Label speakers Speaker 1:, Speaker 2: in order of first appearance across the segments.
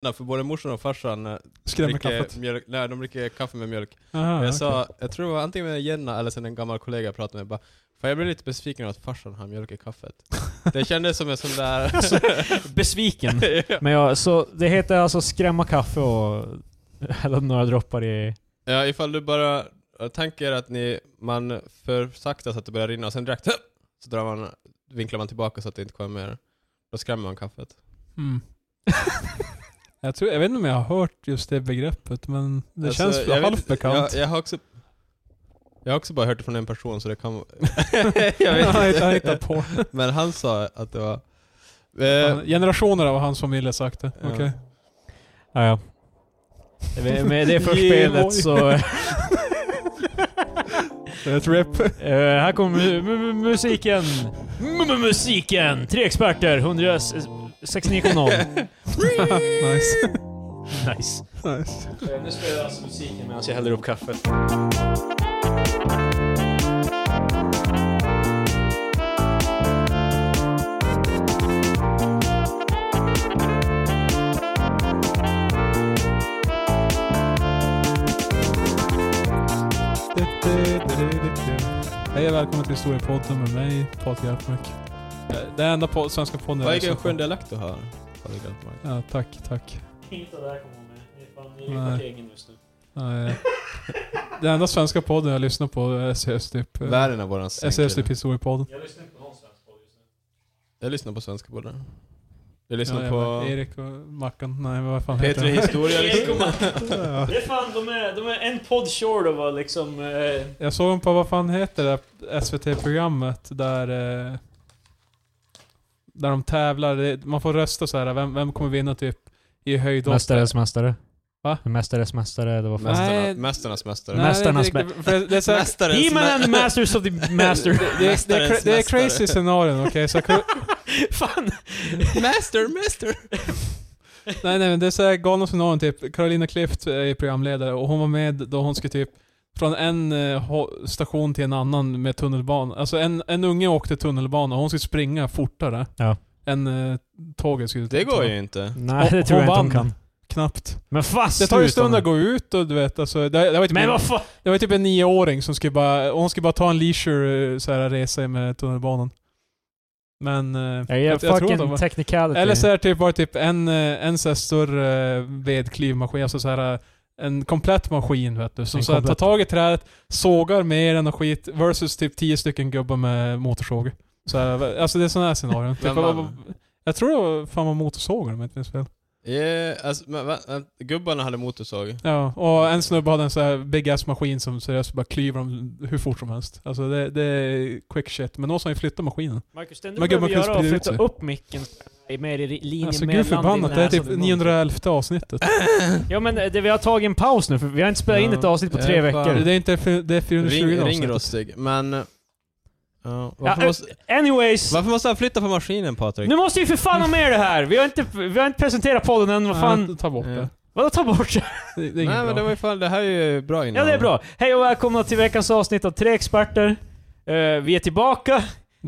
Speaker 1: tröttna för både morsan och farsan eh,
Speaker 2: Skrämmer
Speaker 1: dricker
Speaker 2: kaffet.
Speaker 1: mjölk, nej, de dricker kaffe med mjölk.
Speaker 2: Aha,
Speaker 1: Och jag
Speaker 2: okej.
Speaker 1: sa, jag tror det var antingen med Jenna eller sen en gammal kollega jag pratade med, bara Fan jag blev lite besviken över att farsan har mjölk i kaffet. Det kändes som en sån där...
Speaker 2: Alltså,
Speaker 3: Besviken.
Speaker 2: Men ja, så det heter alltså skrämma kaffe och hälla några droppar i...
Speaker 1: ja, ifall du bara... Tanken är att ni, man för sakta så att det börjar rinna och sen direkt så drar man, vinklar man tillbaka så att det inte kommer mer. Då skrämmer man kaffet.
Speaker 3: Mm.
Speaker 2: jag, tror, jag vet inte om jag har hört just det begreppet, men det
Speaker 1: Alltså,
Speaker 2: känns
Speaker 1: jag vet-
Speaker 2: halvt bekant.
Speaker 1: Jag, jag, har också, jag har också bara hört det från en person så det kan... jag
Speaker 2: Han hittar- han
Speaker 1: vet
Speaker 2: hittar
Speaker 1: inte.
Speaker 2: på.
Speaker 1: Men han sa att det var... Eh,
Speaker 2: Generationer av hans familj har sagt det.
Speaker 1: Ja.
Speaker 2: Okej. Ja, ja. Med, med det förspelet så...
Speaker 3: Ett rep.
Speaker 2: Eh, här kommer mu- mu- mu- musiken! M- musiken! Tre experter, 169,0.
Speaker 3: nice.
Speaker 2: Nice.
Speaker 3: nice.
Speaker 2: Nu spelar alltså musiken medan jag häller upp kaffet.
Speaker 3: Hej och välkommen till Historiepodden med mig, Patrik Järpmark. Det är enda po- svenska podden
Speaker 1: vad är
Speaker 3: lyssnar
Speaker 1: det
Speaker 3: på.
Speaker 1: för en dialekt du har? Patrik Altmark?
Speaker 3: Ja, tack, tack.
Speaker 2: Inte där kommer hon med. Ni är fan- ni
Speaker 3: Nej.
Speaker 2: är i egen just nu.
Speaker 3: Nej. Den enda svenska podden jag lyssnar på är SES typ. eh,
Speaker 1: Världen är våran
Speaker 3: SES
Speaker 1: sänkare.
Speaker 3: typ historiepodden.
Speaker 2: Jag lyssnar inte på någon svensk podd just nu.
Speaker 1: Jag lyssnar på svenska podden. Jag lyssnar
Speaker 3: Ja,
Speaker 1: på
Speaker 3: jävlar. Erik och Mackan. Nej, vad fan heter
Speaker 1: P3
Speaker 3: den?
Speaker 1: Historia. liksom.
Speaker 2: Det är fan, de är, de är en podd short av att liksom... Eh,
Speaker 3: Jag såg en på, vad fan heter det där SVT-programmet där... eh, Där de tävlar. Det- Man får rösta så här. vem, vem kommer vinna typ i höjd?
Speaker 4: Mästares mästare.
Speaker 3: Va?
Speaker 4: Mästares mästare, eller vad fan?
Speaker 1: Mästarna,
Speaker 3: Nej.
Speaker 1: mästarnas mästare.
Speaker 3: Nej,
Speaker 4: Mästarnas
Speaker 3: det är inte- för det är så här-
Speaker 1: Mästaren som
Speaker 2: He-Man
Speaker 1: är-
Speaker 2: and the Masters of the Master.
Speaker 3: Det, det, det, är cra- det är
Speaker 1: Mästarens
Speaker 3: crazy
Speaker 1: mästare.
Speaker 3: scenarion, okej? Så jag-
Speaker 2: fan!
Speaker 1: Master, master!
Speaker 3: Nej, nej, men det är såhär galna scenarion typ. Carolina Klüft är programledare och hon var med då hon skulle typ från en eh, ho- station till en annan med tunnelbana. Alltså en, en unge åkte tunnelbana och hon skulle springa fortare.
Speaker 4: Ja.
Speaker 3: Än eh, tåget skulle
Speaker 1: Det går ju inte.
Speaker 4: Nej,
Speaker 3: Hon-
Speaker 4: det tror
Speaker 3: hon
Speaker 4: jag inte hon
Speaker 3: vann.
Speaker 4: kan.
Speaker 3: Knappt.
Speaker 4: Men fast
Speaker 3: Det tar ju en stund
Speaker 4: sluta
Speaker 3: att
Speaker 4: nu.
Speaker 3: gå ut och du vet alltså. Det, det, var, typ
Speaker 2: Men
Speaker 3: en,
Speaker 2: vad fan!
Speaker 3: det var typ en nioåring som skulle bara, och hon skulle bara ta en leisure eh, så här, resa med tunnelbanan. Men... eh,
Speaker 4: Jag ger
Speaker 3: de var-
Speaker 4: fucking technicality.
Speaker 3: Eller så är det typ bara typ en, eh, en så här större eh, vedklivmaskin, alltså så här eh, en komplett maskin vet du. Som
Speaker 4: En
Speaker 3: så här tar
Speaker 4: komplett.
Speaker 3: tag i trädet, sågar mer än och skit, versus typ tio stycken gubbar med motorsåg. Så här, alltså det är sådana här scenarion. typ,
Speaker 1: Vem
Speaker 3: vad-
Speaker 1: vann?
Speaker 3: vad- jag tror det var fan var motorsågar om jag inte minns fel.
Speaker 1: Yeah, alltså, men, va, va, gubbarna hade motorsåg.
Speaker 3: Ja, och en snubbe hade en sån här big ass maskin som seriöst bara klyver dem hur fort som helst. Alltså det, det är quick shit. Men någon som ju flyttat maskinen.
Speaker 2: Marcus, det
Speaker 3: Men
Speaker 2: enda du
Speaker 3: gud, man
Speaker 2: behöver
Speaker 3: kan
Speaker 2: göra är att
Speaker 3: sprida ut
Speaker 2: flytta
Speaker 3: sig.
Speaker 2: upp micken i- mer i linje
Speaker 3: Alltså
Speaker 2: med
Speaker 3: gud
Speaker 2: land i
Speaker 3: förbannat, det är
Speaker 2: näsan
Speaker 3: typ
Speaker 2: och mun.
Speaker 3: 911 avsnittet.
Speaker 2: Ja men det, vi har tagit en paus nu för vi har inte spelat in
Speaker 3: Ja.
Speaker 2: ett avsnitt på
Speaker 1: Ja,
Speaker 2: tre
Speaker 1: fan.
Speaker 2: veckor.
Speaker 3: Det är inte, för- det är 420
Speaker 1: Ring,
Speaker 3: avsnittet.
Speaker 1: ringrostig. Men... Ja, varför,
Speaker 2: Ja,
Speaker 1: måste,
Speaker 2: eh, anyways,
Speaker 1: varför måste han flytta på maskinen Patrik?
Speaker 2: nu måste vi för fan ha med det här! Vi har inte, vi har inte presenterat podden än, vad fan...
Speaker 3: ta bort
Speaker 1: Ja.
Speaker 3: det.
Speaker 2: Vadå ta bort det?
Speaker 3: Det, det är
Speaker 1: Nej
Speaker 3: inget
Speaker 1: men det
Speaker 3: bra.
Speaker 1: var ju fan, det här är ju bra innan.
Speaker 2: Ja det är bra. Hej och välkomna till veckans avsnitt av Tre Experter. Eh, vi är tillbaka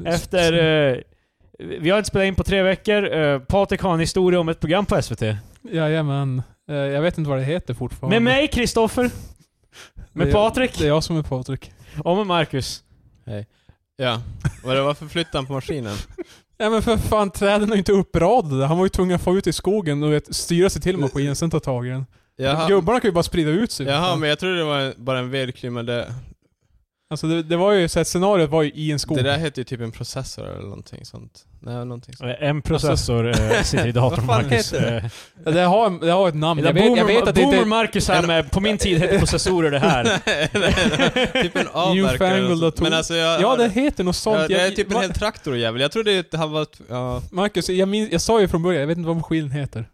Speaker 2: efter... eh, vi har inte spelat in på tre veckor. Uh, Patrik har en historia om ett program på SVT.
Speaker 3: Jajamän. Eh, Jag vet inte vad det heter fortfarande.
Speaker 2: Med mig, Kristoffer.
Speaker 3: Det är-
Speaker 2: Med Patrik.
Speaker 3: Det är jag som är Patrik.
Speaker 2: Och med Marcus.
Speaker 1: Ja. Men det, varför flyttade han på maskinen?
Speaker 3: Ja men för fan, träden är ju inte uppradade. Han var ju tvungen att få ut i skogen och vet, styra sig till maskinen, sen ta tag i den.
Speaker 1: Jaha,
Speaker 3: Gubbarna kan ju bara sprida ut sig.
Speaker 1: jaha men jag trodde det var en- bara en vedkliv, men det,
Speaker 3: Alltså det, det var ju så här, scenariot var ju i en skog.
Speaker 1: det där heter ju typ en processor eller någonting sånt. Nej, någonting sånt.
Speaker 4: En processor
Speaker 2: Alltså-
Speaker 4: eh, sitter i datorn,
Speaker 1: Vad fan
Speaker 4: Marcus.
Speaker 1: heter
Speaker 4: Eh,
Speaker 3: det, har, det har ett namn. Jag vet, jag vet att det
Speaker 2: boomer
Speaker 3: inte
Speaker 2: Marcus här med, på min tid hette processorer det här.
Speaker 1: nej, nej, nej. Typ en avverkare eller
Speaker 3: Newfangled
Speaker 1: något sånt.
Speaker 3: dator.
Speaker 1: Men alltså jag...
Speaker 3: Ja, det heter något
Speaker 1: ja,
Speaker 3: sånt.
Speaker 1: det är
Speaker 3: Jag-
Speaker 1: typ en
Speaker 3: Ma-
Speaker 1: hel traktorjävel. Jag trodde att han var... Ja,
Speaker 3: Marcus, jag, minns, jag sa ju från början, jag vet inte vad maskinen heter.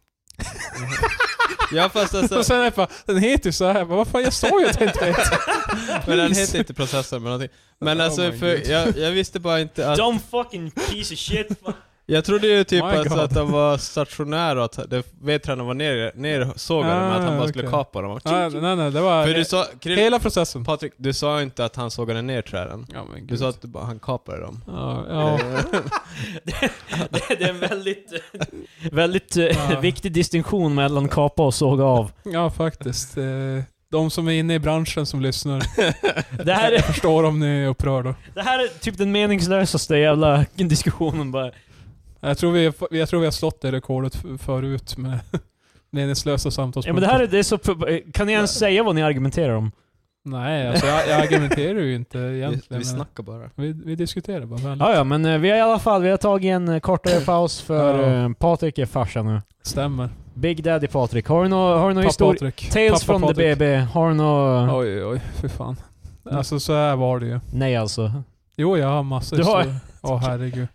Speaker 1: ja fast alltså...
Speaker 3: och sen är jag bara, den heter ju såhär. Jag bara, Vad fan, jag sa ju att den inte heter.
Speaker 1: Men den heter inte processor men någonting. Men
Speaker 3: Oh
Speaker 1: alltså,
Speaker 3: my
Speaker 1: för
Speaker 3: God.
Speaker 1: jag, jag visste bara inte att...
Speaker 2: Dumb fucking piece of shit.
Speaker 1: Jag trodde ju typ
Speaker 3: My
Speaker 1: alltså
Speaker 3: God.
Speaker 1: att de var stationära och att det- vedtränaren var ner, nersågade men att han
Speaker 3: Ah,
Speaker 1: bara skulle
Speaker 3: okej. Ah,
Speaker 1: kapa dem. typ-
Speaker 3: Nej, nej, nej, det var
Speaker 1: För du sa, Krill,
Speaker 3: hela processen.
Speaker 1: Patrik, du sa inte att han sågade ner träden.
Speaker 3: Ja, men
Speaker 1: Du sa att du bara, han kapade dem. Eh,
Speaker 3: Ja, ja.
Speaker 2: det är en väldigt, väldigt eh,
Speaker 3: Ja.
Speaker 2: viktig distinktion mellan kapa och såga av.
Speaker 3: ja, faktiskt. Eh, De som är inne i branschen som lyssnar,
Speaker 2: Det här,
Speaker 3: jag
Speaker 2: är,
Speaker 3: förstår om ni är upprörda.
Speaker 2: det här är typ den meningslösaste jävla diskussionen bara.
Speaker 3: Jag tror vi, jag tror vi har slått det rekordet f- förut med meningslösa samtalspunkter.
Speaker 2: Ja, men det här är, det är så, eh, kan ni ens säga vad ni argumenterar om?
Speaker 3: Nej, alltså jag, jag argumenterar ju inte
Speaker 1: Vi,
Speaker 3: egentligen.
Speaker 1: vi
Speaker 3: men
Speaker 1: snackar bara.
Speaker 3: vi, vi diskuterar bara. Väl.
Speaker 4: Ja, ja, men eh, vi har i alla fall vi har tagit en eh, kortare paus för
Speaker 3: Ja.
Speaker 4: eh, Patrik är farsa nu.
Speaker 3: Stämmer.
Speaker 4: Big Daddy Patrik. Har du någon har du nå
Speaker 3: Pappa
Speaker 4: historia?
Speaker 3: Patrik.
Speaker 4: Tales
Speaker 3: Pappa
Speaker 4: from the
Speaker 3: Patrik.
Speaker 4: BB. Har du någon...
Speaker 3: Oj, oj, för fan.
Speaker 2: Mm.
Speaker 3: Alltså så här var det ju.
Speaker 4: Nej alltså.
Speaker 3: Jo, jag har massor
Speaker 2: Du har-
Speaker 3: historier. Åh herregud.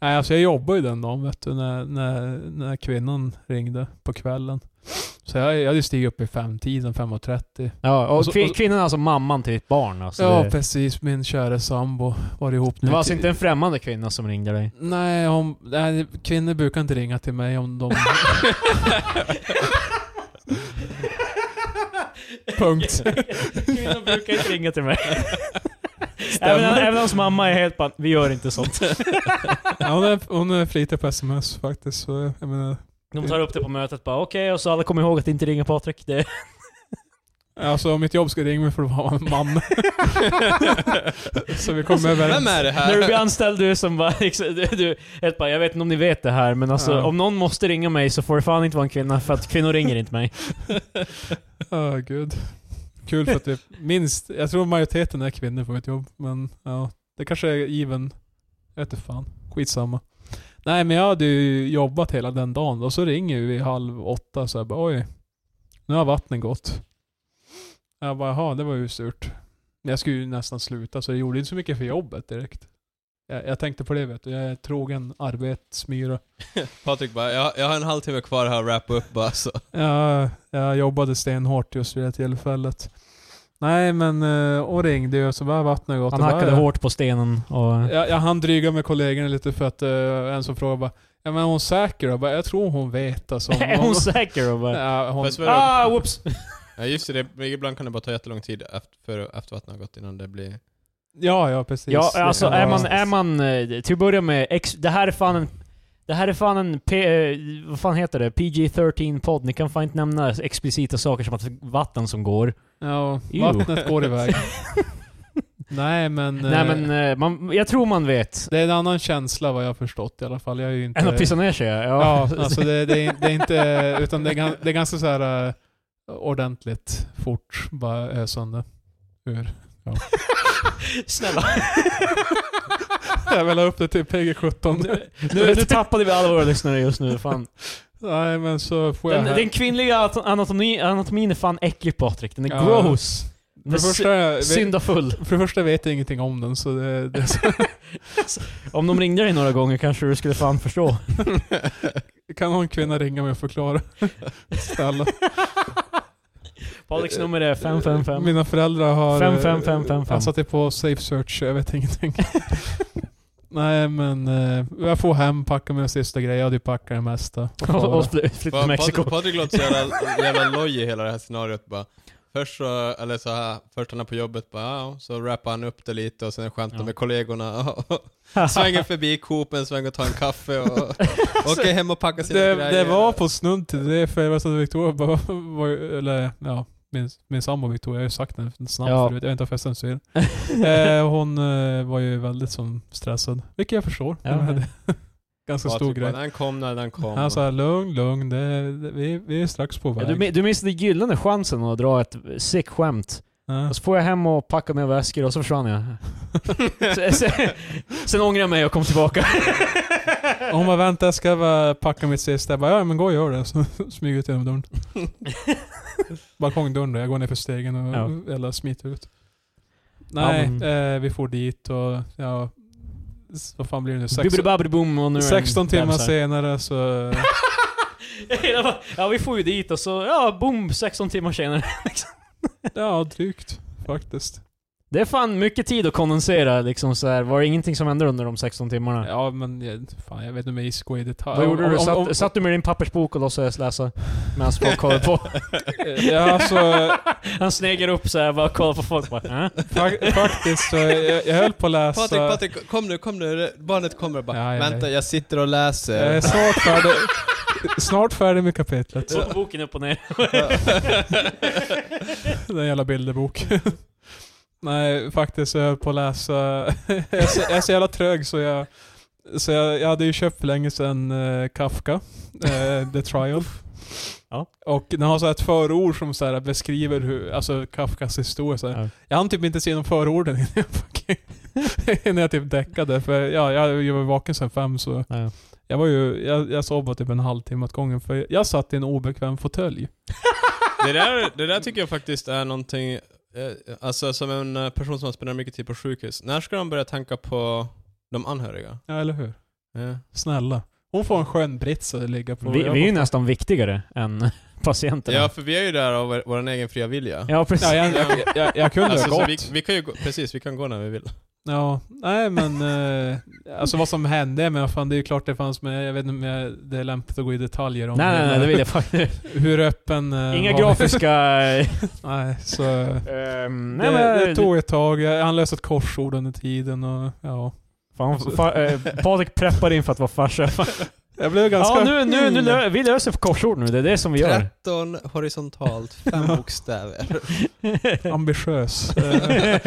Speaker 3: Nej, alltså jag jobbade ju den dagen vet du, när, när, när kvinnan ringde på kvällen. Så jag, jag hade stigit upp i femtiden, 5.30.
Speaker 4: Ja, och,
Speaker 3: Och så-
Speaker 4: kvin-
Speaker 3: och så-
Speaker 4: kvinnan är alltså mamman till ditt barn alltså.
Speaker 3: Ja,
Speaker 4: det,
Speaker 3: precis. Min kära sambo var ihop nu.
Speaker 4: det var alltså
Speaker 3: till-
Speaker 4: inte en främmande kvinna som ringde dig?
Speaker 3: Nej, hon, nej, kvinnor brukar inte ringa till mig om de... Punkt.
Speaker 2: Kvinnor brukar inte ringa till mig. även, även hans mamma är helt bara, vi gör inte sånt.
Speaker 3: Ja, hon, är, hon är flitig på sms faktiskt, så jag menar...
Speaker 2: De tar upp det på mötet bara, okej, och så alla kommer ihåg att inte ringa Patrik. Det,
Speaker 3: Alltså om mitt jobb ska ringa mig för att vara en man. så vi kommer överens.
Speaker 1: Vem är det
Speaker 2: när du blir
Speaker 1: här?
Speaker 2: anställd, du som bara, liksom, du, du, helt bara, jag vet inte om ni vet det här, men alltså
Speaker 3: Ja.
Speaker 2: om någon måste ringa mig så får det fan inte vara en kvinna, för att kvinnor ringer inte mig.
Speaker 3: Ja, gud. Kul för att vi minst, jag tror majoriteten är kvinnor på mitt jobb, men ja, det kanske är even. Jag vet inte fan. Skitsamma. Nej men jag hade ju jobbat hela den dagen och så ringer vi halv åtta så jag bara oj, nu har vattnet gått. Jag bara jaha, det var ju surt. Men Jag skulle ju nästan sluta så det gjorde inte så mycket för jobbet direkt. Jag, jag tänkte på det vet du, jag är trogen arbetsmyra.
Speaker 1: Patrik bara, jag, jag har en halvtimme kvar här att wrappa upp bara så.
Speaker 3: Ja, jag jobbade stenhårt just vid det tillfället. Nej men, eh, och ringde ju så bara vattnet gått.
Speaker 4: Han
Speaker 3: Och bara,
Speaker 4: hackade
Speaker 3: ja.
Speaker 4: hårt på stenen och...
Speaker 3: Jag, jag hann dryga med kollegorna lite för att eh, en som frågade bara Ja men är hon säker? Jag, bara, jag tror hon vet alltså. om
Speaker 2: är hon säker? Och bara,
Speaker 3: Ja, hon,
Speaker 1: Fast för-
Speaker 2: ah, whoops!
Speaker 1: Ja just det, det, ibland kan det bara ta jättelång tid efter, för, efter vattnet har gått innan det blir...
Speaker 3: ja, ja precis.
Speaker 4: Ja,
Speaker 3: Det
Speaker 4: alltså
Speaker 3: kan
Speaker 4: är
Speaker 3: vara-
Speaker 4: man, är man, eh, till att börja med, ex, det här är fan en, det här är fan en, P, eh, vad fan heter det, PG-13-podd. Ni kan fan inte nämna explicita saker som att vatten som går.
Speaker 3: Ja,
Speaker 4: Ew.
Speaker 3: vattnet går iväg. Nej men, eh,
Speaker 4: Nej men, eh, man, jag tror man vet.
Speaker 3: det är en annan känsla vad jag har förstått i alla fall. Jag är ju inte...
Speaker 4: Än att pissa ner sig, ja.
Speaker 3: Ja, alltså det, det, är, det är inte, utan det är, gan- det är ganska så här eh, ordentligt, fort, bara eh, ösande. Ur.
Speaker 2: Snälla.
Speaker 3: Jag vill ha upp det till PG-17.
Speaker 2: Nu, nu, nu tappade vi alla våra lyssnare just nu, fan.
Speaker 3: Nej men så får jag...
Speaker 2: Den, den kvinnliga anato- anatomi, anatomin är fan äcklig Patrik, den är
Speaker 3: Ja.
Speaker 2: gross.
Speaker 3: för,
Speaker 2: Den är
Speaker 3: det första, jag
Speaker 2: sy-
Speaker 3: vet,
Speaker 2: syndafull.
Speaker 3: för det första vet jag ingenting om den så det, det är så,
Speaker 2: Om de ringde dig några gånger kanske du skulle fan förstå.
Speaker 3: kan någon kvinna ringa mig och förklara? Snälla. Eh,
Speaker 2: Patriks nummer är 555.
Speaker 3: Mina föräldrar har... eh,
Speaker 4: Fem, fem, fem, fem, fem.
Speaker 3: Jag satte på safe search, jag vet ingenting. Nej men, eh, jag får hem, packa mina sista grejer, jag hade ju packat det mesta.
Speaker 2: Och, och fly-
Speaker 3: Typ
Speaker 2: flytta till
Speaker 1: Pat-
Speaker 2: Mexiko.
Speaker 1: Patrik- Patrik låter så jävla, jävla loj i hela det här scenariot bara. Först så, eller så här, först han är på jobbet bara, ja, så rappar han upp det lite och sen skämtar
Speaker 4: Ja.
Speaker 1: med kollegorna. och Svänger förbi Coop en sväng och tar en kaffe och åker hem och packar sina
Speaker 3: det,
Speaker 1: grejer.
Speaker 3: det var på snudd till det, för jag vet att Victoria bara var, ju- eller ja, min, min sambo Victoria, jag har ju sagt den snabbt
Speaker 4: Ja.
Speaker 3: förut, jag vet inte varför jag sen säger det. eh, Hon eh, var ju väldigt som stressad, vilket jag förstår.
Speaker 4: Ja,
Speaker 3: Det var
Speaker 4: ja.
Speaker 3: en Ganska
Speaker 1: Patrik
Speaker 3: stor
Speaker 1: bara,
Speaker 3: grej.
Speaker 1: Han kom när han kom.
Speaker 3: Han sa lugn, lugn, det, det, vi, vi är strax på
Speaker 4: Ja,
Speaker 3: väg.
Speaker 4: du, mi- du missade gyllene chansen att dra ett sick skämt.
Speaker 3: Ja.
Speaker 4: Och så får jag hem och packar mina väskor och så försvann jag. sen, sen, sen ångrar jag mig och kom tillbaka.
Speaker 3: Och Hon bara vänta, jag ska bara packa mitt sista. Jag bara ja men gå och gör det. Så smyger ut genom dörren. Balkongdörren då. Jag går ner för stegen och eller smiter ut. Nej,
Speaker 4: Ja, men-
Speaker 3: eh, vi får dit och ja... s- Vad fan blir det nu? Sex,
Speaker 4: Bibbidi-babbidi-boom och nu är den
Speaker 3: 16 timmar
Speaker 4: bebisar.
Speaker 3: senare så...
Speaker 2: ja, vi får ju dit och så, ja, boom, 16 timmar senare.
Speaker 3: ja, drygt faktiskt.
Speaker 2: Det är fan mycket tid att kondensera liksom så här. Var det ingenting som hände under de 16 timmarna?
Speaker 3: Ja men jag, fan, jag vet inte om jag ska gå i detalj.
Speaker 2: Vad gjorde
Speaker 3: Om-
Speaker 2: du?
Speaker 3: om-
Speaker 2: Satt,
Speaker 3: om-
Speaker 2: satt du med din pappersbok och låtsades läsa? Medan folk kollade på?
Speaker 3: Ja, alltså,
Speaker 2: Han snegar upp så här bara kollar på folk bara, äh?
Speaker 3: fak- faktiskt så jag, jag höll på att läsa...
Speaker 1: Patrik, Patrik, kom nu, kom nu. Det- Barnet kommer bara.
Speaker 3: "Alltså-" Ja, ja, ja.
Speaker 1: Vänta, jag sitter och läser.
Speaker 3: Jag är snart färdig, snart färdig med kapitlet.
Speaker 2: Så på boken upp och ner.
Speaker 3: Den jävla bilderbok. Nej, faktiskt jag höll på att läsa. jag, är så, jag är så jävla trög så jag... Så jag, jag hade ju köpt för länge sedan eh, Kafka, eh, The Triumph.
Speaker 2: Ja.
Speaker 3: Och den har så här ett förord som så här beskriver hur, alltså Kafkas historia. Så här.
Speaker 2: Ja.
Speaker 3: Jag hann typ inte se någon förorden innan jag, fucking, innan jag typ däckade. För ja, jag, jag var vaken sen fem så
Speaker 2: Ja.
Speaker 3: jag, var ju, jag, jag sov bara typ en halvtimme åt gången. För jag satt i en obekväm fåtölj.
Speaker 1: Det där, det där tycker jag faktiskt är någonting, eh, alltså som en eh, person som har spenderat mycket tid på sjukhus. När ska de börja tänka på de anhöriga? Eh,
Speaker 3: Ja, eller hur?
Speaker 1: Ja.
Speaker 3: Snälla. Hon får en skön brits att ligga på.
Speaker 2: Vi,
Speaker 3: Jag
Speaker 2: vi är ju
Speaker 3: bara-
Speaker 2: nästan viktigare än patienterna.
Speaker 1: ja, för vi är ju där av vår, vår egen fria vilja.
Speaker 2: ja precis.
Speaker 3: Ja, jag, jag, jag, jag kunde
Speaker 1: Alltså,
Speaker 3: ha
Speaker 1: så
Speaker 3: gått.
Speaker 1: vi, vi kan ju gå, precis, vi kan gå när vi vill.
Speaker 3: Ja, nej men eh, alltså vad som hände, men fan, det är ju klart det fanns med, jag vet inte om jag, det är lämpligt att gå i detaljer om
Speaker 2: Nej,
Speaker 3: hur-
Speaker 2: nej, nej, det vill jag faktiskt
Speaker 3: hur öppen... eh,
Speaker 2: Inga
Speaker 3: var-
Speaker 2: grafiska... Eh,
Speaker 3: nej, så...
Speaker 2: ehm,
Speaker 3: det,
Speaker 2: nej, men,
Speaker 3: det tog ett tag, jag han löste ett korsord under tiden och ja.
Speaker 2: Fan, fa, eh, Patrik preppar inför att vara farsa.
Speaker 3: Jag blev ganska...
Speaker 2: Ja, nu, nu, nu
Speaker 3: Mm.
Speaker 2: lö, vi löser korsord nu. Det är det som vi gör.
Speaker 1: 13 horisontalt, fem bokstäver.
Speaker 3: Ambitiös. Eh,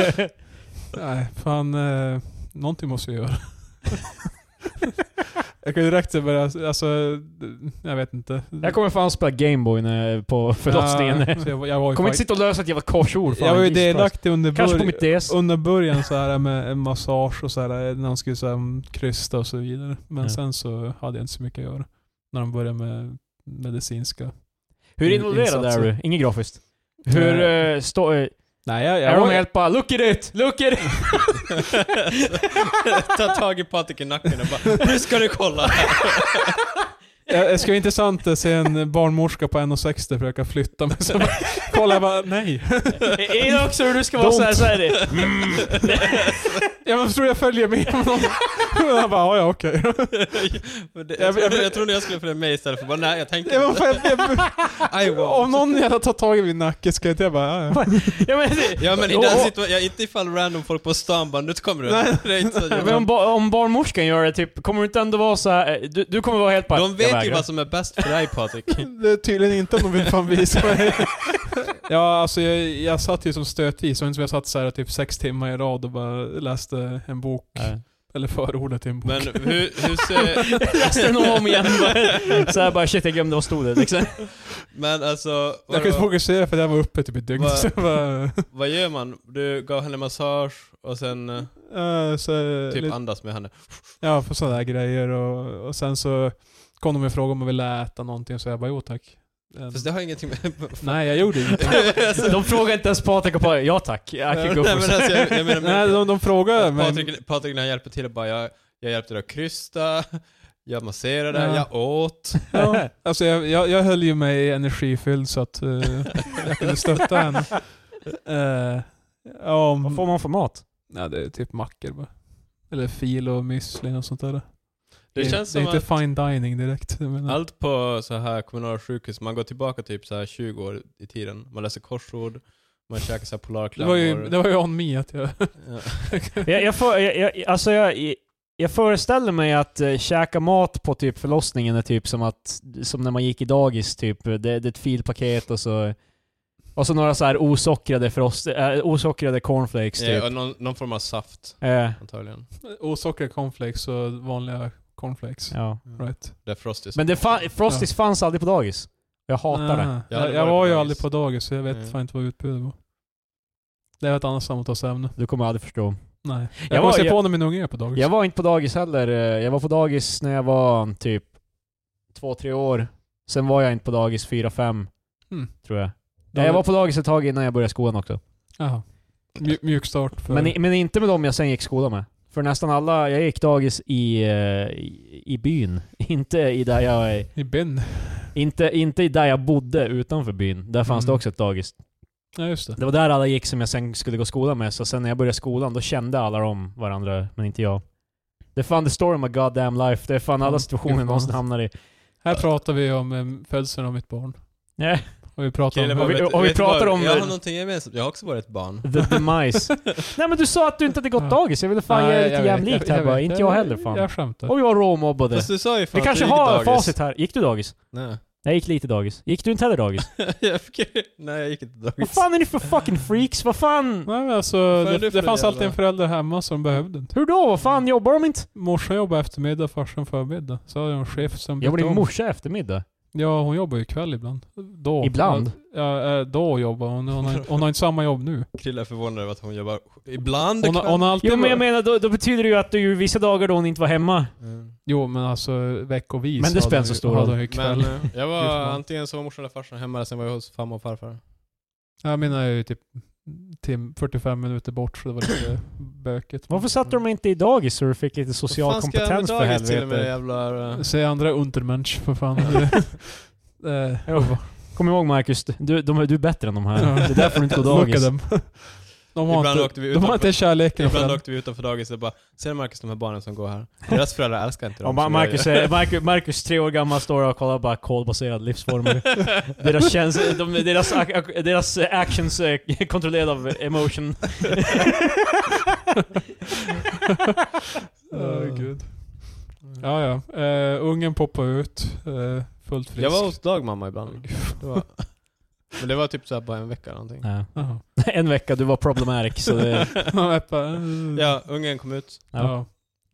Speaker 3: nej, fan. Eh, någonting måste vi göra. jag kan ju direkt börja, alltså, jag vet inte.
Speaker 2: jag kommer fan spela Gameboy när- på förlossningen.
Speaker 3: Ja, så jag, jag var ju
Speaker 2: kommer
Speaker 3: fakt-
Speaker 2: inte sitta och lösa ett jävla korsord. Fan,
Speaker 3: Jag var ju
Speaker 2: Jesus Christ.
Speaker 3: delaktig under,
Speaker 2: Kanske på
Speaker 3: bör-
Speaker 2: mitt DS.
Speaker 3: under början så här med en massage och så här när de skulle så här, krysta och så vidare. Men
Speaker 2: Ja.
Speaker 3: sen så hade jag inte så mycket att göra. När de började med medicinska.
Speaker 2: Hur involverad
Speaker 3: insatser.
Speaker 2: är du? Inget grafiskt. Hur eh, står... eh,
Speaker 3: Nej, jag, jag,
Speaker 2: är de
Speaker 3: var,
Speaker 2: helt bara 'Look at it! Look at it!'
Speaker 1: Ta tag i Patrik i nacken och bara nu ska du kolla.
Speaker 3: jag, jag skulle vara intressant att se en barnmorska på 1,60 försöka flytta mig. Så bara, kolla jag bara, nej.
Speaker 2: Är det också hur du ska vara såhär, såhär det.
Speaker 3: Jag bara, tror jag följer med honom. Jag bara, ja ja, okej.
Speaker 1: Men det, jag, trodde- jag trodde jag skulle följa med istället för bara nej jag tänker
Speaker 3: Jag bara,
Speaker 1: inte.
Speaker 3: fan, jag-
Speaker 1: I
Speaker 3: jag- Om
Speaker 1: won't.
Speaker 3: någon jävla tar tag i min nacke ska jag inte, jag bara, ja, ja.
Speaker 2: Ja, men, det-
Speaker 1: Ja men i
Speaker 2: Och-
Speaker 1: den
Speaker 2: och-
Speaker 1: situationen, ja, inte ifall random folk på stan bara nu kommer du.
Speaker 3: Nej,
Speaker 1: Det är inte så-
Speaker 2: men om, ba- om barnmorskan gör det, typ, kommer du inte ändå vara så här, eh, du, du kommer vara helt bara
Speaker 1: De
Speaker 2: "Jag
Speaker 1: vet ju
Speaker 2: vägrar."
Speaker 1: vad som är bäst för dig Patrik.
Speaker 3: Det är tydligen inte om de vill fan visa mig. ja, alltså jag, jag satt ju som stötvis, och inte som jag satt så här typ sex timmar i rad och bara läste en bok,
Speaker 2: Nej.
Speaker 3: eller förordet till en bok.
Speaker 1: Men hur, hur ser...
Speaker 2: Jag Läste den om igen bara. Så här bara shit jag glömde vad stod det liksom.
Speaker 1: Men alltså,
Speaker 3: jag kunde inte
Speaker 1: vad,
Speaker 3: fokusera för jag var uppe typ ett dygn.
Speaker 1: Vad-
Speaker 3: Så jag bara,
Speaker 1: vad gör man? Du gav henne massage och sen eh,
Speaker 3: eh, så,
Speaker 1: typ
Speaker 3: lite-
Speaker 1: andas med henne.
Speaker 3: ja, för sådana där grejer och, och sen så kom de och frågade om jag ville äta någonting, så jag bara jo tack. Eh,
Speaker 1: Fast det har ingenting med...
Speaker 3: Nej, jag gjorde ingenting.
Speaker 1: Alltså,
Speaker 2: De frågar inte ens Patrik och Patrik, ja tack, jag kan gå
Speaker 1: Nej, men alltså, jag, jag menar,
Speaker 3: Nej, de, de frågade
Speaker 1: men,
Speaker 3: mig.
Speaker 1: Patrik, Patrik när han hjälper till och bara jag, jag hjälpte dig att krysta, jag masserade,
Speaker 3: Ja.
Speaker 1: jag åt.
Speaker 3: Ja, alltså jag, jag, jag höll ju mig energifylld så att eh, jag kunde stötta henne. Eh, ja,
Speaker 2: Vad
Speaker 3: om,
Speaker 2: får man för mat?
Speaker 3: ja, det är typ mackor bara. Eller fil och müsli och sånt där. Det,
Speaker 1: Det
Speaker 3: är-
Speaker 1: känns
Speaker 3: det är
Speaker 1: som
Speaker 3: inte
Speaker 1: att
Speaker 3: fine dining direkt. jag menar.
Speaker 1: allt på så här kommunala sjukhus, man går tillbaka typ så här 20 år i tiden. Man läser korsord, man käkar så här
Speaker 3: det, var
Speaker 1: polarklammor.
Speaker 3: ju, det var ju on me att jag...
Speaker 1: Ja.
Speaker 2: Jag, jag, för, jag, jag, alltså jag, jag föreställer mig att eh, käka mat på typ förlossningen är typ som att, som när man gick i dagis typ, det, det är ett filpaket och så och så några så här osockrade, frost, äh, osockrade cornflakes typ.
Speaker 1: Ja, och någon, någon form av saft
Speaker 2: Eh,
Speaker 1: antagligen.
Speaker 3: Osockrade cornflakes och vanliga cornflakes.
Speaker 2: ja.
Speaker 3: Right.
Speaker 1: Det är Frosties.
Speaker 2: Men det fa- Frosties fanns aldrig på dagis. Jag hatar det.
Speaker 3: Ah,
Speaker 1: Jag
Speaker 3: Jag,
Speaker 1: hade
Speaker 3: jag
Speaker 1: varit
Speaker 3: var
Speaker 1: på
Speaker 3: ju
Speaker 1: dagis.
Speaker 3: aldrig på dagis så jag vet
Speaker 1: Mm.
Speaker 3: fan inte vad utbudet var. Det är ett annat samtalsämne.
Speaker 2: Du kommer aldrig förstå.
Speaker 3: Nej. Jag,
Speaker 2: Jag
Speaker 3: kommer
Speaker 2: var-
Speaker 3: se
Speaker 2: jag-
Speaker 3: på när min unge är på dagis.
Speaker 2: Jag var inte på dagis heller. Eh, Jag var på dagis när jag var typ två, tre år. Sen var jag inte på dagis fyra, fem.
Speaker 3: Mm.
Speaker 2: Tror jag. Nej, jag var på dagis ett tag innan jag började skolan också.
Speaker 3: Jaha. Mju- mjuk start för...
Speaker 2: Men, i- men inte med dem jag sen gick skola med. För nästan alla, jag gick dagis i, eh, i, i byn. Inte i där jag,
Speaker 3: I bin.
Speaker 2: inte, inte i där jag bodde utanför byn. Där fanns
Speaker 3: Mm.
Speaker 2: det också ett dagis.
Speaker 3: Ja, just det.
Speaker 2: Det var där alla gick som jag sen skulle gå skolan med, så sen när jag började skolan då kände alla om varandra, men inte jag. Det är fan the story of my goddamn life. Det är fan
Speaker 3: Mm,
Speaker 2: alla situationer
Speaker 3: gud
Speaker 2: jag
Speaker 3: vad
Speaker 2: någonsin
Speaker 3: hemskt.
Speaker 2: hamnar i.
Speaker 3: Här pratar vi om eh, födseln av mitt barn.
Speaker 2: Nej,
Speaker 3: Och vi pratar
Speaker 1: Killen
Speaker 3: om...
Speaker 1: bara,
Speaker 2: vi-
Speaker 1: vet-
Speaker 2: och vi
Speaker 1: vet du
Speaker 2: pratar
Speaker 1: vad?
Speaker 2: om-
Speaker 1: Jag har någonting gemensamt. Jag har också varit ett barn.
Speaker 2: the demise. Nej men du sa att du inte hade gått dagis, jag ville fan
Speaker 3: Ah. Nej,
Speaker 2: ge dig
Speaker 3: jag vet,
Speaker 2: lite jämlikt här
Speaker 3: jag
Speaker 2: bara.
Speaker 3: vet.
Speaker 2: Inte jag heller fan.
Speaker 3: Jag skämtar.
Speaker 2: Och vi var råmobbade.
Speaker 1: Fast du sa ju fan
Speaker 2: Vi
Speaker 1: att
Speaker 2: kanske
Speaker 1: du gick
Speaker 2: har
Speaker 1: dagis.
Speaker 2: facit här. Gick du dagis?
Speaker 1: Nej.
Speaker 2: Jag gick lite dagis. Gick du inte heller dagis?
Speaker 1: Jag fick- Nej, jag gick inte
Speaker 2: Vad
Speaker 1: dagis.
Speaker 2: fan är ni för fucking freaks? Vad fan?
Speaker 3: Nej men alltså,
Speaker 1: Vad fan är
Speaker 3: det,
Speaker 1: du
Speaker 3: det,
Speaker 1: för
Speaker 3: fanns
Speaker 1: jävla-
Speaker 3: alltid en förälder hemma som behövde inte.
Speaker 2: Hur då? Vad fan jobbar de inte?
Speaker 3: Morsan jobbade eftermiddag, farsan förmiddag. Så hade jag en chef som...
Speaker 2: Jag
Speaker 3: bytte
Speaker 2: blir
Speaker 3: om.
Speaker 2: morsa eftermiddag.
Speaker 3: Ja, hon jobbar ju kväll ibland. Då.
Speaker 2: Ibland?
Speaker 3: Ja, eh, då jobbar hon. Hon har, hon har inte samma jobb nu.
Speaker 1: Krilla är förvånad över att hon jobbar ibland.
Speaker 3: Hon, har-
Speaker 1: kväll.
Speaker 3: hon har alltid...
Speaker 2: Jo men jag menar, då, då betyder det ju att du ju vissa dagar då hon inte var hemma.
Speaker 1: Mm.
Speaker 3: Jo, men alltså veckovis.
Speaker 2: Men det
Speaker 3: hade
Speaker 2: spelar
Speaker 3: hon
Speaker 2: inte så
Speaker 3: ju-
Speaker 2: stor
Speaker 3: hade
Speaker 2: roll.
Speaker 3: hon ju
Speaker 1: Men
Speaker 3: kväll.
Speaker 1: eh, jag
Speaker 3: Gud,
Speaker 1: var
Speaker 3: fan.
Speaker 1: antingen så var morsan eller farsan hemma eller sen var jag hos farmor och farfar.
Speaker 3: Jag menar jag är ju typ tim 45 minuter bort så det var lite bökigt.
Speaker 2: Varför satte de inte i dagis så du fick lite social
Speaker 1: Vad fan ska jag med
Speaker 2: kompetens för
Speaker 1: dagis till med
Speaker 2: helvete?
Speaker 1: jävlar... eh?
Speaker 3: Säg andra Untermensch för fan. Eh,
Speaker 2: Jo. Kom ihåg Marcus, du, de, du är bättre än de här. Det är därför du inte går
Speaker 3: look at
Speaker 2: dagis.
Speaker 3: them. De har
Speaker 1: Ibland
Speaker 3: inte,
Speaker 1: åkte vi
Speaker 3: de har
Speaker 1: utanför-
Speaker 3: inte kärleken och
Speaker 1: Ibland
Speaker 3: föräldrar.
Speaker 1: åkte vi utanför dagis och bara Ser du Marcus de här barnen som går här? Deras föräldrar älskar inte
Speaker 2: Ja,
Speaker 1: dem.
Speaker 2: Ma-
Speaker 1: som jag
Speaker 2: Marcus,
Speaker 1: gör."
Speaker 2: är, Marcus, Marcus, tre år gammal, står och kollar bara kolbaserade livsformer. deras, käns- de, deras, ac- ac- deras eh, actions är kontrollerade av emotion.
Speaker 3: Åh, gud. Eh, Ja, ja. Eh, ungen poppar ut. eh, fullt frisk.
Speaker 1: Jag var hos dagmamma ibland. Det var... Men det var typ såhär bara en vecka eller någonting.
Speaker 2: Ja.
Speaker 3: Jaha.
Speaker 2: En vecka, du var problematic. Så det,
Speaker 3: Ja, Ebba, eh,
Speaker 1: Ja, ungen kom ut.
Speaker 3: ja.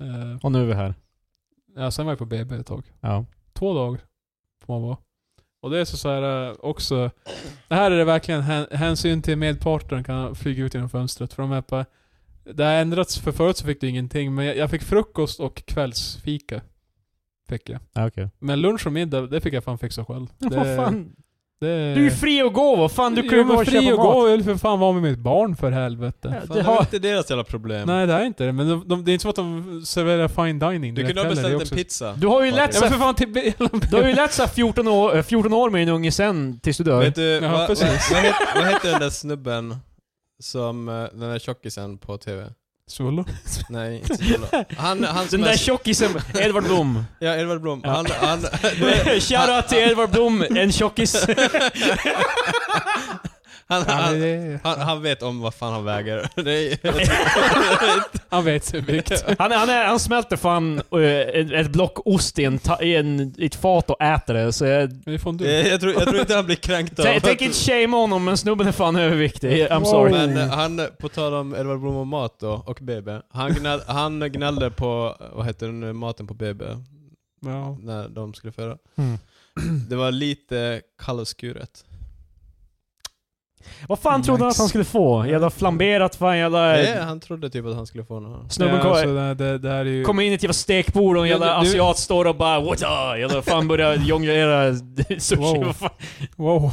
Speaker 3: Eh,
Speaker 2: och nu är vi här.
Speaker 3: ja, sen var jag på BB ett tag.
Speaker 2: Ja.
Speaker 3: Två dagar får man vara. Och det är så, så här eh, också. Det här är det verkligen hän- hänsyn till medparten kan flyga ut genom fönstret. För de är på, det har ändrats, för förut så fick du ingenting. Men jag, jag fick frukost och kvällsfika. Fick jag.
Speaker 2: Ja, okej.
Speaker 3: Men lunch och middag, det fick jag fan fixa själv. Det,
Speaker 2: Vad fan?
Speaker 3: det,
Speaker 2: Du är ju fri att gå vad fan? Du kan ju
Speaker 3: Jo, men
Speaker 2: gå och
Speaker 3: fri
Speaker 2: köpa
Speaker 3: och
Speaker 2: mat.
Speaker 3: gå, jag vill för fan vara med mitt barn för helvete.
Speaker 2: Ja,
Speaker 1: Fan,
Speaker 2: det
Speaker 1: det var
Speaker 2: har,
Speaker 1: inte deras jävla problem.
Speaker 3: Nej det är inte det, men de, de, det är inte som att de serverar fine dining
Speaker 1: du
Speaker 3: direkt
Speaker 1: kunde ha
Speaker 3: heller, det är
Speaker 1: beställt
Speaker 3: också-
Speaker 1: en pizza.
Speaker 2: du har ju
Speaker 1: Ja,
Speaker 2: lätt
Speaker 3: Ja men
Speaker 2: såhär
Speaker 3: för fan till
Speaker 2: Du har ju lärt såhär 14 år, eh, 14 år med en unge sen tills du dör.
Speaker 1: Vet du,
Speaker 3: Ja,
Speaker 1: vad, vad,
Speaker 3: precis.
Speaker 1: vad, het, vad heter den där snubben som, eh, den där tjockisen på TV?
Speaker 3: Svullo?
Speaker 1: Nej, inte Solo. Han, han
Speaker 2: Den
Speaker 1: som
Speaker 2: där
Speaker 1: är,
Speaker 2: tjockisen, Edvard Blom.
Speaker 1: Ja, Edvard Blom.
Speaker 2: Ja.
Speaker 1: Han, han,
Speaker 2: Shoutout till Edvard Blom, en tjockis.
Speaker 1: han,
Speaker 3: Han,
Speaker 1: han, han, han vet om vad fan han väger. Det är,
Speaker 3: han vet sin vikt.
Speaker 2: Han, han, är, han smälter fan eh, ett, ett block ost i, en ta, i, en, i ett fat och äter det. Så jag,
Speaker 3: Men det får du.
Speaker 1: jag, jag, tror, jag tror inte han blir kränkt av
Speaker 2: Tä- tänk inte shame honom, men snubben är fan överviktig. I'm sorry.
Speaker 1: Men eh, han, på tal om Edvard Blom och mat då, och BB. Han, gnäll, han gnällde på, vad heter den nu, maten på BB,
Speaker 3: Ja.
Speaker 1: när de skulle föda.
Speaker 2: Mm.
Speaker 1: Det var lite kallskuret.
Speaker 2: Vad fan trodde han att han skulle få? Jävla flamberat fan, jävla...
Speaker 1: Nej, han trodde typ att han skulle få något.
Speaker 2: Snubben
Speaker 3: ja, alltså,
Speaker 2: kom,
Speaker 3: det, det, det här är ju...
Speaker 2: kom in i ett jävla stekbord och en jävla
Speaker 3: Du- du-
Speaker 2: asiat står och bara What up? Jävla fan börjar jonglera sushi.
Speaker 3: Wow.
Speaker 2: Vad fan?
Speaker 3: Wow.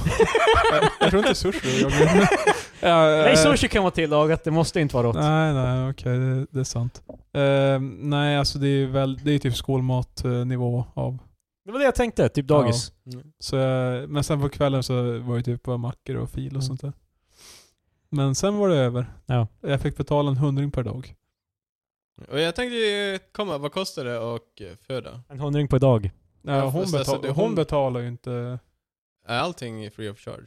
Speaker 3: jag, jag tror inte sushi jag blir- ja,
Speaker 2: Nej,
Speaker 3: eh,
Speaker 2: sushi kan vara tillagat. Det måste inte vara rått.
Speaker 3: Nej, nej, okej, det, det är sant. Eh, nej, alltså det är ju väl, det är typ skolmatnivå av.
Speaker 2: Det var det jag tänkte, typ dagis.
Speaker 1: Mm.
Speaker 3: Så, jag- men sen på kvällen så var det typ bara mackor och fil och
Speaker 2: Mm.
Speaker 3: sånt där. Men sen var det över.
Speaker 2: Ja.
Speaker 3: Jag fick betala en hundring per dag.
Speaker 1: Och jag tänkte ju komma, vad kostar det att eh, föda?
Speaker 2: En hundring på dag.
Speaker 3: Ja, hon,
Speaker 1: fast alltså,
Speaker 3: betal-
Speaker 1: det-
Speaker 3: hon betalar ju inte...
Speaker 1: Är allting free of charge?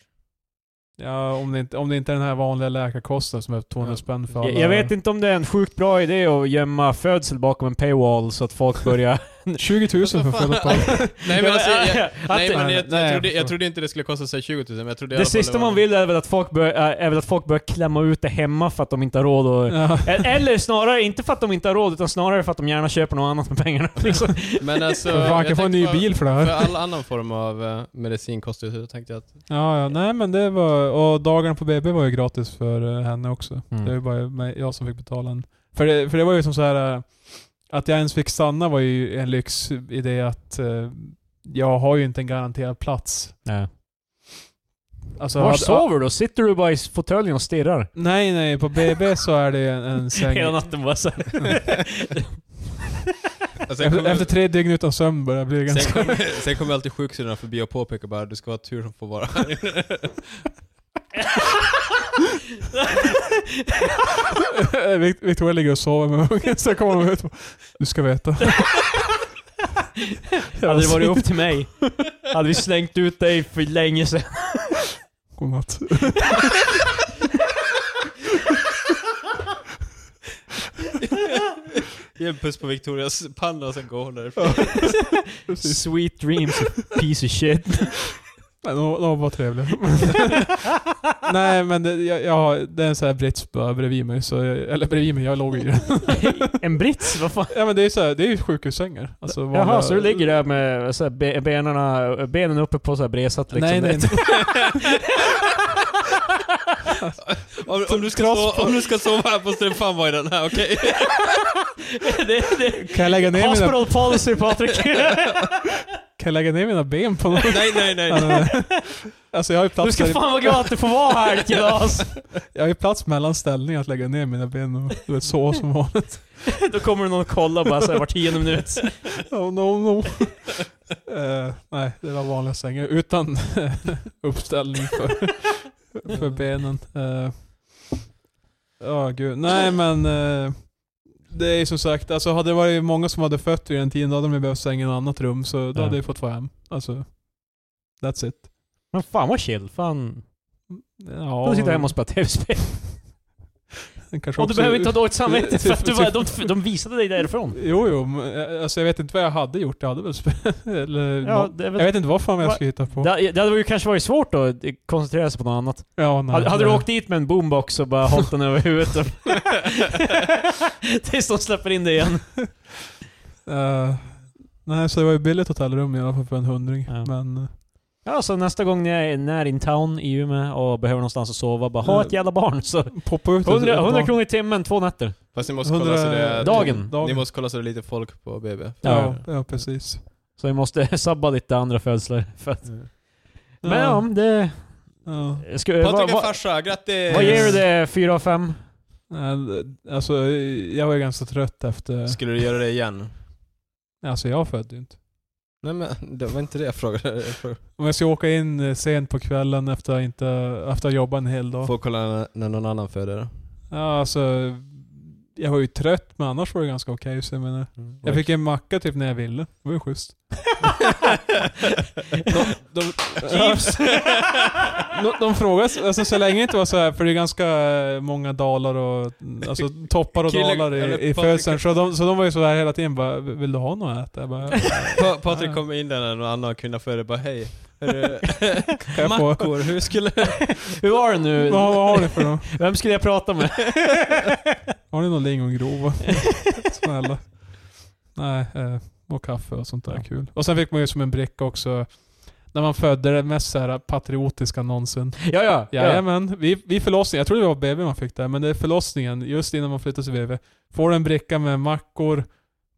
Speaker 3: Ja, om det inte, om det inte är den här vanliga läkarkosten som är 200
Speaker 1: Ja.
Speaker 3: spänn för alla.
Speaker 2: Jag, jag vet inte om det är en sjukt bra idé att gömma födsel bakom en paywall så att folk börjar...
Speaker 3: 20 000 för
Speaker 1: Vad fan?
Speaker 3: fulla par.
Speaker 1: Nej men alltså, jag, jag,
Speaker 2: Att-
Speaker 1: nej, men jag, jag,
Speaker 3: nej,
Speaker 1: trodde, jag
Speaker 3: förstår.
Speaker 1: trodde inte det skulle kosta sig 20 000, men jag trodde i alla
Speaker 2: det
Speaker 1: fall
Speaker 2: sista
Speaker 1: var-
Speaker 2: man vill är väl, att folk bör, är är väl att folk börjar klämma ut det hemma för att de inte har råd att...
Speaker 3: Ja.
Speaker 2: Eller snarare, inte för att de inte har råd, utan snarare för att de gärna köper något annat med pengarna. Liksom.
Speaker 1: Men alltså,
Speaker 3: För fan,
Speaker 1: jag
Speaker 3: kan få en
Speaker 1: tänkte
Speaker 3: ny
Speaker 1: bara-
Speaker 3: bil för det här.
Speaker 1: För all annan form av eh, medicin kostar ju så tänkte jag att...
Speaker 3: Ja, ja, nej men det var... Och dagarna på BB var ju gratis för eh, henne också.
Speaker 2: Mm.
Speaker 3: Det var ju bara mig- jag som fick betala en... För det, för det var ju som så här eh, Att jag ens fick stanna var ju en lyx i det att eh, jag har ju inte en garanterad plats.
Speaker 2: Nej.
Speaker 3: Alltså,
Speaker 2: Var
Speaker 3: hade-
Speaker 2: sover du då? Sitter du bara i fåtöljen och stirrar?
Speaker 3: Nej, nej. På BB så är det ju en, en säng.
Speaker 2: Hela natten bara såhär.
Speaker 1: Sen
Speaker 3: Efter,
Speaker 1: alltså, kommer-
Speaker 3: efter tre dygn utan sömn börjar jag bli ganska...
Speaker 1: Sen kommer sen kom alltid sjuksyrran förbi och påpekar bara du ska ha tur som får vara här inne."
Speaker 3: Vic- Victoria ligger och sover med ungen, så kommer de ut och bara, Du ska veta.
Speaker 2: Hade det varit upp till mig, hade vi slängt ut dig för länge sedan.
Speaker 3: Godnatt.
Speaker 1: Ge en puss på Victorias panna och sen går hon därifrån.
Speaker 3: Precis.
Speaker 2: Sweet dreams, piece of shit.
Speaker 3: Nej, de, de var trevliga. Nej men det, jag, jag, har- det är en sån här brits bara bredvid mig, så jag, eller bredvid mig, jag låg i den.
Speaker 2: En brits? Vad fan?
Speaker 3: Ja men det är ju så här, det är ju sjukhussängar. Alltså, vanliga-
Speaker 2: Jaha, så du ligger där med så här, be- benarna- benen uppe på så här bresat liksom?
Speaker 3: Nej, nej, nej.
Speaker 1: Om, om, du ska
Speaker 3: Kross
Speaker 1: sova, om du ska sova här måste du fan vara i den här, okej?
Speaker 2: det, det,
Speaker 3: Kan jag lägga ner mina,
Speaker 2: hospital policy Patrik!
Speaker 3: kan jag lägga ner mina ben på någon?
Speaker 1: Nej, nej, nej.
Speaker 3: Nej, nej, nej. Alltså jag har ju
Speaker 2: Du
Speaker 3: plats,
Speaker 2: ska
Speaker 3: där,
Speaker 2: fan vara glad att du får vara här idag
Speaker 3: jag har ju plats mellan ställningar att lägga ner mina ben och du vet, så som vanligt.
Speaker 2: Då kommer någon och kollar bara såhär var tionde minut.
Speaker 3: Oh no no. Eh, nej, det var vanliga sängar utan uppställning för, för benen. Eh, Ja gud, nej men eh, det är ju som sagt, alltså hade det varit många som hade fött vid den tiden då hade de ju behövt sänga i ett annat rum så då
Speaker 2: Ja.
Speaker 3: hade jag fått vara hem. Alltså, that's it.
Speaker 2: Men fan vad chill, fan.
Speaker 3: Ja,
Speaker 2: Då sitter jag hemma och spelar tv-spel.
Speaker 3: den kanske
Speaker 2: Och du
Speaker 3: också-
Speaker 2: behöver inte ha dåligt samvete för att du var,
Speaker 3: typ-
Speaker 2: de, de visade dig därifrån.
Speaker 3: Jo jo, men, eh, alltså jag vet inte vad jag hade gjort. Jag hade väl spe- eller,
Speaker 2: Ja,
Speaker 3: nå-
Speaker 2: det, är
Speaker 3: Jag
Speaker 2: väl,
Speaker 3: vet inte vad fan jag
Speaker 2: Va-
Speaker 3: skulle hitta på.
Speaker 2: det, det hade ju kanske varit svårt att koncentrera sig på något annat.
Speaker 3: ja, nej,
Speaker 2: hade hade du
Speaker 3: nej.
Speaker 2: åkt dit med en boombox och bara hållit den över huvudet? och- Tills de släpper in dig igen.
Speaker 3: Eh, nej, så det var ju billigt hotellrum i alla fall för en hundring.
Speaker 2: Ja.
Speaker 3: Men eh,
Speaker 2: Ja, så nästa gång ni är när in town i Umeå och behöver någonstans att sova, bara ha ett jävla barn så...
Speaker 3: poppa ut
Speaker 2: 100,
Speaker 3: ett- ett
Speaker 2: 100
Speaker 3: barn-
Speaker 2: kronor i timmen, två nätter.
Speaker 1: Fast ni måste kolla så det är...
Speaker 2: Dagen.
Speaker 1: Ni måste kolla så det är lite folk på BB.
Speaker 3: Ja, ja, precis.
Speaker 2: Så vi måste sabba lite andra födslar. För att, men Mm.
Speaker 3: ja,
Speaker 2: ja, det...
Speaker 3: ja.
Speaker 2: Ska, vad,
Speaker 1: Patrik är
Speaker 2: Eh, vad,
Speaker 1: farsa, grattis!
Speaker 2: vad ger du det? Fyra av fem?
Speaker 3: Nej, Alltså, jag var ju ganska trött efter...
Speaker 1: Skulle du göra det igen?
Speaker 3: Alltså jag födde ju inte.
Speaker 1: Nej men, det var inte det jag frågade. Jag frågade.
Speaker 3: Om jag ska åka in eh, sent på kvällen efter att inte, efter att jobba en hel dag.
Speaker 1: Får kolla när- när någon annan föder.
Speaker 3: Ja, alltså, jag var ju trött men annars var det ganska okej. så jag menar, jag fick en macka typ när jag ville. Det var ju schysst. de, de,
Speaker 2: Jeeves.
Speaker 3: De, de frågar, alltså, så länge det inte var så här, för det är ganska eh, många dalar och alltså, toppar och
Speaker 1: Killen-
Speaker 3: dalar
Speaker 1: eller
Speaker 3: i, i
Speaker 1: Patrik-
Speaker 3: födseln. Så de, så de var ju så här hela tiden bara, vill du ha något att äta? Jag bara,
Speaker 1: Pa Patrik kom in där när någon annan kvinna föder bara hej. Hörru,
Speaker 3: kan jag få?
Speaker 1: Mackor, hur skulle...
Speaker 2: Hur var det nu?
Speaker 3: Vad, vad har ni för något?
Speaker 2: Vem skulle jag prata med?
Speaker 3: Har ni någon lingongrova? Snälla. Nej, eh, och kaffe och sånt där.
Speaker 2: Ja.
Speaker 3: Kul. Och sen fick man ju som en bricka också, när man födde det mest så här patriotiska någonsin.
Speaker 2: Ja, ja. ja.
Speaker 3: Jajamän, vid, vid förlossningen, jag tror det var BB man fick där, men det är förlossningen, just innan man flyttar till BB. Får du en bricka med mackor,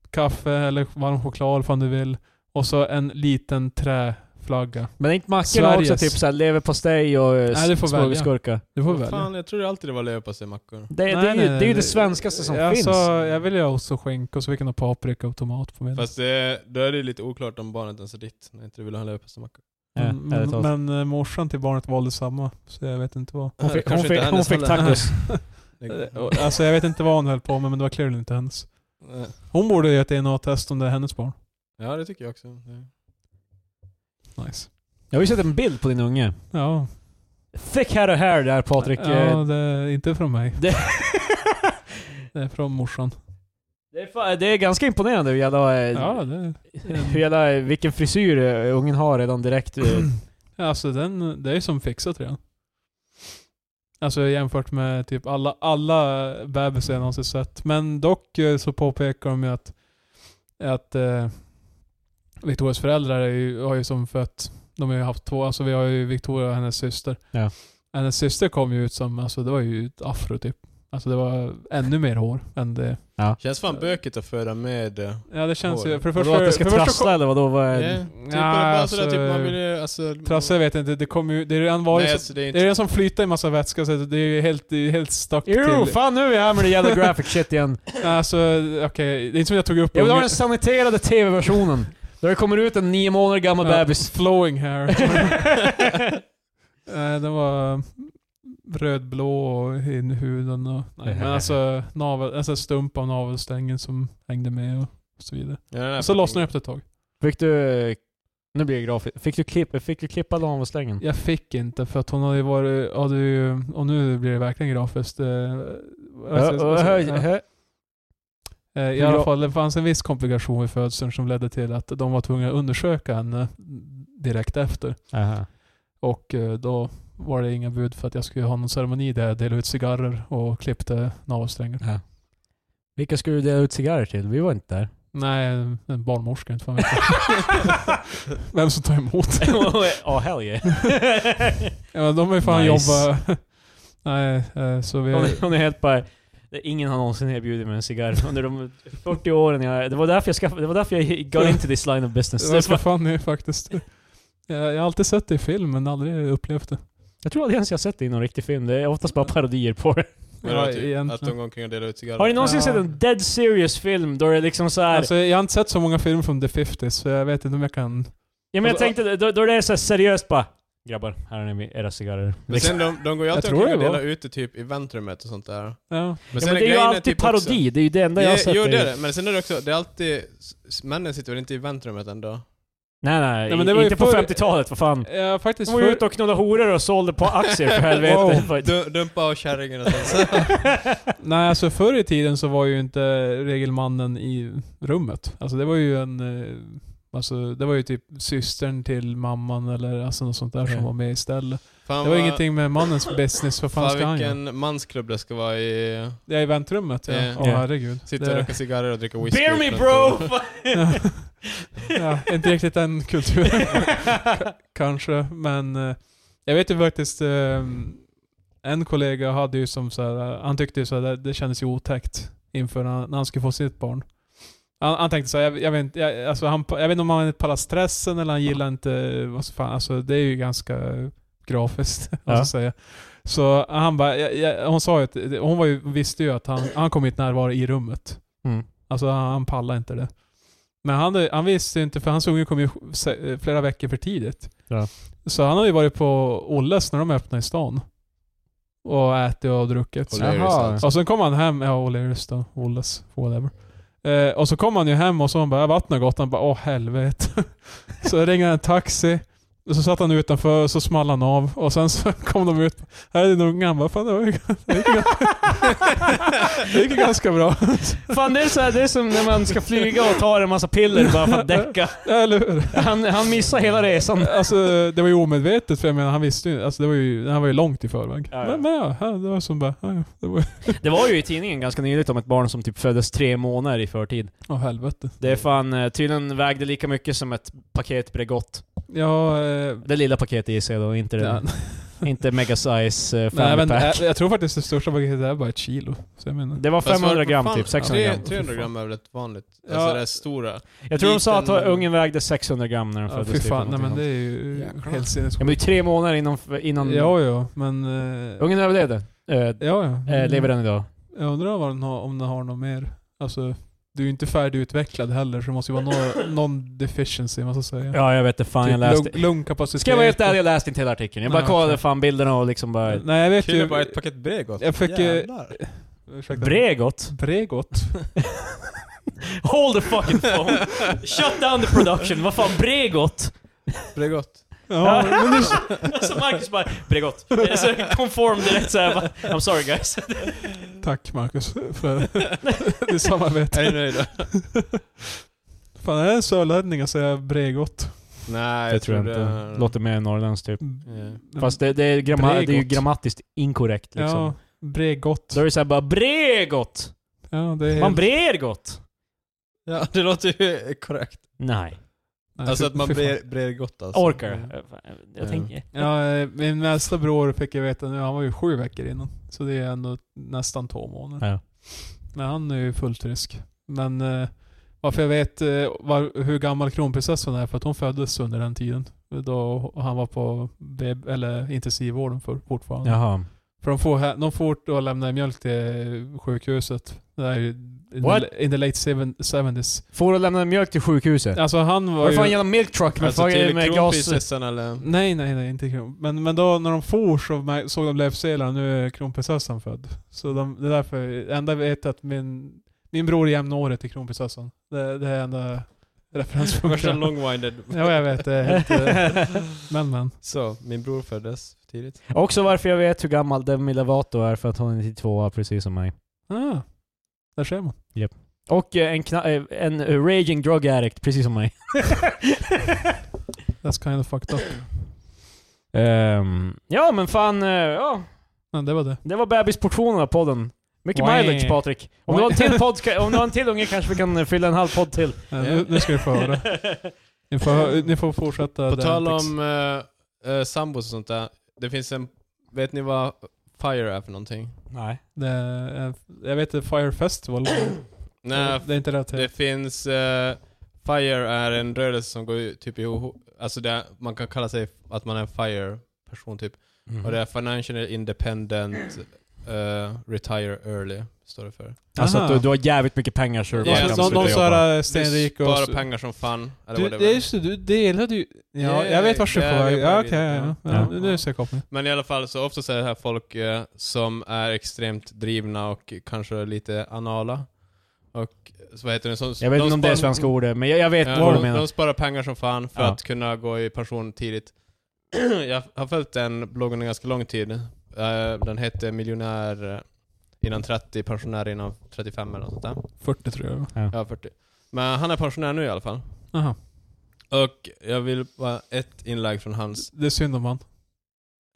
Speaker 3: kaffe eller varm choklad om du vill. Och så en liten träflagga.
Speaker 2: Men inte mackorna
Speaker 3: Sveriges.
Speaker 2: också typ såhär leverpastej och eh,
Speaker 3: Nej, du får välja.
Speaker 2: smörgåsgurka?
Speaker 3: Du får välja.
Speaker 1: Fan, jag trodde alltid det var leverpastej mackor.
Speaker 2: Det, det,
Speaker 3: Nej,
Speaker 2: är
Speaker 3: nej,
Speaker 2: ju- det är ju
Speaker 3: nej,
Speaker 2: det svenskaste som
Speaker 3: jag
Speaker 2: finns.
Speaker 3: Sa, jag vill ju ha ost och skinka och så fick jag ha paprika och tomat på middag.
Speaker 1: Fast det, då är det ju lite oklart om barnet ens är ditt. När inte du vill ha leverpastejmackor.
Speaker 2: Ja,
Speaker 3: Mm,
Speaker 2: ärligt talat.
Speaker 3: men, men eh, morsan till barnet valde samma, så jag vet inte vad.
Speaker 2: hon
Speaker 1: Det
Speaker 2: fick, hon
Speaker 1: kanske
Speaker 2: fick,
Speaker 1: inte är
Speaker 2: hon
Speaker 1: hennes
Speaker 2: fick
Speaker 1: heller. Det-
Speaker 2: tacos.
Speaker 3: Eh, Alltså jag vet inte vad hon höll på med, men det var clearly inte hennes. Hon borde göra ett DNA-test om det är hennes barn.
Speaker 1: Ja, det tycker jag också. Det-
Speaker 3: Nice.
Speaker 2: Jag har ju sett en bild på din unge.
Speaker 3: Ja.
Speaker 2: Thick head of hair där Patrik.
Speaker 3: Ja,
Speaker 2: Eh,
Speaker 3: det är inte från mig.
Speaker 2: Det,
Speaker 3: Det är från morsan.
Speaker 2: det, är, fa- det är ganska imponerande hur jävla, eh,
Speaker 3: Ja, det,
Speaker 2: hur jävla, eh, vilken frisyr eh, ungen har redan direkt. eh.
Speaker 3: alltså den, det är som fixat redan. Alltså jämfört med typ alla, alla bebisar jag någonsin sett. Men dock eh, så påpekar de ju att, att eh, Victorias föräldrar är ju, har ju som fött, de har ju haft två, alltså vi har ju Victoria och hennes syster.
Speaker 2: Ja.
Speaker 3: Hennes syster kom ju ut som, alltså det var ju ett afro typ. Alltså det var ännu mer hår än det.
Speaker 1: Känns fan bökigt att föda med... eh,
Speaker 3: Ja det känns ju,
Speaker 1: Hår.
Speaker 3: för det
Speaker 2: Vadå att
Speaker 3: första...
Speaker 2: det ska
Speaker 3: för det första
Speaker 2: trassla eller vadå? Vad är
Speaker 1: eh,
Speaker 2: det?
Speaker 1: Typ bara sådär, typ man vill ju... Alltså...
Speaker 3: Trassel vet jag inte, det kommer ju, det är redan varit
Speaker 1: Nej,
Speaker 3: så-
Speaker 1: alltså, det är
Speaker 3: Det är
Speaker 1: inte...
Speaker 3: den som flyter i massa vätska, så det är ju helt, det är helt stuck
Speaker 2: Jo,
Speaker 3: till...
Speaker 2: fan nu är vi här med det jävla graphic shit igen.
Speaker 3: Alltså, okej. Det är inte som jag tog upp
Speaker 2: Jag vill ha
Speaker 3: unge-
Speaker 2: den saniterade TV-versionen. Där det kommer ut en nio månader gammal
Speaker 3: Ja,
Speaker 2: bebis.
Speaker 3: Flowing hair. Nej, den var... rödblå och in i huden och... Nej, men alltså, navel, alltså stump av navelsträngen som hängde med och så vidare.
Speaker 1: Ja, den här
Speaker 3: Och så
Speaker 1: fucking-
Speaker 3: lossnade jag upp det ett tag.
Speaker 2: Fick du... Nu blir det grafiskt. Fick du, klipp, fick du klippa navelsträngen?
Speaker 3: Jag fick inte för att hon hade ju varit... Hade ju, och nu blir det verkligen grafiskt. eh, alltså,
Speaker 2: Ö- ö-
Speaker 3: alltså,
Speaker 2: hö-
Speaker 3: ja.
Speaker 2: hö-
Speaker 3: Eh, I alla fall, det fanns en viss komplikation vid födseln som ledde till att de var tvungna att undersöka henne direkt efter.
Speaker 2: Aha.
Speaker 3: Och eh, då var det inga bud för att jag skulle ha någon ceremoni där jag delade ut cigarrer och klippte navelsträngen.
Speaker 2: Vilka skulle du dela ut cigarrer till? Vi var inte där.
Speaker 3: Nej, en barnmorska, inte fan vet jag. Vem som tar emot.
Speaker 2: Ja, hell yeah.
Speaker 3: ja, men de har ju fan
Speaker 2: Nice.
Speaker 3: jobba... Nej, eh, så vi...
Speaker 2: Hon är, hon är helt bara... Ingen har någonsin erbjudit mig en cigarr under de 40 åren jag... Det var därför jag skaffade... Det var därför jag got into this line of business.
Speaker 3: Det verkar
Speaker 2: Det var,
Speaker 3: funny faktiskt. Jag, jag har alltid sett det i film men aldrig upplevt det.
Speaker 2: jag tror aldrig ens jag har sett det i någon riktig film. Det är oftast bara parodier på det.
Speaker 1: Men
Speaker 3: Ja,
Speaker 1: att- Att de
Speaker 3: egentligen.
Speaker 1: går omkring och delar ut cigarrer.
Speaker 2: Har ni någonsin
Speaker 3: Ja.
Speaker 2: sett en dead serious film då det liksom så här...
Speaker 3: Alltså, jag har inte sett så många filmer från the 50s så jag vet inte om jag kan...
Speaker 2: ja, men jag
Speaker 3: alltså-
Speaker 2: tänkte, då, då det är så här seriöst bara... Grabbar, här har ni era cigarrer.
Speaker 1: Men sen de, de går ju alltid
Speaker 3: tror
Speaker 1: omkring och
Speaker 3: det var.
Speaker 1: delar ut det typ i väntrummet och sånt där. Men,
Speaker 3: Ja.
Speaker 2: ja, men det är ju
Speaker 1: grejen
Speaker 2: alltid
Speaker 1: typ också-
Speaker 2: parodi, det är ju det enda jag har
Speaker 1: Ja,
Speaker 2: sett.
Speaker 1: Jo
Speaker 2: är
Speaker 1: det
Speaker 2: ju-
Speaker 1: är det, men sen är det också, det är alltid, s- männen sitter väl inte i väntrummet ändå?
Speaker 2: Nej nej,
Speaker 3: Nej, men det var ju
Speaker 2: inte på
Speaker 3: förr-
Speaker 2: 50-talet, vad fan.
Speaker 3: Jag har Eh, faktiskt
Speaker 2: De var ju ute och knullade horor och sålde på aktier för helvete.
Speaker 3: Wow.
Speaker 2: För-
Speaker 1: Du, dumpa och kärringen och sånt. Så-
Speaker 3: Nej, alltså förr i tiden så var ju inte regelmannen i rummet. Alltså det var ju en... eh, Alltså det var ju typ systern till mamman eller alltså något sånt där som
Speaker 2: Okej.
Speaker 3: var med istället.
Speaker 1: Fan,
Speaker 3: Det var
Speaker 1: vad-
Speaker 3: ingenting med mannens business, vad fan ska
Speaker 1: Fan
Speaker 3: han göra?
Speaker 1: vilken mansklubb det ska vara i.
Speaker 3: Ja, i väntrummet ja. Åh
Speaker 1: Ja.
Speaker 3: herregud.
Speaker 1: Sitta och
Speaker 3: Det-
Speaker 1: röka cigarrer och dricka whisky.
Speaker 2: Bear me
Speaker 1: utan-
Speaker 2: bro!
Speaker 3: Ja. ja, inte riktigt den kulturen. K- Kanske, men eh, jag vet ju faktiskt eh, en kollega hade ju som så här, han tyckte ju så här, det- det kändes ju otäckt inför när, när han skulle få sitt barn. Han, han tänkte så här, jag, jag, vet, inte- jag, alltså han, jag vet inte om han pallar stressen eller han gillar inte, vad så fan, alltså det är ju ganska grafiskt, vad ska
Speaker 2: Ja.
Speaker 3: jag säga. Så han bara, jag, jag, hon sa ju att, hon var ju, visste ju att han, han kommer inte närvara i rummet.
Speaker 2: Mm.
Speaker 3: Alltså han, han pallade inte det. Men han, han visste ju inte, för hans unge kom ju se- flera veckor för tidigt.
Speaker 2: Ja.
Speaker 3: Så han har ju varit på Olles när de öppnade i stan. Och ätit och druckit.
Speaker 1: Och
Speaker 2: Jaha.
Speaker 1: det är ju sant.
Speaker 3: Och sen kom han hem, ja O'Learys då, Olles, whatever. Eh, och så kom han ju hem och så han bara, "Ja, vattnet har gått. Han bara, åh helvete. så ringde han en taxi. Och så satt han utanför och så small han av. Och sen så kom de ut. Här är din unge. Han bara, fan det, var ju, det, gick ju, gans- det gick ju ganska bra.
Speaker 2: Fan det är, så här, det är som när man ska flyga och tar en massa piller bara för att däcka.
Speaker 3: Eller hur?
Speaker 2: Han, han missar hela resan.
Speaker 3: Alltså det var ju omedvetet för jag menar han visste ju alltså, det var ju, han var ju långt i förväg.
Speaker 2: Ja, ja.
Speaker 3: Men, men ja, ja, det var som bara, ja, ja, det var
Speaker 2: Det var ju i tidningen ganska nyligt om ett barn som typ föddes tre månader i förtid.
Speaker 3: åh helvete.
Speaker 2: Det är fan, eh, tydligen vägde lika mycket som ett paket Bregott.
Speaker 3: Ja, eh,
Speaker 2: Det lilla paketet gissar jag då, inte,
Speaker 3: ja.
Speaker 2: det, inte mega size eh,
Speaker 3: Nej,
Speaker 2: family
Speaker 3: men, jag,
Speaker 2: pack.
Speaker 3: jag tror faktiskt det största paketet är bara ett kilo. Så jag menar.
Speaker 2: Det var
Speaker 1: Fast var- Alltså,
Speaker 2: 500
Speaker 1: vad
Speaker 2: gram
Speaker 1: fan,
Speaker 2: typ, 600
Speaker 1: tre-
Speaker 2: gram.
Speaker 1: 300 gram är väl ett vanligt?
Speaker 3: Ja.
Speaker 1: Alltså det är stora.
Speaker 2: Jag tror de sa att
Speaker 1: Liten-
Speaker 2: ungen vägde 600 gram när den
Speaker 3: Ja,
Speaker 2: föddes.
Speaker 3: fy
Speaker 2: typ,
Speaker 3: fan, nej
Speaker 2: någonting
Speaker 3: men det
Speaker 2: sånt.
Speaker 3: är ju
Speaker 1: Jäklar.
Speaker 3: helt
Speaker 2: Ja, men det är
Speaker 3: sinnessjukt.
Speaker 2: tre månader innan... innan
Speaker 3: Ja, ja, men... Eh,
Speaker 2: Ungen överlevde. Eh,
Speaker 3: ja, ja.
Speaker 2: eh, lever den idag.
Speaker 3: Jag undrar vad den har, om den har något mer. Alltså, du är ju inte färdigutvecklad heller så det måste ju vara någon, någon deficiency, vad ska jag säga.
Speaker 2: Ja, jag vet inte fan.
Speaker 3: Typ
Speaker 2: jag läste...
Speaker 3: lung- lungkapacitet.
Speaker 2: Ska jag vara helt ärlig, jag läste inte hela artikeln. Jag bara
Speaker 3: Nej,
Speaker 2: kollade
Speaker 3: okej.
Speaker 2: fan bilderna och liksom bara...
Speaker 3: Nej, jag vet
Speaker 1: Killen
Speaker 3: ju...
Speaker 1: bara ett paket Bregott.
Speaker 3: Jag fick, eh,
Speaker 1: Jävlar.
Speaker 3: Ursäkta.
Speaker 2: Bregot?
Speaker 3: Bregot.
Speaker 2: Hold the fucking phone! Shut down the production! Vad fan, Bregot?
Speaker 1: Bregott.
Speaker 3: Ja, men du,
Speaker 2: Så Marcus bara, Bregot. Eh, Så conform direkt såhär bara, I'm sorry guys.
Speaker 3: tack Marcus för ditt samarbete.
Speaker 1: Är ni nöjda?
Speaker 3: Fan, är det en sörlänning att säga Bregott?
Speaker 1: Nej,
Speaker 2: Det tror jag inte.
Speaker 3: Äh,
Speaker 1: det-
Speaker 2: Låter mer norrländskt typ.
Speaker 1: Ja.
Speaker 2: Fast det, det, är, gramma, det är ju
Speaker 3: Bregot.
Speaker 2: grammatiskt inkorrekt liksom.
Speaker 3: Mm. Ja, Bregott.
Speaker 2: Då är det såhär bara, Bregot!
Speaker 3: Ja, det är...
Speaker 2: Man brer gott!
Speaker 1: Ja, det låter ju korrekt.
Speaker 2: Nej.
Speaker 3: Nej,
Speaker 1: Alltså
Speaker 3: fy-
Speaker 1: att man
Speaker 3: fy fan.
Speaker 1: brer, brer gott alltså.
Speaker 2: Orkar jag? Jag tänker...
Speaker 3: Mm. Ja, eh, min nästa bror fick jag veta nu, han var ju sju veckor innan. Så det är ändå nästan två månader.
Speaker 2: Ja.
Speaker 3: Men han är ju fullt frisk. Men eh, varför jag vet eh, var, hur gammal kronprinsessan är, för att hon föddes under den tiden. Då han var på BB, eller intensivvården för, fortfarande.
Speaker 2: Jaha.
Speaker 3: För de får, hä- de får då lämna mjölk till sjukhuset. Det är ju in,
Speaker 5: What?
Speaker 3: the, in the late 70s.
Speaker 2: Får du lämna mjölk till sjukhuset?
Speaker 3: Alltså han var
Speaker 2: Vad fan
Speaker 3: ju...
Speaker 2: jävla milk truck med,
Speaker 1: Alltså
Speaker 2: alltså,
Speaker 1: till
Speaker 2: med gas...
Speaker 1: kronprinsessan eller...
Speaker 3: Nej, nej, nej, inte kron. Men, men då när de for så mär- såg de löpsedlar nu är kronprinsessan född. Så de, det är därför, enda jag vet är att min, min bror är jämnårig till kronprinsessan. Det, det är enda
Speaker 1: Värsta
Speaker 3: referenspunkten.
Speaker 1: long-winded.
Speaker 3: ja, jag vet. Det är helt, eh, men men.
Speaker 1: Så, min bror föddes för tidigt.
Speaker 2: Också varför jag vet hur gammal Demi Lovato är, för att hon är 92 precis som mig.
Speaker 3: Ah, där ser man.
Speaker 2: Och eh, en, kna- eh, en eh, raging drug addict, precis som mig.
Speaker 3: That's kind of fucked up.
Speaker 2: Ehm, ja men fan, eh, ja.
Speaker 3: Men det var det.
Speaker 2: Det var bebisportionen av podden. Mycket
Speaker 3: Wah.
Speaker 2: mileage Patrik. Om du har en till podd, ska- om du har en till unge kanske vi kan eh, fylla en halv podd till.
Speaker 3: Eh, Nu, nu ska vi få höra. Ni får, ni får fortsätta.
Speaker 1: På
Speaker 3: the
Speaker 1: tal
Speaker 3: antics.
Speaker 1: om eh, eh, sambos och sånt där. Det finns en... Vet ni vad FIRE är för någonting?
Speaker 2: Nej.
Speaker 3: Det är, eh, jag vet inte, Fire Festival.
Speaker 1: Nej,
Speaker 3: det är inte rätt.
Speaker 1: det finns... eh, FIRE är en rörelse som går ut typ ihop... Alltså det, är- man kan kalla sig att man är en FIRE-person typ.
Speaker 3: Mm.
Speaker 1: Och det är Financial Independent eh, Retire Early, står det för.
Speaker 2: Alltså att du,
Speaker 3: Aha.
Speaker 2: du har jävligt mycket pengar så du
Speaker 1: Ja, så
Speaker 2: bara kan
Speaker 1: de-
Speaker 2: sluta
Speaker 1: de
Speaker 3: Någon
Speaker 1: så
Speaker 2: jobba.
Speaker 3: såhär
Speaker 1: Du
Speaker 3: stenrik och...
Speaker 1: sparar pengar som fan, eller
Speaker 3: Du,
Speaker 1: whatever.
Speaker 3: det är just det, du delade ju... Ja,
Speaker 1: Ja,
Speaker 3: jag vet vart du
Speaker 1: ja,
Speaker 3: får...
Speaker 1: jag
Speaker 3: Ja,
Speaker 1: vet.
Speaker 3: okej. ja, ja.
Speaker 1: Ja.
Speaker 3: Nu- Nu ser jag kopplingen.
Speaker 1: Men i alla fall så ofta är det här folk eh, som är extremt drivna och kanske lite anala. Och så vad heter det? Så,
Speaker 2: Jag vet
Speaker 1: de
Speaker 2: inte om det är
Speaker 1: sparar-
Speaker 2: svenska ordet, men jag, jag vet
Speaker 1: Ja,
Speaker 2: vad du
Speaker 1: de,
Speaker 2: menar.
Speaker 1: de sparar pengar som fan för
Speaker 2: Ja.
Speaker 1: att kunna gå i pension tidigt. Jag har följt den bloggen en ganska lång tid. Eh, Den hette Miljonär eh, innan 30, pensionär innan 35 eller något sånt där.
Speaker 3: 40 tror jag.
Speaker 1: Ja, 40. Men han är pensionär nu i alla fall.
Speaker 3: Aha.
Speaker 1: Och jag vill bara ett inlägg från hans...
Speaker 3: Det är synd om han.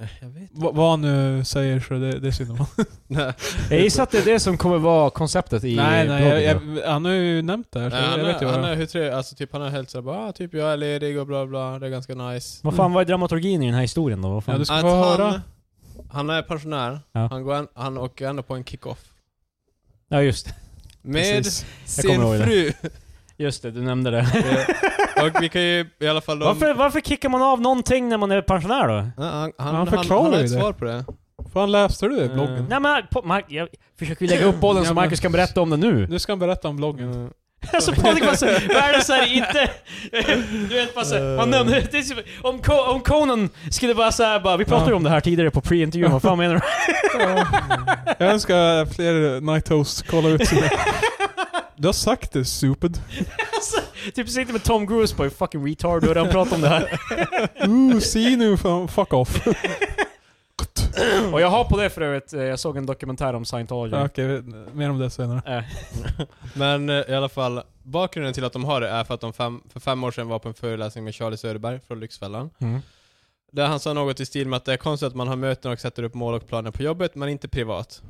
Speaker 1: Eh, Jag vet
Speaker 3: Va- vad han nu säger så det, det är synd om han.
Speaker 1: inte.
Speaker 2: Jag gissar att det är det som kommer vara konceptet i
Speaker 3: nej, nej.
Speaker 2: bloggen.
Speaker 3: Jag, jag, han har ju nämnt det här så
Speaker 1: Nej,
Speaker 3: jag,
Speaker 1: han,
Speaker 3: jag vet ju
Speaker 1: är,
Speaker 3: vad
Speaker 1: han
Speaker 3: det
Speaker 1: är
Speaker 3: är.
Speaker 1: hur trevlig, alltså typ han är helt såhär bara ah, typ jag är ledig och bla bla, det är ganska nice.
Speaker 2: Vad fan, vad är dramaturgin i den här historien då? Vad fan?
Speaker 3: Ja, du ska
Speaker 1: Att
Speaker 3: få höra.
Speaker 1: han, han är pensionär,
Speaker 2: Ja.
Speaker 1: han, går en, han åker ändå på en kick-off.
Speaker 2: ja just det.
Speaker 1: Med
Speaker 2: Precis. kommer ihåg
Speaker 1: sin
Speaker 2: det.
Speaker 1: fru!
Speaker 2: Just det, du nämnde det.
Speaker 1: Eh, och vi kan ju i alla fall... de-
Speaker 2: Varför, varför kickar man av någonting när man är pensionär då?
Speaker 1: Ja, han, han, han,
Speaker 3: Han
Speaker 1: han,
Speaker 3: förklarar
Speaker 1: har
Speaker 3: ju
Speaker 1: ett
Speaker 3: det.
Speaker 1: svar på det.
Speaker 3: Fan, läste du det i bloggen?
Speaker 1: Mm.
Speaker 2: Eh, Nej men, på, Mark, jag försöker ju lägga upp bollen så
Speaker 3: Ja, men-
Speaker 2: Marcus kan berätta om det nu.
Speaker 3: Nu ska han berätta om bloggen.
Speaker 1: Mm.
Speaker 2: Alltså Patrik var så, världens såhär inte... Du vet bara såhär, man nämner... det är som- Om, Co- om Conan skulle bara såhär bara, vi pratade ju om det här tidigare på pre-intervjun, vad fan menar du?
Speaker 3: Jag önskar fler Night Host kollar ut sina... Du har sagt det, stupid.
Speaker 2: Typ sitter med Tom Cruise bara, fucking retard, du har redan pratat om det här.
Speaker 3: Ooh, see nu, fan, fuck off.
Speaker 2: Och jag har på det för övrigt, eh, jag såg en dokumentär om scientology.
Speaker 3: Ja, Okej, mer om det senare.
Speaker 2: Eh,
Speaker 1: Men eh, i alla fall, bakgrunden till att de har det är för att de fem, för fem år sedan var på en föreläsning med Charlie Söderberg från Lyxfällan.
Speaker 2: Mm.
Speaker 1: Där han sa något i stil med att det är konstigt att man har möten och sätter upp mål och planer på jobbet, men inte privat.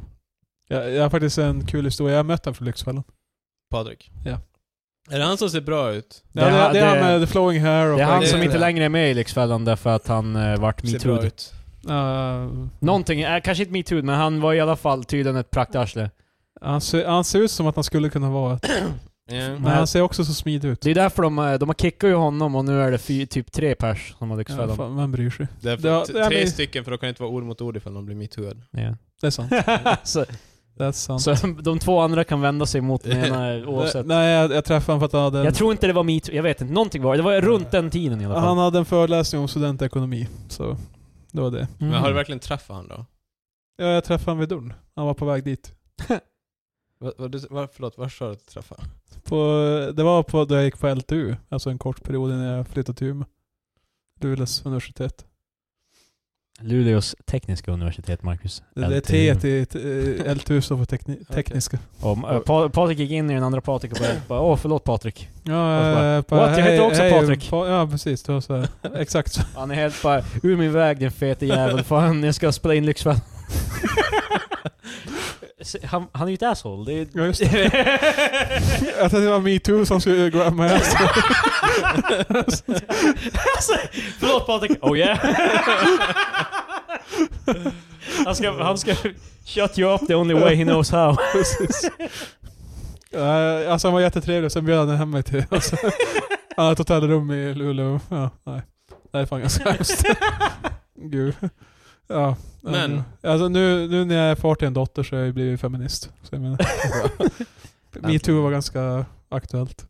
Speaker 3: Jag, jag har faktiskt en kul historia. Jag mötte han från Lyxfällan.
Speaker 1: Patrik.
Speaker 3: Ja.
Speaker 1: Är det han som ser bra ut?
Speaker 3: Ja, det, det,
Speaker 2: Det-
Speaker 3: är han med the flowing hair och...
Speaker 2: Det är han
Speaker 1: det-
Speaker 2: som inte
Speaker 1: det-
Speaker 2: längre är med i Lyxfällan därför att han eh, vart
Speaker 1: Ser bra
Speaker 2: metoo.
Speaker 1: ut.
Speaker 3: Eh,
Speaker 2: Någonting, eh, kanske inte metoo, men han var i alla fall tydligen ett praktarsle.
Speaker 3: han, ser, han ser ut som att han skulle kunna vara ett,
Speaker 1: Ja.
Speaker 3: men
Speaker 2: Nej.
Speaker 3: han ser också så smidig ut.
Speaker 2: Det är därför de, eh, de har kickat ju honom och nu är det fy, typ tre pers som har
Speaker 3: Ja,
Speaker 2: Lyxfällan.
Speaker 3: fan, vem bryr sig?
Speaker 1: Det är
Speaker 3: Det har-
Speaker 1: t-
Speaker 3: det har
Speaker 1: tre
Speaker 3: blivit-
Speaker 1: stycken för då kan det inte vara ord mot ord ifall de blir metooad.
Speaker 2: Ja.
Speaker 3: Det är sant.
Speaker 2: så,
Speaker 3: Det är sant.
Speaker 2: så de två andra kan vända sig mot den ena eh, oavsett.
Speaker 3: Nej, jag, jag träffade honom för att han hade en,
Speaker 2: Jag tror inte det var metoo, jag vet inte. Någonting var det. Det var runt den tiden i alla
Speaker 3: han
Speaker 2: fall.
Speaker 3: hade en föreläsning om studentekonomi. Så det var det.
Speaker 2: Mm.
Speaker 1: Men har du verkligen träffat han då?
Speaker 3: Ja, jag träffade honom vid dörren. Han var på väg dit.
Speaker 1: Vad- vad du- vad- Förlåt, var sa du att du träffade han?
Speaker 3: På, det var på, då jag gick på LTU, alltså en kort period innan jag flyttade till Umeå. Luleås universitet.
Speaker 2: Luleås tekniska universitet, Marcus.
Speaker 3: Det, det är T till till- eh, LTU står för tekni, tekniska.
Speaker 2: Och, eh, pa- Patrik gick in i den andra Patrik och bara- bara åh förlåt Patrik.
Speaker 3: Ja,
Speaker 2: Och så bara,
Speaker 3: eh,
Speaker 2: "What? Jag heter också Patrik."
Speaker 3: Pa, ja, precis. Det var så här. Exakt så.
Speaker 2: Han är helt bara ur min väg din fete jävel. Fan jag ska spela in Lyxfällan. Se, han, han är ju ett asshole. Det är...
Speaker 3: Ja, just det. jag tänkte det var metoo som skulle grabba mig. Alltså.
Speaker 2: alltså, förlåt Patrik. Oh yeah. han ska, han ska shut you up the only way he knows how.
Speaker 3: Precis. Eh, alltså han var jättetrevlig, sen bjöd han hem mig till... Alltså, han hade ett hotellrum i Luleå. Ja, nej. Det här är fan ganska hemskt. Gud. Ja.
Speaker 1: Men-
Speaker 3: Alltså nu, nu när jag är far till en dotter så har jag ju blivit feminist. Så jag menar. Metoo var ganska aktuellt.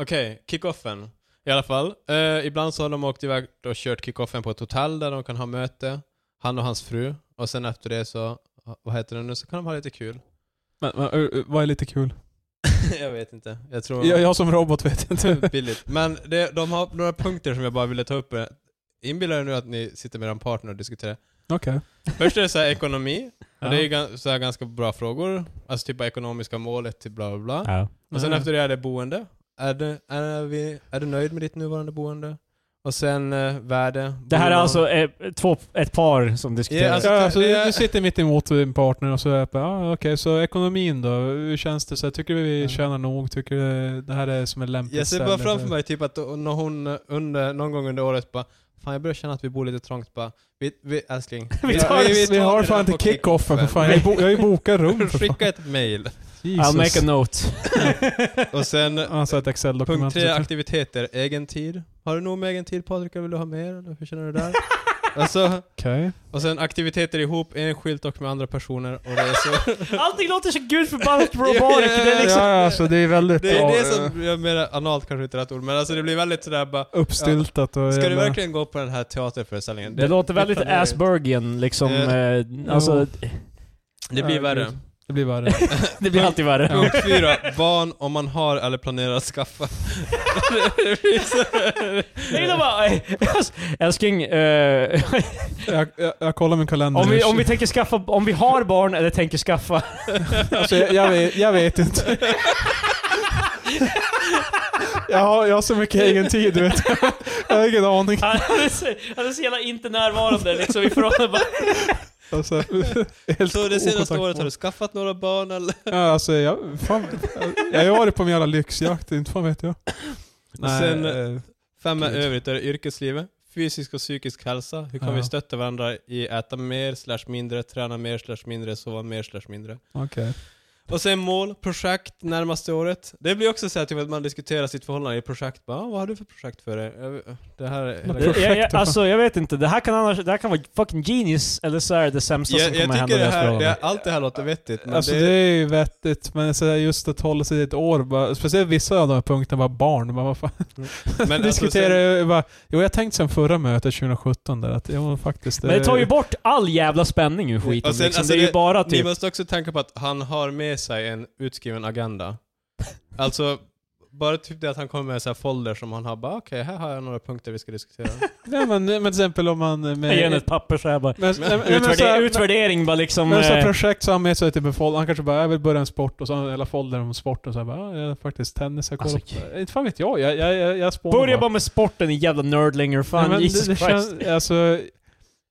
Speaker 1: Okej, kickoffen. I alla fall. Eh, ibland så har de åkt iväg och kört kickoffen på ett hotell där de kan ha möte. Han och hans fru. Och sen efter det så, vad heter det nu, så kan de ha lite kul.
Speaker 3: Men, men ö, ö, vad är lite kul?
Speaker 1: jag vet inte. Jag tror...
Speaker 3: Jag, jag som robot vet inte.
Speaker 1: billigt. Men det, de har några punkter som jag bara ville ta upp. Inbillar er nu att ni sitter med er partner och diskuterar.
Speaker 3: Okej.
Speaker 1: Först är det så här ekonomi.
Speaker 3: Ja.
Speaker 1: Och det är ju gan- så här ganska bra frågor. Alltså typ bara ekonomiska målet till bla bla bla.
Speaker 2: Ja.
Speaker 1: Och sen
Speaker 3: Mm.
Speaker 1: efter det är det boende. Är du, är, vi, är du nöjd med ditt nuvarande boende? Och sen eh, värde.
Speaker 2: Det här är
Speaker 1: boende-
Speaker 2: alltså eh, två, ett par som diskuterar.
Speaker 1: Ja, alltså-
Speaker 3: ja, så
Speaker 1: det
Speaker 3: du,
Speaker 1: är-
Speaker 3: du sitter mitt emot din partner och så är jag bara, ah, okej, så ekonomin då? Hur känns det? Så här, tycker du vi
Speaker 1: Ja.
Speaker 3: tjänar nog? Tycker du det här är som en lämplig
Speaker 1: Jag ser bara
Speaker 3: ställe
Speaker 1: framför
Speaker 3: för-
Speaker 1: mig typ att när hon under, någon gång under året bara Fan jag börjar känna att vi bor lite trångt bara. Vi, vi, älskling.
Speaker 3: Vi, tar, vi, vi har
Speaker 1: det
Speaker 3: fan
Speaker 1: där
Speaker 3: inte
Speaker 1: på
Speaker 3: kickoffen för fan. Jag har ju bo- jag har ju bokat rum för fan.
Speaker 1: Skicka ett mail.
Speaker 3: Jesus.
Speaker 2: I'll make a note.
Speaker 1: Och sen
Speaker 3: Alltså ett Excel-dokument.
Speaker 1: Punkt tre, aktiviteter. Egen tid. Har du nog med egen tid Patrik? eller Vill du ha mer? Eller hur känner du där? alltså,
Speaker 3: Okej.
Speaker 1: och sen aktiviteter ihop, enskilt och med andra personer. Och det är så...
Speaker 6: Allting låter så gudförbannat robotic. Det är liksom...
Speaker 3: Ja, ja, alltså det är väldigt
Speaker 1: Det är
Speaker 3: ja,
Speaker 1: det som, jag menar analt kanske inte är rätt ord, men alltså det blir väldigt sådär bara
Speaker 3: uppstyltat och...
Speaker 1: Ska du
Speaker 3: jävla-
Speaker 1: verkligen gå på den här teaterföreställningen?
Speaker 2: Det låter väldigt
Speaker 1: planerar-
Speaker 2: Aspergian liksom.
Speaker 1: Eh,
Speaker 2: Eh, alltså,
Speaker 1: Det blir
Speaker 3: Ja,
Speaker 1: värre.
Speaker 3: gud. Det blir värre.
Speaker 2: det blir alltid värre.
Speaker 1: Punkt fyra, barn om man har eller planerar att skaffa. det blir så...
Speaker 2: Jag gillar bara, eh, alltså, älskling, eh,
Speaker 3: Jag, jag, jag kollar min kalender.
Speaker 2: om, vi, om vi tänker skaffa, om vi har barn eller tänker skaffa.
Speaker 3: alltså, jag, jag, vet, jag vet inte. jag, har, jag har så mycket egen tid, du vet. jag har ingen aning.
Speaker 6: Han är så- han är så jävla inte närvarande liksom i förhållande.
Speaker 3: Alltså, helt
Speaker 1: så det senaste
Speaker 3: okontaktbar.
Speaker 1: året, har du skaffat några barn eller?
Speaker 3: Ja, alltså jag... Fan, jag har ju varit på min jävla lyxjakt, inte fan vet jag.
Speaker 1: sen-
Speaker 3: eh,
Speaker 1: Fem är
Speaker 3: Gud.
Speaker 1: övrigt, är det yrkeslivet. Fysisk och psykisk hälsa. Hur kan
Speaker 3: Ja.
Speaker 1: vi stötta varandra i äta mer slash mindre, träna mer slash mindre, sova mer slash mindre.
Speaker 3: okej.
Speaker 1: Och sen mål, projekt närmaste året. Det blir också så här typ att man diskuterar sitt förhållande i projekt. Bara, ah, vad har du för projekt för dig? Jag- Det här är...
Speaker 3: Men
Speaker 1: jag,
Speaker 3: projekt-
Speaker 2: Jag, jag, alltså jag vet inte, det här kan annars, det här kan vara fucking genius, eller så är det det sämsta
Speaker 1: jag
Speaker 2: som kommer hända
Speaker 1: tycker
Speaker 2: i
Speaker 1: det
Speaker 2: deras
Speaker 1: här,
Speaker 2: förhållande.
Speaker 1: det, allt det här låter vettigt. Men
Speaker 3: Alltså det
Speaker 1: det,
Speaker 3: är ju vettigt, men så här, just att hålla sig till ett år, bara, speciellt vissa av de här punkterna, bara barn, bara, vad fan.
Speaker 1: men alltså
Speaker 3: Diskuterar
Speaker 1: sen-
Speaker 3: ju bara, jo jag tänkte sen förra mötet 2017 där att, jo faktiskt. eh,
Speaker 2: Men det tar ju bort all jävla spänning ur skiten
Speaker 1: Och sen,
Speaker 2: liksom.
Speaker 1: alltså,
Speaker 2: Det är ju
Speaker 1: det-
Speaker 2: bara
Speaker 1: Ni
Speaker 2: typ...
Speaker 1: måste också tänka på att han har med sig en utskriven agenda. Alltså, bara typ det att han kommer med en sån här folder som han har bara okej, här har jag några punkter vi ska diskutera.
Speaker 3: Nej men, men till exempel om man... eh,
Speaker 2: Jag ger henne
Speaker 3: Med,
Speaker 2: ett papper såhär bara.
Speaker 3: men, nej, men, men, så
Speaker 2: Utvärdering,
Speaker 3: här,
Speaker 2: utvärdering bara liksom.
Speaker 3: men så här
Speaker 2: eh,
Speaker 3: projekt så har han med sig typ en folder, han kanske bara, jag vill börja en sport och så har han hela foldern om sport och så här, bara, ja, jag har faktiskt tennis, jag kollar
Speaker 2: Alltså,
Speaker 3: på- Inte fan vet jag, jag, jag, jag, jag spånar
Speaker 2: Börja bara med sporten, din jävla nördlinger.
Speaker 3: Nej,
Speaker 2: Fan,
Speaker 3: men
Speaker 2: Jesus
Speaker 3: det, det,
Speaker 2: Christ.
Speaker 3: känns, alltså,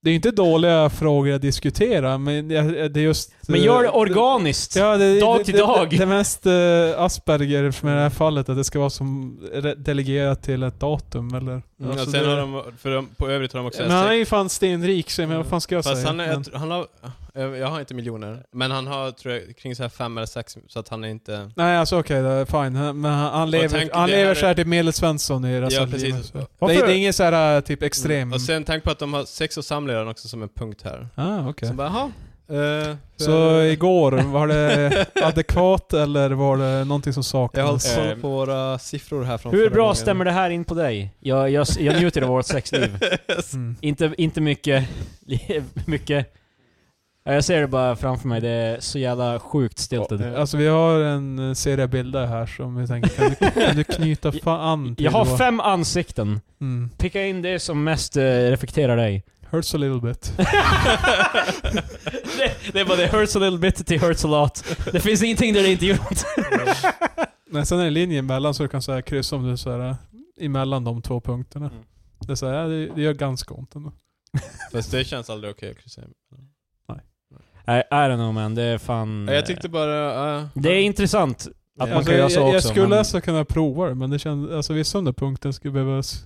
Speaker 3: det är inte dåliga frågor att diskutera, men jag- det är just...
Speaker 2: men
Speaker 3: eh,
Speaker 2: gör det organiskt.
Speaker 3: Ja, det,
Speaker 2: Dag
Speaker 3: det,
Speaker 2: till
Speaker 3: det,
Speaker 2: dag.
Speaker 3: Det, det mest eh, Asperger för mig i det här fallet, att det ska vara som re- delegerat till ett datum eller...
Speaker 1: Mm,
Speaker 3: Alltså,
Speaker 1: och sen
Speaker 3: det-
Speaker 1: har de, för de, på övrigt har de också
Speaker 3: men han är
Speaker 1: sex-
Speaker 3: ju fan stenrik, så jag menar, vad fan ska jag
Speaker 1: Fast
Speaker 3: säga?
Speaker 1: han, är,
Speaker 3: men,
Speaker 1: jag, tr- han har, eh, jag har inte miljoner, men han har tror jag kring så här fem eller sex, så att han är inte...
Speaker 3: nej, alltså okej, det är fine. Han- Men han, han lever,
Speaker 1: tänk,
Speaker 3: han
Speaker 1: det här
Speaker 3: lever
Speaker 1: är-
Speaker 3: så här typ Medelsvensson i
Speaker 1: Ja,
Speaker 3: resten
Speaker 1: precis. Mm.
Speaker 3: Det, det
Speaker 2: Varför?
Speaker 3: är ingen så här eh, typ extrem...
Speaker 1: Och sen tänk på att de har sex och samlevnad också som en punkt här.
Speaker 3: ah, okej.
Speaker 1: Så bara, jaha. eh,
Speaker 3: Så
Speaker 1: för-
Speaker 3: igår, var det adekvat eller var det någonting som
Speaker 1: Jag har
Speaker 3: saknades?
Speaker 1: hållit koll på våra siffror här från
Speaker 2: Hur
Speaker 1: förra
Speaker 2: bra
Speaker 1: gången.
Speaker 2: stämmer det här in på dig? Jag, jag, jag njuter av vårt sexliv.
Speaker 3: Mm.
Speaker 2: Inte, inte mycket. mycket. Ja, Jag ser det bara framför mig, det är så jävla sjukt stiltet.
Speaker 1: Ja.
Speaker 3: Alltså vi har en eh, serie bilder här som vi tänker, kan du, kan du knyta fan an till
Speaker 2: Jag har
Speaker 3: vad-
Speaker 2: fem ansikten.
Speaker 3: Mm.
Speaker 2: Picka in det som mest eh, reflekterar dig.
Speaker 3: Hurts a little bit.
Speaker 2: det, det är bara det hurts a little bit till hurts a lot. Det finns ingenting där det inte gör ont.
Speaker 3: Men sen är det linje emellan så du kan säga kryssa om du så här, eh, emellan de två punkterna.
Speaker 1: Mm.
Speaker 3: Det, är så här, ja, det, det gör ganska ont ändå.
Speaker 1: Fast det känns aldrig okej att kryssa i.
Speaker 2: Nej, I don't know man, det är fan...
Speaker 1: Ja, Jag tyckte bara... eh,
Speaker 2: Det är intressant. Att man
Speaker 3: Alltså,
Speaker 2: kan göra
Speaker 3: jag,
Speaker 2: så
Speaker 3: jag,
Speaker 2: också,
Speaker 3: skulle
Speaker 2: men-
Speaker 3: alltså kunna prova det men det känns, alltså vissa under punkten skulle behövas.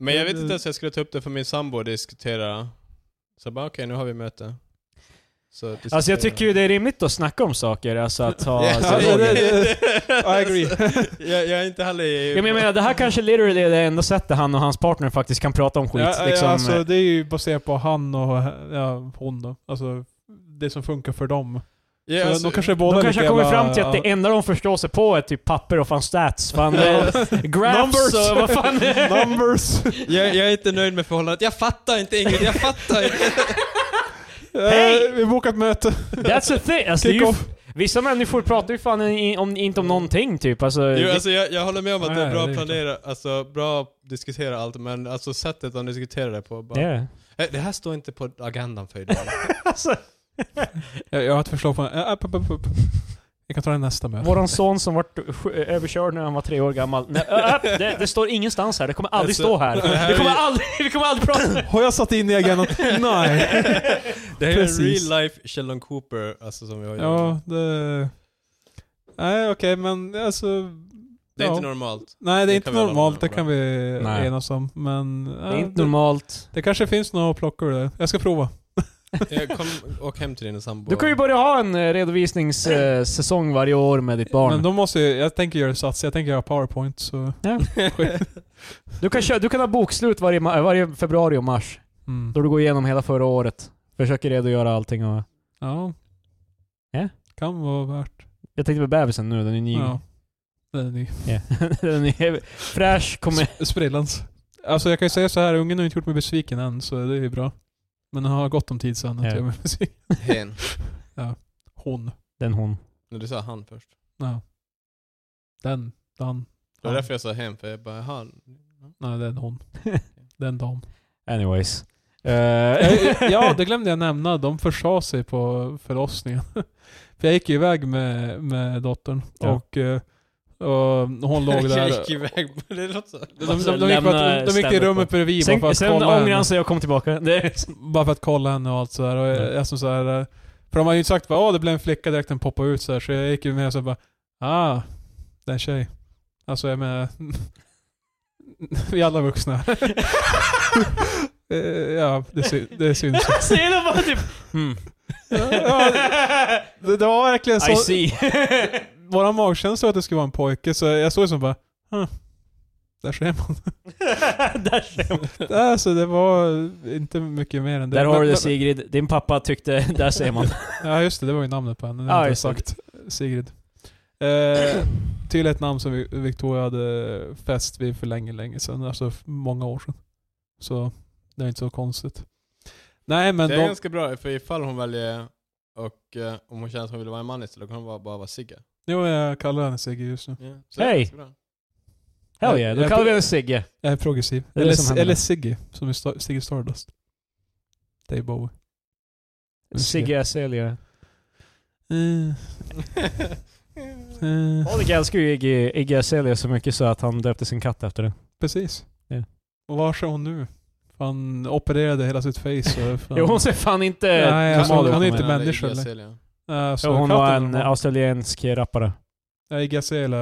Speaker 1: Men jag vet inte ens jag skulle ta upp det för min sambo och diskutera. Så jag bara okej, nu har vi möte. Så diskutera.
Speaker 2: Alltså jag tycker ju det är rimligt att snacka om saker, alltså att ha...
Speaker 1: Ja,
Speaker 2: alltså,
Speaker 3: det-
Speaker 2: dialoger.
Speaker 3: I agree.
Speaker 1: jag, jag är inte heller i...
Speaker 2: Ja, men jag menar, det här kanske literally är det enda sättet han och hans partner faktiskt kan prata om skit.
Speaker 3: Ja, ja,
Speaker 2: liksom,
Speaker 3: alltså, eh, det är ju baserat på han och ja, hon då. Alltså det som funkar för dem.
Speaker 1: Ja,
Speaker 3: Så
Speaker 1: alltså,
Speaker 3: de kanske är båda
Speaker 2: Då kanske
Speaker 3: lika
Speaker 2: jag kommer
Speaker 3: jävla-
Speaker 2: fram till att det enda de förstår sig på är typ papper och fan stats. Fan, eh, graphs
Speaker 3: Numbers.
Speaker 2: och vad fan.
Speaker 3: Numbers! Eh,
Speaker 1: jag, jag är inte nöjd med förhållandet. Jag fattar inte Ingrid, jag fattar inte.
Speaker 2: Hej!
Speaker 3: Eh, Vi bokar ett möte.
Speaker 2: That's a thing. Alltså, det är ju,
Speaker 3: Kick-off.
Speaker 2: vissa människor pratar ju fan i- om, inte om någonting typ. Alltså,
Speaker 1: Jo,
Speaker 2: det-
Speaker 1: alltså, jag, jag håller med om att det är
Speaker 3: Nej,
Speaker 1: bra att
Speaker 3: det är klart.
Speaker 1: planera, alltså bra att diskutera allt, men alltså sättet de diskuterar det på bara...
Speaker 2: yeah.
Speaker 1: Eh, Det här står inte på agendan för idag.
Speaker 2: alltså,
Speaker 3: Jag, jag har ett förslag på en... eh, upp, upp, upp, upp. Jag kan ta det nästa möte.
Speaker 2: Våran son som vart sj- överkörd när han var tre år gammal. Nej, ö, ö, det, det står ingenstans här, det kommer aldrig
Speaker 1: Alltså,
Speaker 2: stå här.
Speaker 1: det här
Speaker 2: Det kommer
Speaker 1: är-
Speaker 2: aldrig, vi kommer aldrig prata om det.
Speaker 3: Har jag satt in i agendan? Nej.
Speaker 1: Det här är en
Speaker 3: Precis.
Speaker 1: real life Sheldon Cooper, alltså som jag gör.
Speaker 3: Ja, det... Nej, okej, men alltså...
Speaker 1: Det är
Speaker 3: ja.
Speaker 1: inte normalt.
Speaker 3: Nej, det är
Speaker 1: Det
Speaker 3: inte
Speaker 1: kan vi hålla
Speaker 3: normalt.
Speaker 1: med
Speaker 3: Det
Speaker 1: om.
Speaker 3: kan vi
Speaker 4: Nej.
Speaker 3: enas om. Men...
Speaker 2: Det
Speaker 3: ja,
Speaker 2: är inte normalt.
Speaker 3: Det kanske finns några att plocka ur det. Jag ska prova.
Speaker 1: Jag kom, åk hem till din sambo.
Speaker 2: Du kan ju börja ha en eh, redovisningssäsong varje år med ditt barn.
Speaker 3: Men då måste jag... Jag tänker göra sats. Jag tänker göra powerpoint, så...
Speaker 2: Du kan, köra, du kan ha bokslut varje, ma- varje februari och mars.
Speaker 3: Mm.
Speaker 2: Då du går igenom hela förra året. Försöker redogöra allting och...
Speaker 3: Ja.
Speaker 2: Ja.
Speaker 3: Kan vara värt.
Speaker 2: Jag tänkte på bebisen nu, den är ny.
Speaker 3: Ja. Det är ny.
Speaker 2: Ja. den är fräsch, kommer...
Speaker 3: S- Sprillans. Alltså jag kan ju säga så här, ungen har inte gjort mig besviken än, så det är ju bra. Men han har gott om tid sen att
Speaker 2: Ja.
Speaker 3: göra mig besviken.
Speaker 1: Hen.
Speaker 3: Hon.
Speaker 2: Den hon.
Speaker 1: Nej, Du sa han först.
Speaker 3: Ja. Den. Dan.
Speaker 1: Det var
Speaker 3: Ja.
Speaker 1: därför jag sa hen, för jag bara han.
Speaker 3: Nej, det är en hon. Det är en dam.
Speaker 2: Anyways. Eh,
Speaker 3: Eh, ja, det glömde jag nämna. De försa sig på förlossningen. För jag gick ju iväg med, med dottern
Speaker 2: Ja.
Speaker 3: och, eh, och hon låg där. Eh,
Speaker 1: Jag gick iväg. Det låter så.
Speaker 3: De, de, de,
Speaker 2: Alltså,
Speaker 3: gick,
Speaker 2: lämna
Speaker 3: bara, de gick till
Speaker 2: stället
Speaker 3: rummet bredvid bara för
Speaker 2: sen
Speaker 3: att
Speaker 2: sen
Speaker 3: kolla
Speaker 2: ångrade
Speaker 3: henne.
Speaker 2: han sig och kom tillbaka. Det,
Speaker 3: Bara för att kolla henne och allt sådär. Och jag,
Speaker 2: Mm.
Speaker 3: jag som såhär, eh, för de hade ju sagt bara åh det blev en flicka direkt när den poppade ut såhär. Så jag gick ju med och så bara ah, det är en tjej. Alltså jag menar, vi är alla vuxna. Eh, ja, det, sy- det syns.
Speaker 2: alltså, det är bara typ... Hmm.
Speaker 3: ja, det, det var verkligen
Speaker 2: I
Speaker 3: så.
Speaker 2: see.
Speaker 3: Våran magkänsla var att det skulle vara en pojke så jag såg som bara huh. Där ser man.
Speaker 2: Där ser man.
Speaker 3: alltså, det var inte mycket mer än det.
Speaker 2: Där har
Speaker 3: Men-
Speaker 2: du det
Speaker 3: men-
Speaker 2: Sigrid. Din pappa tyckte... Där ser man.
Speaker 3: Ja just det, det var ju namnet på henne. Det
Speaker 2: Ja,
Speaker 3: har jag inte
Speaker 2: just det.
Speaker 3: sagt. Sigrid. Eh, till ett namn som Vi- Victoria hade fäst vid för länge, länge sedan. Alltså f- många år sedan. Så det är inte så konstigt. Nej men
Speaker 1: Det är
Speaker 3: de,
Speaker 1: ganska bra, för ifall hon väljer och eh, om hon känner att hon vill vara en man istället, då kan hon bara, bara vara Sigge.
Speaker 3: jo, jag kallar henne Sigrid just nu.
Speaker 1: Ja. Så det är
Speaker 2: Hej.
Speaker 1: ganska bra.
Speaker 2: Hell yeah. Då
Speaker 3: Jag-
Speaker 2: kallar vi henne Sigge.
Speaker 3: Jag är progressiv.
Speaker 2: Det är det som
Speaker 3: eller
Speaker 2: händer.
Speaker 3: eller Siggy, som är Sta- Ziggy Stardust. Dave Bowie.
Speaker 2: Sigge Azelia.
Speaker 3: Mm. Mm.
Speaker 2: Oleg älskar ju Iggy, Iggy Azalea så mycket så att han döpte sin katt efter det.
Speaker 3: Precis.
Speaker 2: Ja.
Speaker 3: Och var är hon nu? Han opererade hela sitt face. och fan-
Speaker 2: Jo, hon ser fan inte...
Speaker 3: Nej, alltså,
Speaker 2: normal ut.
Speaker 3: hon är
Speaker 1: Men
Speaker 3: inte
Speaker 1: alla
Speaker 3: människa,
Speaker 1: Iggy
Speaker 3: eller?
Speaker 1: Azalea.
Speaker 3: Ja, Eh, så
Speaker 2: Jo, hon
Speaker 3: katten
Speaker 2: var
Speaker 3: hon
Speaker 2: en australiensk rappare.
Speaker 3: Nej, Gazelle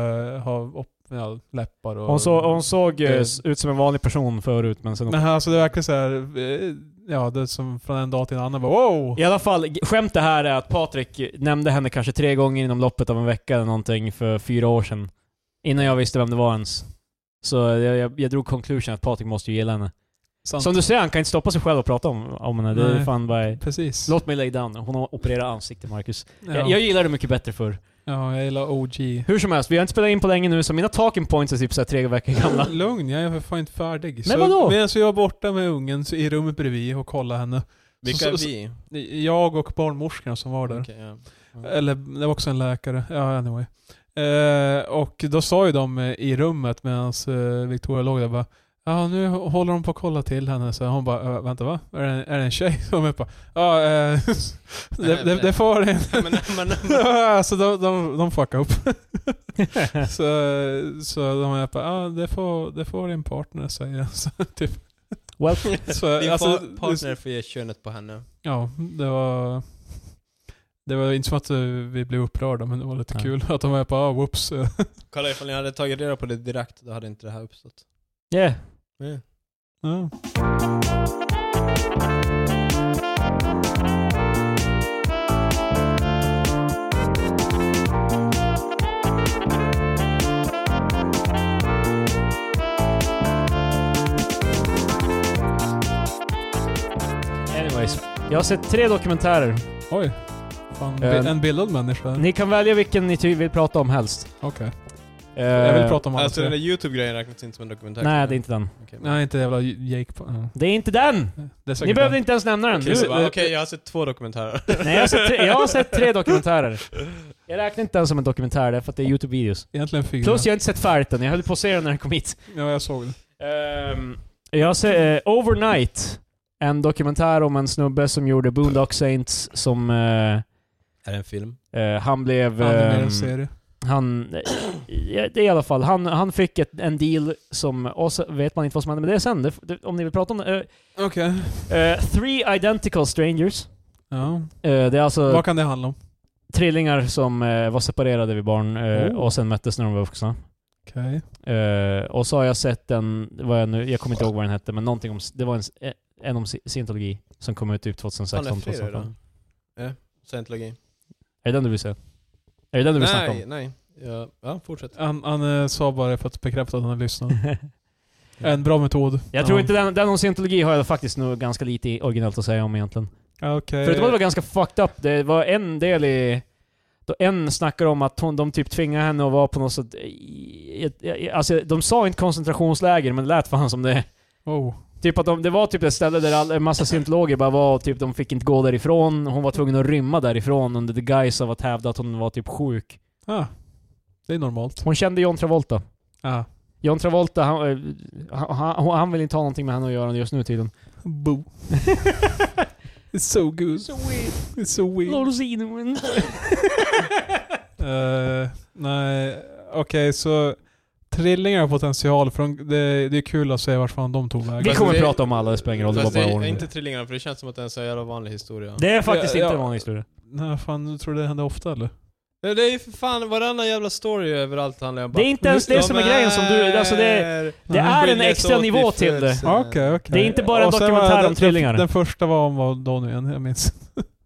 Speaker 3: har upp, ja, läppar och...
Speaker 2: Hon, så, hon såg eh,
Speaker 3: Eh.
Speaker 2: s- ut som en vanlig person förut, men sen...
Speaker 3: Men alltså det verkar så här, eh, ja det är som från en dag till en annan bara wow!
Speaker 2: I alla fall, g- skämt det här är att Patrik nämnde henne kanske tre gånger inom loppet av en vecka eller någonting för fyra år sedan. Innan jag visste vem det var ens. Så jag, jag, jag drog conclusion att Patrik måste ju gilla henne.
Speaker 3: Sant.
Speaker 2: Som du säger, han kan inte stoppa sig själv och prata om, om henne. Det är
Speaker 3: Nej.
Speaker 2: fan bara...
Speaker 3: Precis.
Speaker 2: Låt mig lay down. Hon har opererat ansikte, Marcus.
Speaker 3: ja.
Speaker 2: Jag, jag gillar det mycket bättre för.
Speaker 3: ja, jag gillar OG.
Speaker 2: Hur som helst, vi har inte spelat in på länge nu, så mina talking points är typ såhär tre veckor gamla.
Speaker 3: Lugn, jag är för fan inte färdig.
Speaker 2: Men vadå?
Speaker 3: Medan jag var borta med ungen så i rummet bredvid och kollade henne.
Speaker 1: Vilka
Speaker 3: Så-
Speaker 1: är
Speaker 3: så-
Speaker 1: vi?
Speaker 3: Jag och barnmorskorna som var där.
Speaker 1: Okej, ja.
Speaker 3: Eller det var också en läkare. Ja, anyway. Eh, och då sa ju de eh, i rummet medan eh, Victoria låg där bara Ja, nu håller de på att kolla till henne. Så hon bara, "Äh, vänta va? Är det en, är det en tjej? Och hon bara, ja, eh, det, det, det får det.
Speaker 1: Men, men,
Speaker 3: så de, de, de fuckade upp. så, så de bara, ja, det får, det får din partner säga. Så, typ.
Speaker 2: Well,
Speaker 1: din
Speaker 3: så, alltså,
Speaker 1: par-
Speaker 3: det-
Speaker 1: partner får ge könet på henne.
Speaker 3: Ja, det var... Det var inte som att eh, vi blev upprörda, men det var lite
Speaker 2: Nej.
Speaker 3: kul att de var på ah, whoops.
Speaker 1: Kolla ifall ni hade tagit reda på det direkt, då hade inte det här uppstått.
Speaker 2: yeah.
Speaker 1: Mm.
Speaker 3: Ja.
Speaker 2: Anyways. Jag har sett tre dokumentärer.
Speaker 3: Mm. Oj. Fan, bi-
Speaker 2: Eh,
Speaker 3: en bildad människa. Okej.
Speaker 2: Ni kan välja vilken ni ty- vill prata om helst. Eh,
Speaker 3: Jag vill prata om alla
Speaker 1: Alltså den där
Speaker 3: tre.
Speaker 1: YouTube-grejen räknas inte som en dokumentär.
Speaker 2: Nej, det är inte den.
Speaker 1: Okej, men-
Speaker 3: Nej, inte jävla Jake. på- ja.
Speaker 2: Det är inte den!
Speaker 3: Det är säkert
Speaker 2: Ni behövde
Speaker 3: den.
Speaker 2: inte ens nämna den.
Speaker 1: Okej, så
Speaker 2: Du,
Speaker 1: bara, Okej, jag har sett två dokumentärer.
Speaker 2: nej, jag har, sett tre, jag har sett tre dokumentärer. Jag räknar inte den som en dokumentär, därför att det är YouTube-videos.
Speaker 3: Egentligen fyra.
Speaker 2: Plus, jag har inte sett färdigt den. Jag höll på att se den när den kom hit.
Speaker 3: Ja, jag såg det.
Speaker 2: Ehm, jag har sett eh, Overnight. En dokumentär om en snubbe som gjorde Boondock Saints som... eh,
Speaker 1: Är det en film?
Speaker 2: eh, han blev...
Speaker 3: Animerad
Speaker 2: ehm,
Speaker 3: serie.
Speaker 2: Han... eh, Det är i alla fall. Han, han fick ett, en deal som... Och så vet man inte vad som hände med det sen. Det, det, om ni vill prata om det. Eh,
Speaker 3: Okej.
Speaker 2: eh, three Identical Strangers.
Speaker 3: Ja.
Speaker 2: Eh, det är alltså
Speaker 3: Vad kan det handla om?
Speaker 2: trillingar som eh, var separerade vid barn eh,
Speaker 3: Oh.
Speaker 2: och sen möttes när de var vuxna.
Speaker 3: Okej.
Speaker 2: Eh, och så har jag sett en, vad jag nu, jag kommer inte ihåg vad den hette, men någonting om, det var en, s- eh, en om sci- scientologi som kom ut typ
Speaker 1: Fan, det är
Speaker 2: 2016,
Speaker 1: fredag
Speaker 2: 2015.
Speaker 1: idag. Är det? Scientology.
Speaker 2: Är det den du vill säga? Är det den du vill snacka om?
Speaker 1: Nej, nej. Ja, ja, fortsätt.
Speaker 3: Han, han eh, sa bara det för att bekräfta att han lyssnar. en bra metod.
Speaker 2: Jag tror inte den, den om scientologi har jag faktiskt nog ganska lite i- originellt att säga om egentligen.
Speaker 3: Ja, Okej.
Speaker 2: Förutom att det var ganska fucked up, det var en del i... Då en snackar om att hon, de typ tvingar henne att vara på något sätt... i- i- i- Alltså de sa inte koncentrationsläger, men det lät fan som det.
Speaker 3: Oh.
Speaker 2: Typ att de, det var typ ett ställe där all, en massa scientologer bara var och typ de fick inte gå därifrån. Hon var tvungen att rymma därifrån under the guise av att hävda att hon var typ sjuk.
Speaker 3: Ah. Det är normalt.
Speaker 2: Hon kände John Travolta.
Speaker 3: Ah.
Speaker 2: John Travolta, han, eh, han, han, han vill inte ha någonting med henne att göra just nu tydligen.
Speaker 3: Boo. It's so good. It's so weird. Eh, nej, okej så trillingar har potential för de, det, det är kul att se vart fan de tog
Speaker 2: Vi
Speaker 3: vägen.
Speaker 1: Fast
Speaker 2: kommer
Speaker 1: det-
Speaker 2: prata om alla, det spelar ingen roll. Det var
Speaker 1: Fast det
Speaker 2: bara
Speaker 1: är
Speaker 2: ordning.
Speaker 1: inte trillingarna, för det känns som att det är en så jävla vanlig historia.
Speaker 2: Det är faktiskt
Speaker 3: Ja,
Speaker 2: inte
Speaker 3: ja.
Speaker 2: en vanlig historia.
Speaker 3: Nej fan, du tror det händer ofta eller?
Speaker 1: Nej, det är ju för fan, varannan jävla story överallt handlar ju om
Speaker 2: Det är inte ens det
Speaker 1: De
Speaker 2: som är grejen som du- alltså det-
Speaker 1: är-
Speaker 2: Det
Speaker 3: Nej.
Speaker 2: är en
Speaker 1: skiljer sig
Speaker 2: extra
Speaker 1: åt i
Speaker 2: nivå till det.
Speaker 1: födelsen.
Speaker 3: Ah, okej, okej.
Speaker 2: Det är inte bara en
Speaker 3: Och sen var
Speaker 2: dokumentär
Speaker 3: den-
Speaker 2: om trillingar.
Speaker 3: Den, den första var om vad då nu igen? Jag minns.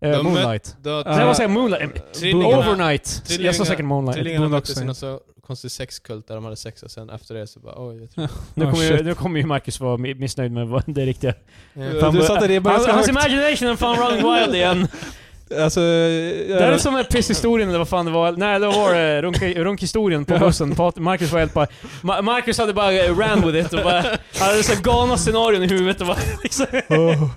Speaker 2: Eh,
Speaker 1: De-
Speaker 2: Moonlight.
Speaker 1: Då-
Speaker 3: Nej,
Speaker 2: Nej
Speaker 3: Eh,
Speaker 2: vad säger jag? Moonlight?
Speaker 1: Trillingarna-
Speaker 2: Overnight.
Speaker 1: Trillingarna-
Speaker 2: Jag sa säkert Moonlight.
Speaker 1: Trillingarna
Speaker 3: Boondock
Speaker 1: möttes i någon
Speaker 3: Saints.
Speaker 1: så konstig sexkult där de hade sex och sen efter det så bara oj, jag tror...
Speaker 2: Nu
Speaker 3: Ah,
Speaker 2: kommer ju,
Speaker 3: shit.
Speaker 2: nu kommer ju Marcus vara mi- missnöjd med vad- det riktiga.
Speaker 1: Ja.
Speaker 2: Fan,
Speaker 3: du
Speaker 2: vad-
Speaker 3: satte ribban
Speaker 2: Hans,
Speaker 3: ganska
Speaker 2: hans
Speaker 3: högt.
Speaker 2: imagination är fan running wild igen.
Speaker 3: Alltså,
Speaker 2: Det här är
Speaker 1: Eh.
Speaker 3: jag,
Speaker 2: som en pisshistorien eller vad fan det var. Nej, det var eh, det runka- runkhistorien på bussen. Pat- Marcus var helt bara... Ma- Marcus hade bara eh, ran with it och bara... Han hade så galna scenarion i huvudet och bara, liksom.
Speaker 3: Oh.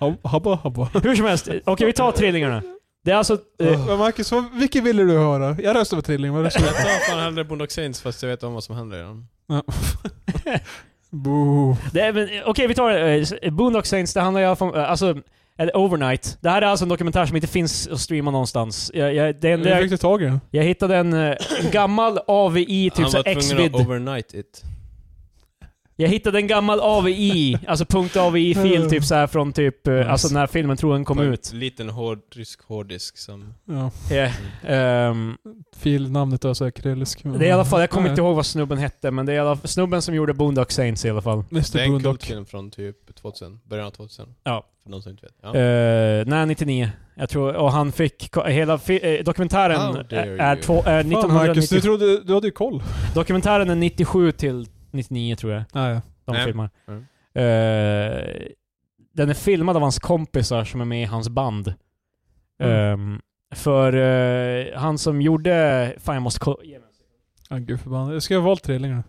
Speaker 3: Hab- Habba, habba.
Speaker 2: Hur som helst. Okej, vi tar trillingarna. Det är alltså... Eh,
Speaker 1: Oh.
Speaker 3: Men Marcus, vad, vilken ville du höra? Jag röstar på trilling, vad röstar du
Speaker 1: Jag tar fan hellre Boondock Saints fast jag vet om vad som händer i den.
Speaker 3: på? Boo.
Speaker 2: det är- men, eh, Okej, vi tar eh, s- Boondock Saints. Det handlar i alla fall om... eh, Alltså... Eller Overnight. Det här är alltså en dokumentär som inte finns att streama någonstans. Jag, jag, det enda
Speaker 3: Hur
Speaker 2: jag,
Speaker 3: fick du tag i den?
Speaker 2: jag hittade en eh, gammal AVI, typ
Speaker 1: Han
Speaker 2: så
Speaker 1: var
Speaker 2: här
Speaker 1: tvungen
Speaker 2: X-vid.
Speaker 1: att overnight it.
Speaker 2: Jag hittade en gammal AVI, alltså .avi-fil typ så här från typ, eh,
Speaker 3: Nice.
Speaker 2: alltså när filmen tror den kom
Speaker 1: På en
Speaker 2: ut. Äh,
Speaker 1: Liten hård, rysk hårddisk som...
Speaker 3: Ja.
Speaker 2: Yeah. Ehm,
Speaker 3: Filnamnet är så krylliskt.
Speaker 2: det är i alla fall, jag kommer inte ihåg vad snubben hette, men det är i alla fall, snubben som gjorde Boondock Saints i alla fall.
Speaker 1: Det är
Speaker 3: Mr
Speaker 1: en kult
Speaker 3: Boondock.
Speaker 1: film från typ 2000, början av 2000.
Speaker 2: Ja.
Speaker 1: För någon som inte vet. Ja.
Speaker 2: Eh, nej, 99. Jag tror, och han fick, ko- hela fi, eh,
Speaker 1: How
Speaker 2: dokumentären
Speaker 1: dare
Speaker 2: är, är,
Speaker 1: you.
Speaker 2: två, är
Speaker 3: Fan Marcus, du,
Speaker 2: 1990,
Speaker 3: trodde, du hade ju koll.
Speaker 2: dokumentären är 97 till 99 tror jag.
Speaker 3: Ah, ja.
Speaker 2: De
Speaker 1: Nej.
Speaker 2: filmar.
Speaker 1: Mm.
Speaker 2: Eh, den är filmad av hans kompisar som är med i hans band.
Speaker 3: Mm.
Speaker 2: Ehm, för eh, han som gjorde... Fan jag måste kolla. ge mig en sekund.
Speaker 3: Ah, gud förbannat. Jag skulle ha valt trillingarna.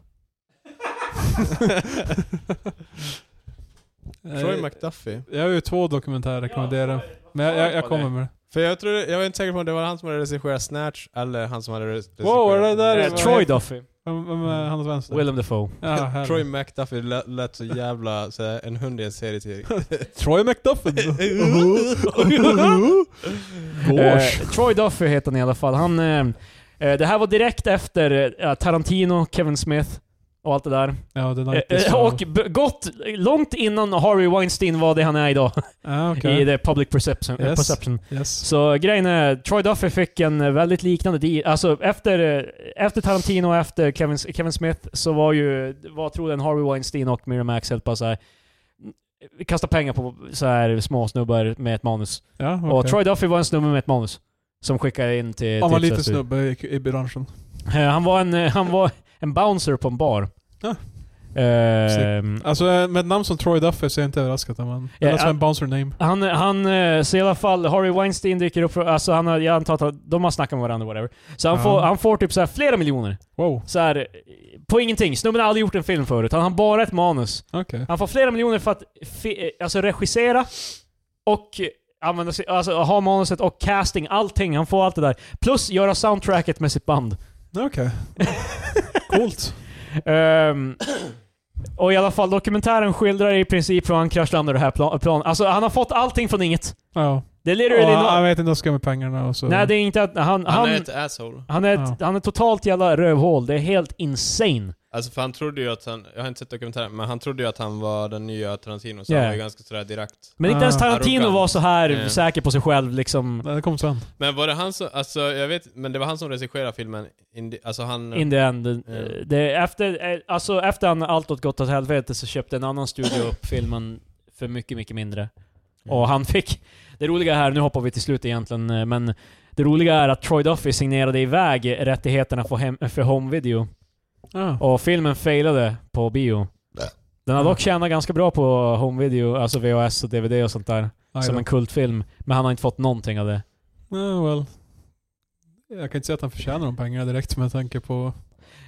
Speaker 1: Troy
Speaker 3: Eh,
Speaker 1: McDuffie.
Speaker 3: Jag har ju två dokumentärer jag rekommenderar. Men jag, jag, jag kommer med det.
Speaker 1: För jag tror, jag var inte säker på om det var han som hade regisserat Snatch eller han som hade regisserat...
Speaker 3: Wow, är det där-
Speaker 2: Eh,
Speaker 3: var-
Speaker 2: Troy Duffy.
Speaker 3: Vem, vem
Speaker 2: Mm.
Speaker 3: är han åt vänster?
Speaker 2: Willem Dafoe.
Speaker 3: Ja, här.
Speaker 1: Troy McDuffie lät, lät så jävla så här, en hund i en serietidning.
Speaker 3: Troy McDuffin! Gosh.
Speaker 2: Eh, Troy Duffy heter han i alla fall. Han, eh, eh, det här var direkt efter eh, Tarantino, Kevin Smith och allt det där.
Speaker 3: Ja, det är
Speaker 2: Eh,
Speaker 3: nice.
Speaker 2: eh, och b- gott, långt innan Harvey Weinstein var det han är idag.
Speaker 3: Ja,
Speaker 2: I
Speaker 3: okej.
Speaker 2: the public perception. eh,
Speaker 3: Yes.
Speaker 2: perception.
Speaker 3: Yes.
Speaker 2: Så grejen är, Troy Duffy fick en eh, väldigt liknande deal. Alltså efter, eh, efter Tarantino och efter Kevin, Kevin Smith så var ju, vad tror den Harvey Weinstein och Miramax helt bara såhär kasta pengar på så här små snubbar med ett manus.
Speaker 3: Ja, okej.
Speaker 2: Och Troy Duffy var en snubbe med ett manus. Som skickade in till...
Speaker 3: Han var
Speaker 2: till-
Speaker 3: lite snubbe i, i branschen. Ah.
Speaker 2: Eh, Han var en, eh, han var en bouncer på en bar.
Speaker 3: Ja.
Speaker 2: Ehm,
Speaker 3: Alltså eh, med ett namn som Troy Duffy så är jag inte överraskad. Men,
Speaker 2: Ja,
Speaker 3: yeah, alltså
Speaker 2: ja.
Speaker 3: en bouncer name.
Speaker 2: han, han, eh, så i alla fall, Harry Weinstein dyker upp, från- alltså han har, jag antar att han- de har snackat med varandra whatever. Så han,
Speaker 3: Ja.
Speaker 2: får, han får typ så här flera miljoner.
Speaker 3: Wow,
Speaker 2: Så här, eh, på ingenting. Snubben har aldrig gjort en film förut, han har bara ett manus.
Speaker 3: okej.
Speaker 2: Han får flera miljoner för att fi- eh, alltså regissera och eh, använda sig, alltså ha manuset och casting, allting. Han får allt det där. Plus göra soundtracket med sitt band.
Speaker 3: Okej. Coolt.
Speaker 2: Ehm, och i alla fall, dokumentären skildrar i princip hur han kraschlandar det här planet. Plan. Alltså han har fått allting från inget.
Speaker 3: Ja.
Speaker 2: Det är
Speaker 3: Och,
Speaker 2: literally
Speaker 3: han
Speaker 2: no-
Speaker 3: vet inte vad jag ska göra med pengarna och så.
Speaker 2: Nej, det är inte att han...
Speaker 1: Han,
Speaker 2: Han,
Speaker 1: är ett asshole.
Speaker 2: han, är ett, han är totalt jävla rövhål. Det är helt insane.
Speaker 1: Alltså för han trodde ju att han, jag har inte sett dokumentären, men han trodde ju att han var den nya Tarantino, så
Speaker 2: Ja.
Speaker 1: han var ju ganska sådär direkt.
Speaker 2: Men inte
Speaker 3: Ah,
Speaker 2: ens Tarantino
Speaker 1: arrogant.
Speaker 2: var så här
Speaker 1: Ja.
Speaker 2: säker på sig själv liksom.
Speaker 3: Nej, det kom sen.
Speaker 1: Men var det han som, alltså jag vet, men det var han som regisserade filmen, Indi, alltså han...
Speaker 2: In the end.
Speaker 1: Ja.
Speaker 2: eh, Det, efter, eh, alltså, efter han allt åt gott åt helvete så köpte en annan studio upp filmen för mycket, mycket mindre. Och han fick... Det roliga här, nu hoppar vi till slut egentligen, eh, men det roliga är att Troy Duffy signerade iväg rättigheterna för, hem, för home video.
Speaker 3: Ja.
Speaker 2: Och filmen failade på bio. Den
Speaker 3: Mm.
Speaker 2: har dock tjänat ganska bra på home video, alltså VHS och DVD och sånt där.
Speaker 3: Aj
Speaker 2: Som
Speaker 3: då.
Speaker 2: en kultfilm. Men han har inte fått någonting av det.
Speaker 3: Ja, well. Jag kan inte säga att han förtjänar de pengarna direkt med tanke på...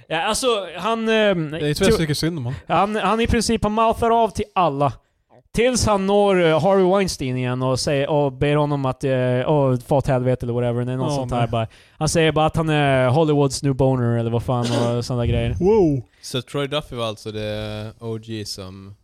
Speaker 2: Ja, alltså, han... ehm,
Speaker 3: Det är inte
Speaker 2: to-
Speaker 3: så tycker synd om honom.
Speaker 2: Han, han i princip han mouthar av till alla. Tills han når eh, Harvey Weinstein igen och, säger, och ber honom att eh, oh, få åt helvete eller whatever. Det är något
Speaker 3: Ja,
Speaker 2: sånt
Speaker 3: men-
Speaker 2: här bara. Han säger bara att han är Hollywoods new boner eller vad fan och sådana där grejer.
Speaker 3: Wow!
Speaker 1: Så Troy Duffy var alltså det OG som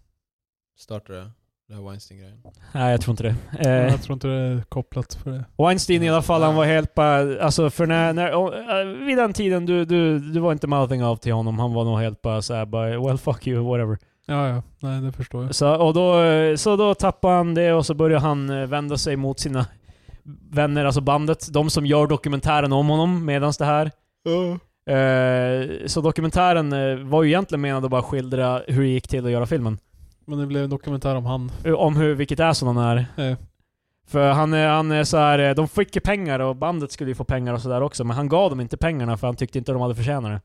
Speaker 1: startade den här Weinstein-grejen?
Speaker 2: Nej, jag tror inte det. Eh,
Speaker 3: Jag tror inte det är kopplat för det.
Speaker 2: Weinstein i alla fall, han
Speaker 1: Nej.
Speaker 2: var helt bara... Alltså för när... när och, eh, vid den tiden, du, du, du var inte mouthing av till honom. Han var nog helt bara såhär bara well fuck you, whatever.
Speaker 3: Ja, ja. Nej, det förstår jag.
Speaker 2: Så, och då, eh, så då tappade han det och så började han eh, vända sig mot sina vänner, alltså bandet. De som gör dokumentären om honom medans det här.
Speaker 3: Oh.
Speaker 2: Eh, Så dokumentären eh, var ju egentligen menad att bara skildra hur det gick till att göra filmen.
Speaker 3: Men det blev en dokumentär om han.
Speaker 2: Eh, Om hur, vilket är som han är.
Speaker 3: Eh,
Speaker 2: För han, är- han är så här, eh, de fick ju pengar och bandet skulle ju få pengar och sådär också, men han gav dem inte pengarna för han tyckte inte de hade förtjänat det.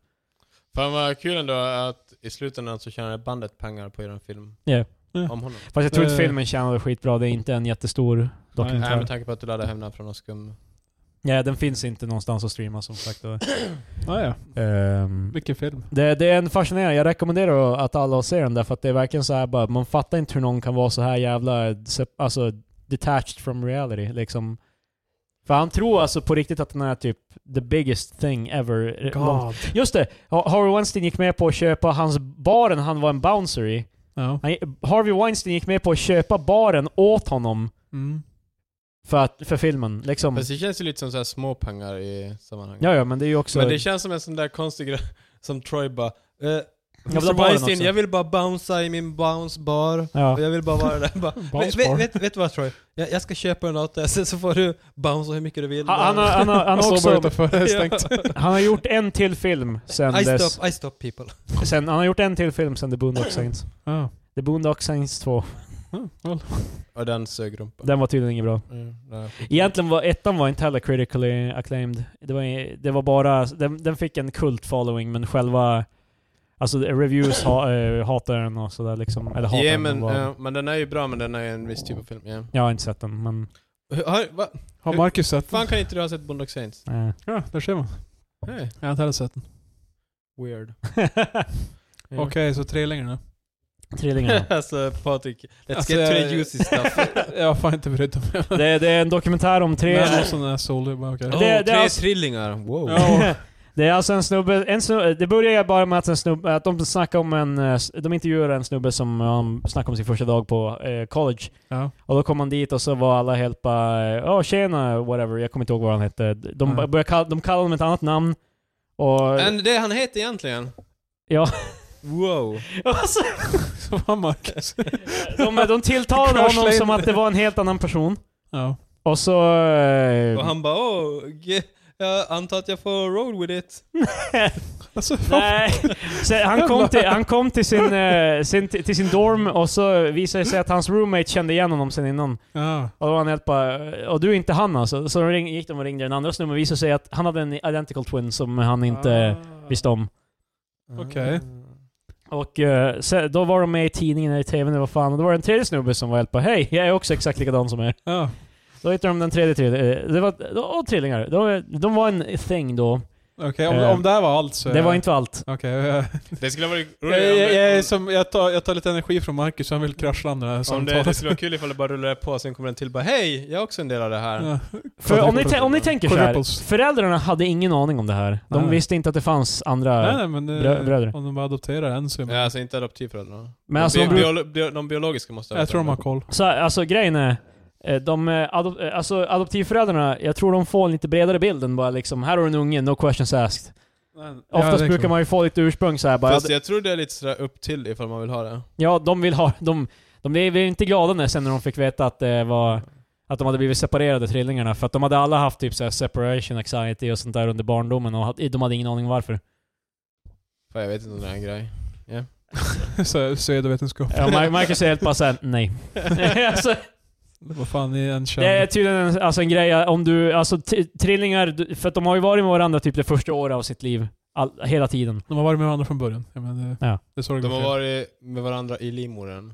Speaker 1: Fan vad kul ändå att i slutändan så tjänade bandet pengar på er film
Speaker 2: Ja.
Speaker 3: Ja.
Speaker 1: om honom.
Speaker 2: Fast jag tror
Speaker 3: Eh.
Speaker 2: inte filmen tjänade skitbra, det är inte en jättestor
Speaker 3: Nej,
Speaker 1: Nej,
Speaker 2: dokumentär.
Speaker 1: Äh, med tanke på att du laddade hem den från något skum.
Speaker 2: Ja, den finns inte någonstans att streama som sagt. och,
Speaker 3: ah, ja.
Speaker 2: ehm,
Speaker 3: Vilken film.
Speaker 2: Det, det är en fascinerande, jag rekommenderar att alla ser den därför att det är verkligen så här bara, man fattar inte hur någon kan vara så här jävla, se- alltså detached from reality liksom. För han tror alltså på riktigt att den är typ the biggest thing ever. Just det! Ha- Harvey Weinstein gick med på att köpa hans baren han var en bouncer i.
Speaker 3: Ja.
Speaker 2: Han, Harvey Weinstein gick med på att köpa baren åt honom
Speaker 3: Mm.
Speaker 2: för, att, för filmen. Liksom.
Speaker 1: Fast det känns ju lite som så här små pengar i sammanhanget.
Speaker 2: Ja, ja, men det är ju också...
Speaker 1: Men det känns som en sån där konstig grej som Troy bara eh,
Speaker 2: ha
Speaker 1: Mr.
Speaker 2: barnen
Speaker 1: Weinstein,
Speaker 2: också."
Speaker 1: jag vill bara bouncea i min bouncebar.
Speaker 2: ja.
Speaker 1: Och jag vill bara vara där. Bara, vet,
Speaker 3: bar.
Speaker 1: vet, vet, vet du vad Troy? Jag, jag ska köpa en åt dig, sen så får du bouncea hur mycket du vill.
Speaker 2: Han, han, har- han, har- han,
Speaker 3: Han
Speaker 2: har
Speaker 3: såg bara
Speaker 2: också,
Speaker 3: utanför. det är
Speaker 1: Ja.
Speaker 3: Stängt.
Speaker 2: han har gjort en till film sen
Speaker 1: I
Speaker 2: dess.
Speaker 1: stop, I stop people.
Speaker 2: Sen, han har gjort en till film sen The Boondock Saints.
Speaker 3: Ja.
Speaker 2: The Boondock Saints 2.
Speaker 3: Ja, well.
Speaker 1: Och den sög rumpan.
Speaker 2: Den var tydligen inget bra.
Speaker 1: Mm, nej.
Speaker 2: Egentligen var ettan var inte heller critically acclaimed. Det var, det var bara... Den, den fick en kult following, men själva... Alltså reviews ha, eh, hatar den och sådär liksom. Eller hatar
Speaker 1: Ja,
Speaker 2: den.
Speaker 1: men,
Speaker 2: bara-
Speaker 1: eh, men den är ju bra, men den är ju en viss typ av film. ja.
Speaker 2: Jag har inte sett den, men...
Speaker 1: Hur- Har, va?
Speaker 3: Har Marcus sett den?
Speaker 1: Fan kan inte du ha sett Bondock Saints?
Speaker 2: eh.
Speaker 3: Ja, där ser man.
Speaker 1: Nej.
Speaker 3: Jag har inte heller sett den.
Speaker 1: Weird.
Speaker 3: Okej, så trillingarna.
Speaker 2: Trillingarna.
Speaker 1: alltså Patrik, let's
Speaker 3: Alltså,
Speaker 1: get to
Speaker 3: jag-
Speaker 1: the juicy stuff.
Speaker 3: jag har fan inte brytt mig.
Speaker 2: det, det är en dokumentär om tre...
Speaker 3: Nej, någon sån där sol. Det är bara okej.
Speaker 1: oh,
Speaker 2: det är
Speaker 1: tre
Speaker 2: alltså-
Speaker 1: trillingar, wow.
Speaker 3: Ja.
Speaker 2: Det är alltså en snubbe, en snubbe, det börjar bara med att, en snubbe, att de snackar om en, eh, s- de intervjuar en snubbe som um, snackar om sin första dag på eh, college.
Speaker 3: Ja.
Speaker 2: Och då kom han dit och så var alla helt bara ja tjena, whatever, jag kommer inte ihåg vad han hette. De,
Speaker 3: Nej.
Speaker 2: började kalla, de kallade honom ett annat namn. Och...
Speaker 1: Men det han heter egentligen?
Speaker 2: Ja.
Speaker 1: Wow.
Speaker 2: Alltså,
Speaker 3: Så var Marcus.
Speaker 2: de, de tilltalade honom
Speaker 3: Crashland.
Speaker 2: som att det var en helt annan person.
Speaker 3: Ja.
Speaker 2: Och så... eh,
Speaker 1: Och han bara åh, ge- jag antar att jag får roll with it.
Speaker 3: Alltså,
Speaker 2: Nej. Så han, kom till, han kom till sin, eh, sin, till sin dorm och så visade det sig att hans roommate kände igen honom sen innan.
Speaker 3: Ja.
Speaker 2: Och då var han helt bara, och du är inte han alltså. Så då ring, gick de och ringde den andra snubben och visade sig att
Speaker 1: Ah.
Speaker 2: han hade en identical twin som han inte visste om.
Speaker 3: Okej.
Speaker 2: Och eh, se- då var de med i tidningen eller i TVn eller vad fan, och då var det en tredje snubbe som var helt bara Hej, jag är också exakt likadan som er.
Speaker 3: Ja.
Speaker 2: Då hittade de den tredje trilling, det var, och trillingar. De, de var en thing då.
Speaker 3: Okej, om,
Speaker 2: Eh,
Speaker 3: om det här var allt så...
Speaker 2: Det var inte allt.
Speaker 3: Okej. eh,
Speaker 1: Det skulle ha varit
Speaker 3: jag, jag, jag, är
Speaker 1: roligt om,
Speaker 3: som, jag, tar, jag tar lite energi från Marcus, han vill kraschlanda det här
Speaker 1: om, om det, det
Speaker 3: samtalet.
Speaker 1: skulle vara kul ifall det bara rullar på och sen kommer den till bara Hej, jag är också en del av det här.
Speaker 3: Ja.
Speaker 2: För om ni, tän- om ni tänker så här,
Speaker 3: Quadruples.
Speaker 2: föräldrarna hade ingen aning om det här. De
Speaker 3: Nej.
Speaker 2: visste inte att det fanns andra...
Speaker 3: Nej, nej, men det,
Speaker 2: Brö- bröder.
Speaker 3: om de bara adopterar en så är man,
Speaker 1: Ja, alltså inte adoptivföräldrarna.
Speaker 2: Men alltså, de,
Speaker 1: de,
Speaker 2: bru-
Speaker 1: biolo- bio, de biologiska måste ha
Speaker 3: Jag tror de har
Speaker 1: varit
Speaker 3: koll.
Speaker 2: så här, alltså grejen är, eh, de, eh, adop- eh, alltså, adoptivföräldrarna, jag tror de får en lite bredare bild än bara liksom, här har du en unge, no questions asked. Oftast brukar man ju få lite ursprung så här, bara,
Speaker 1: Fast jag tror det är lite sådär upp till ifall man vill ha det.
Speaker 2: ja de vill ha, de, de blev inte glada när, sen när de fick veta att det var att de hade blivit separerade, trillingarna, för att de hade alla haft typ så här separation anxiety och sånt där under barndomen och hade- de hade ingen aning varför.
Speaker 1: Fan, jag vet inte om det är en grej.
Speaker 3: man... Pseudovetenskap.
Speaker 2: Ja, Mar- Marcus är helt bara såhär, nej. alltså,
Speaker 3: Vad fan är en kön?
Speaker 2: Det är tydligen en, alltså en grej, om du, alltså t- trillingar, du- för att de har ju varit med varandra typ det första året av sitt liv. All, hela tiden.
Speaker 3: De har varit med varandra från början. Jag menar, det,
Speaker 2: Ja.
Speaker 3: det är så det går
Speaker 1: De har
Speaker 3: till.
Speaker 1: varit med varandra i livmodern.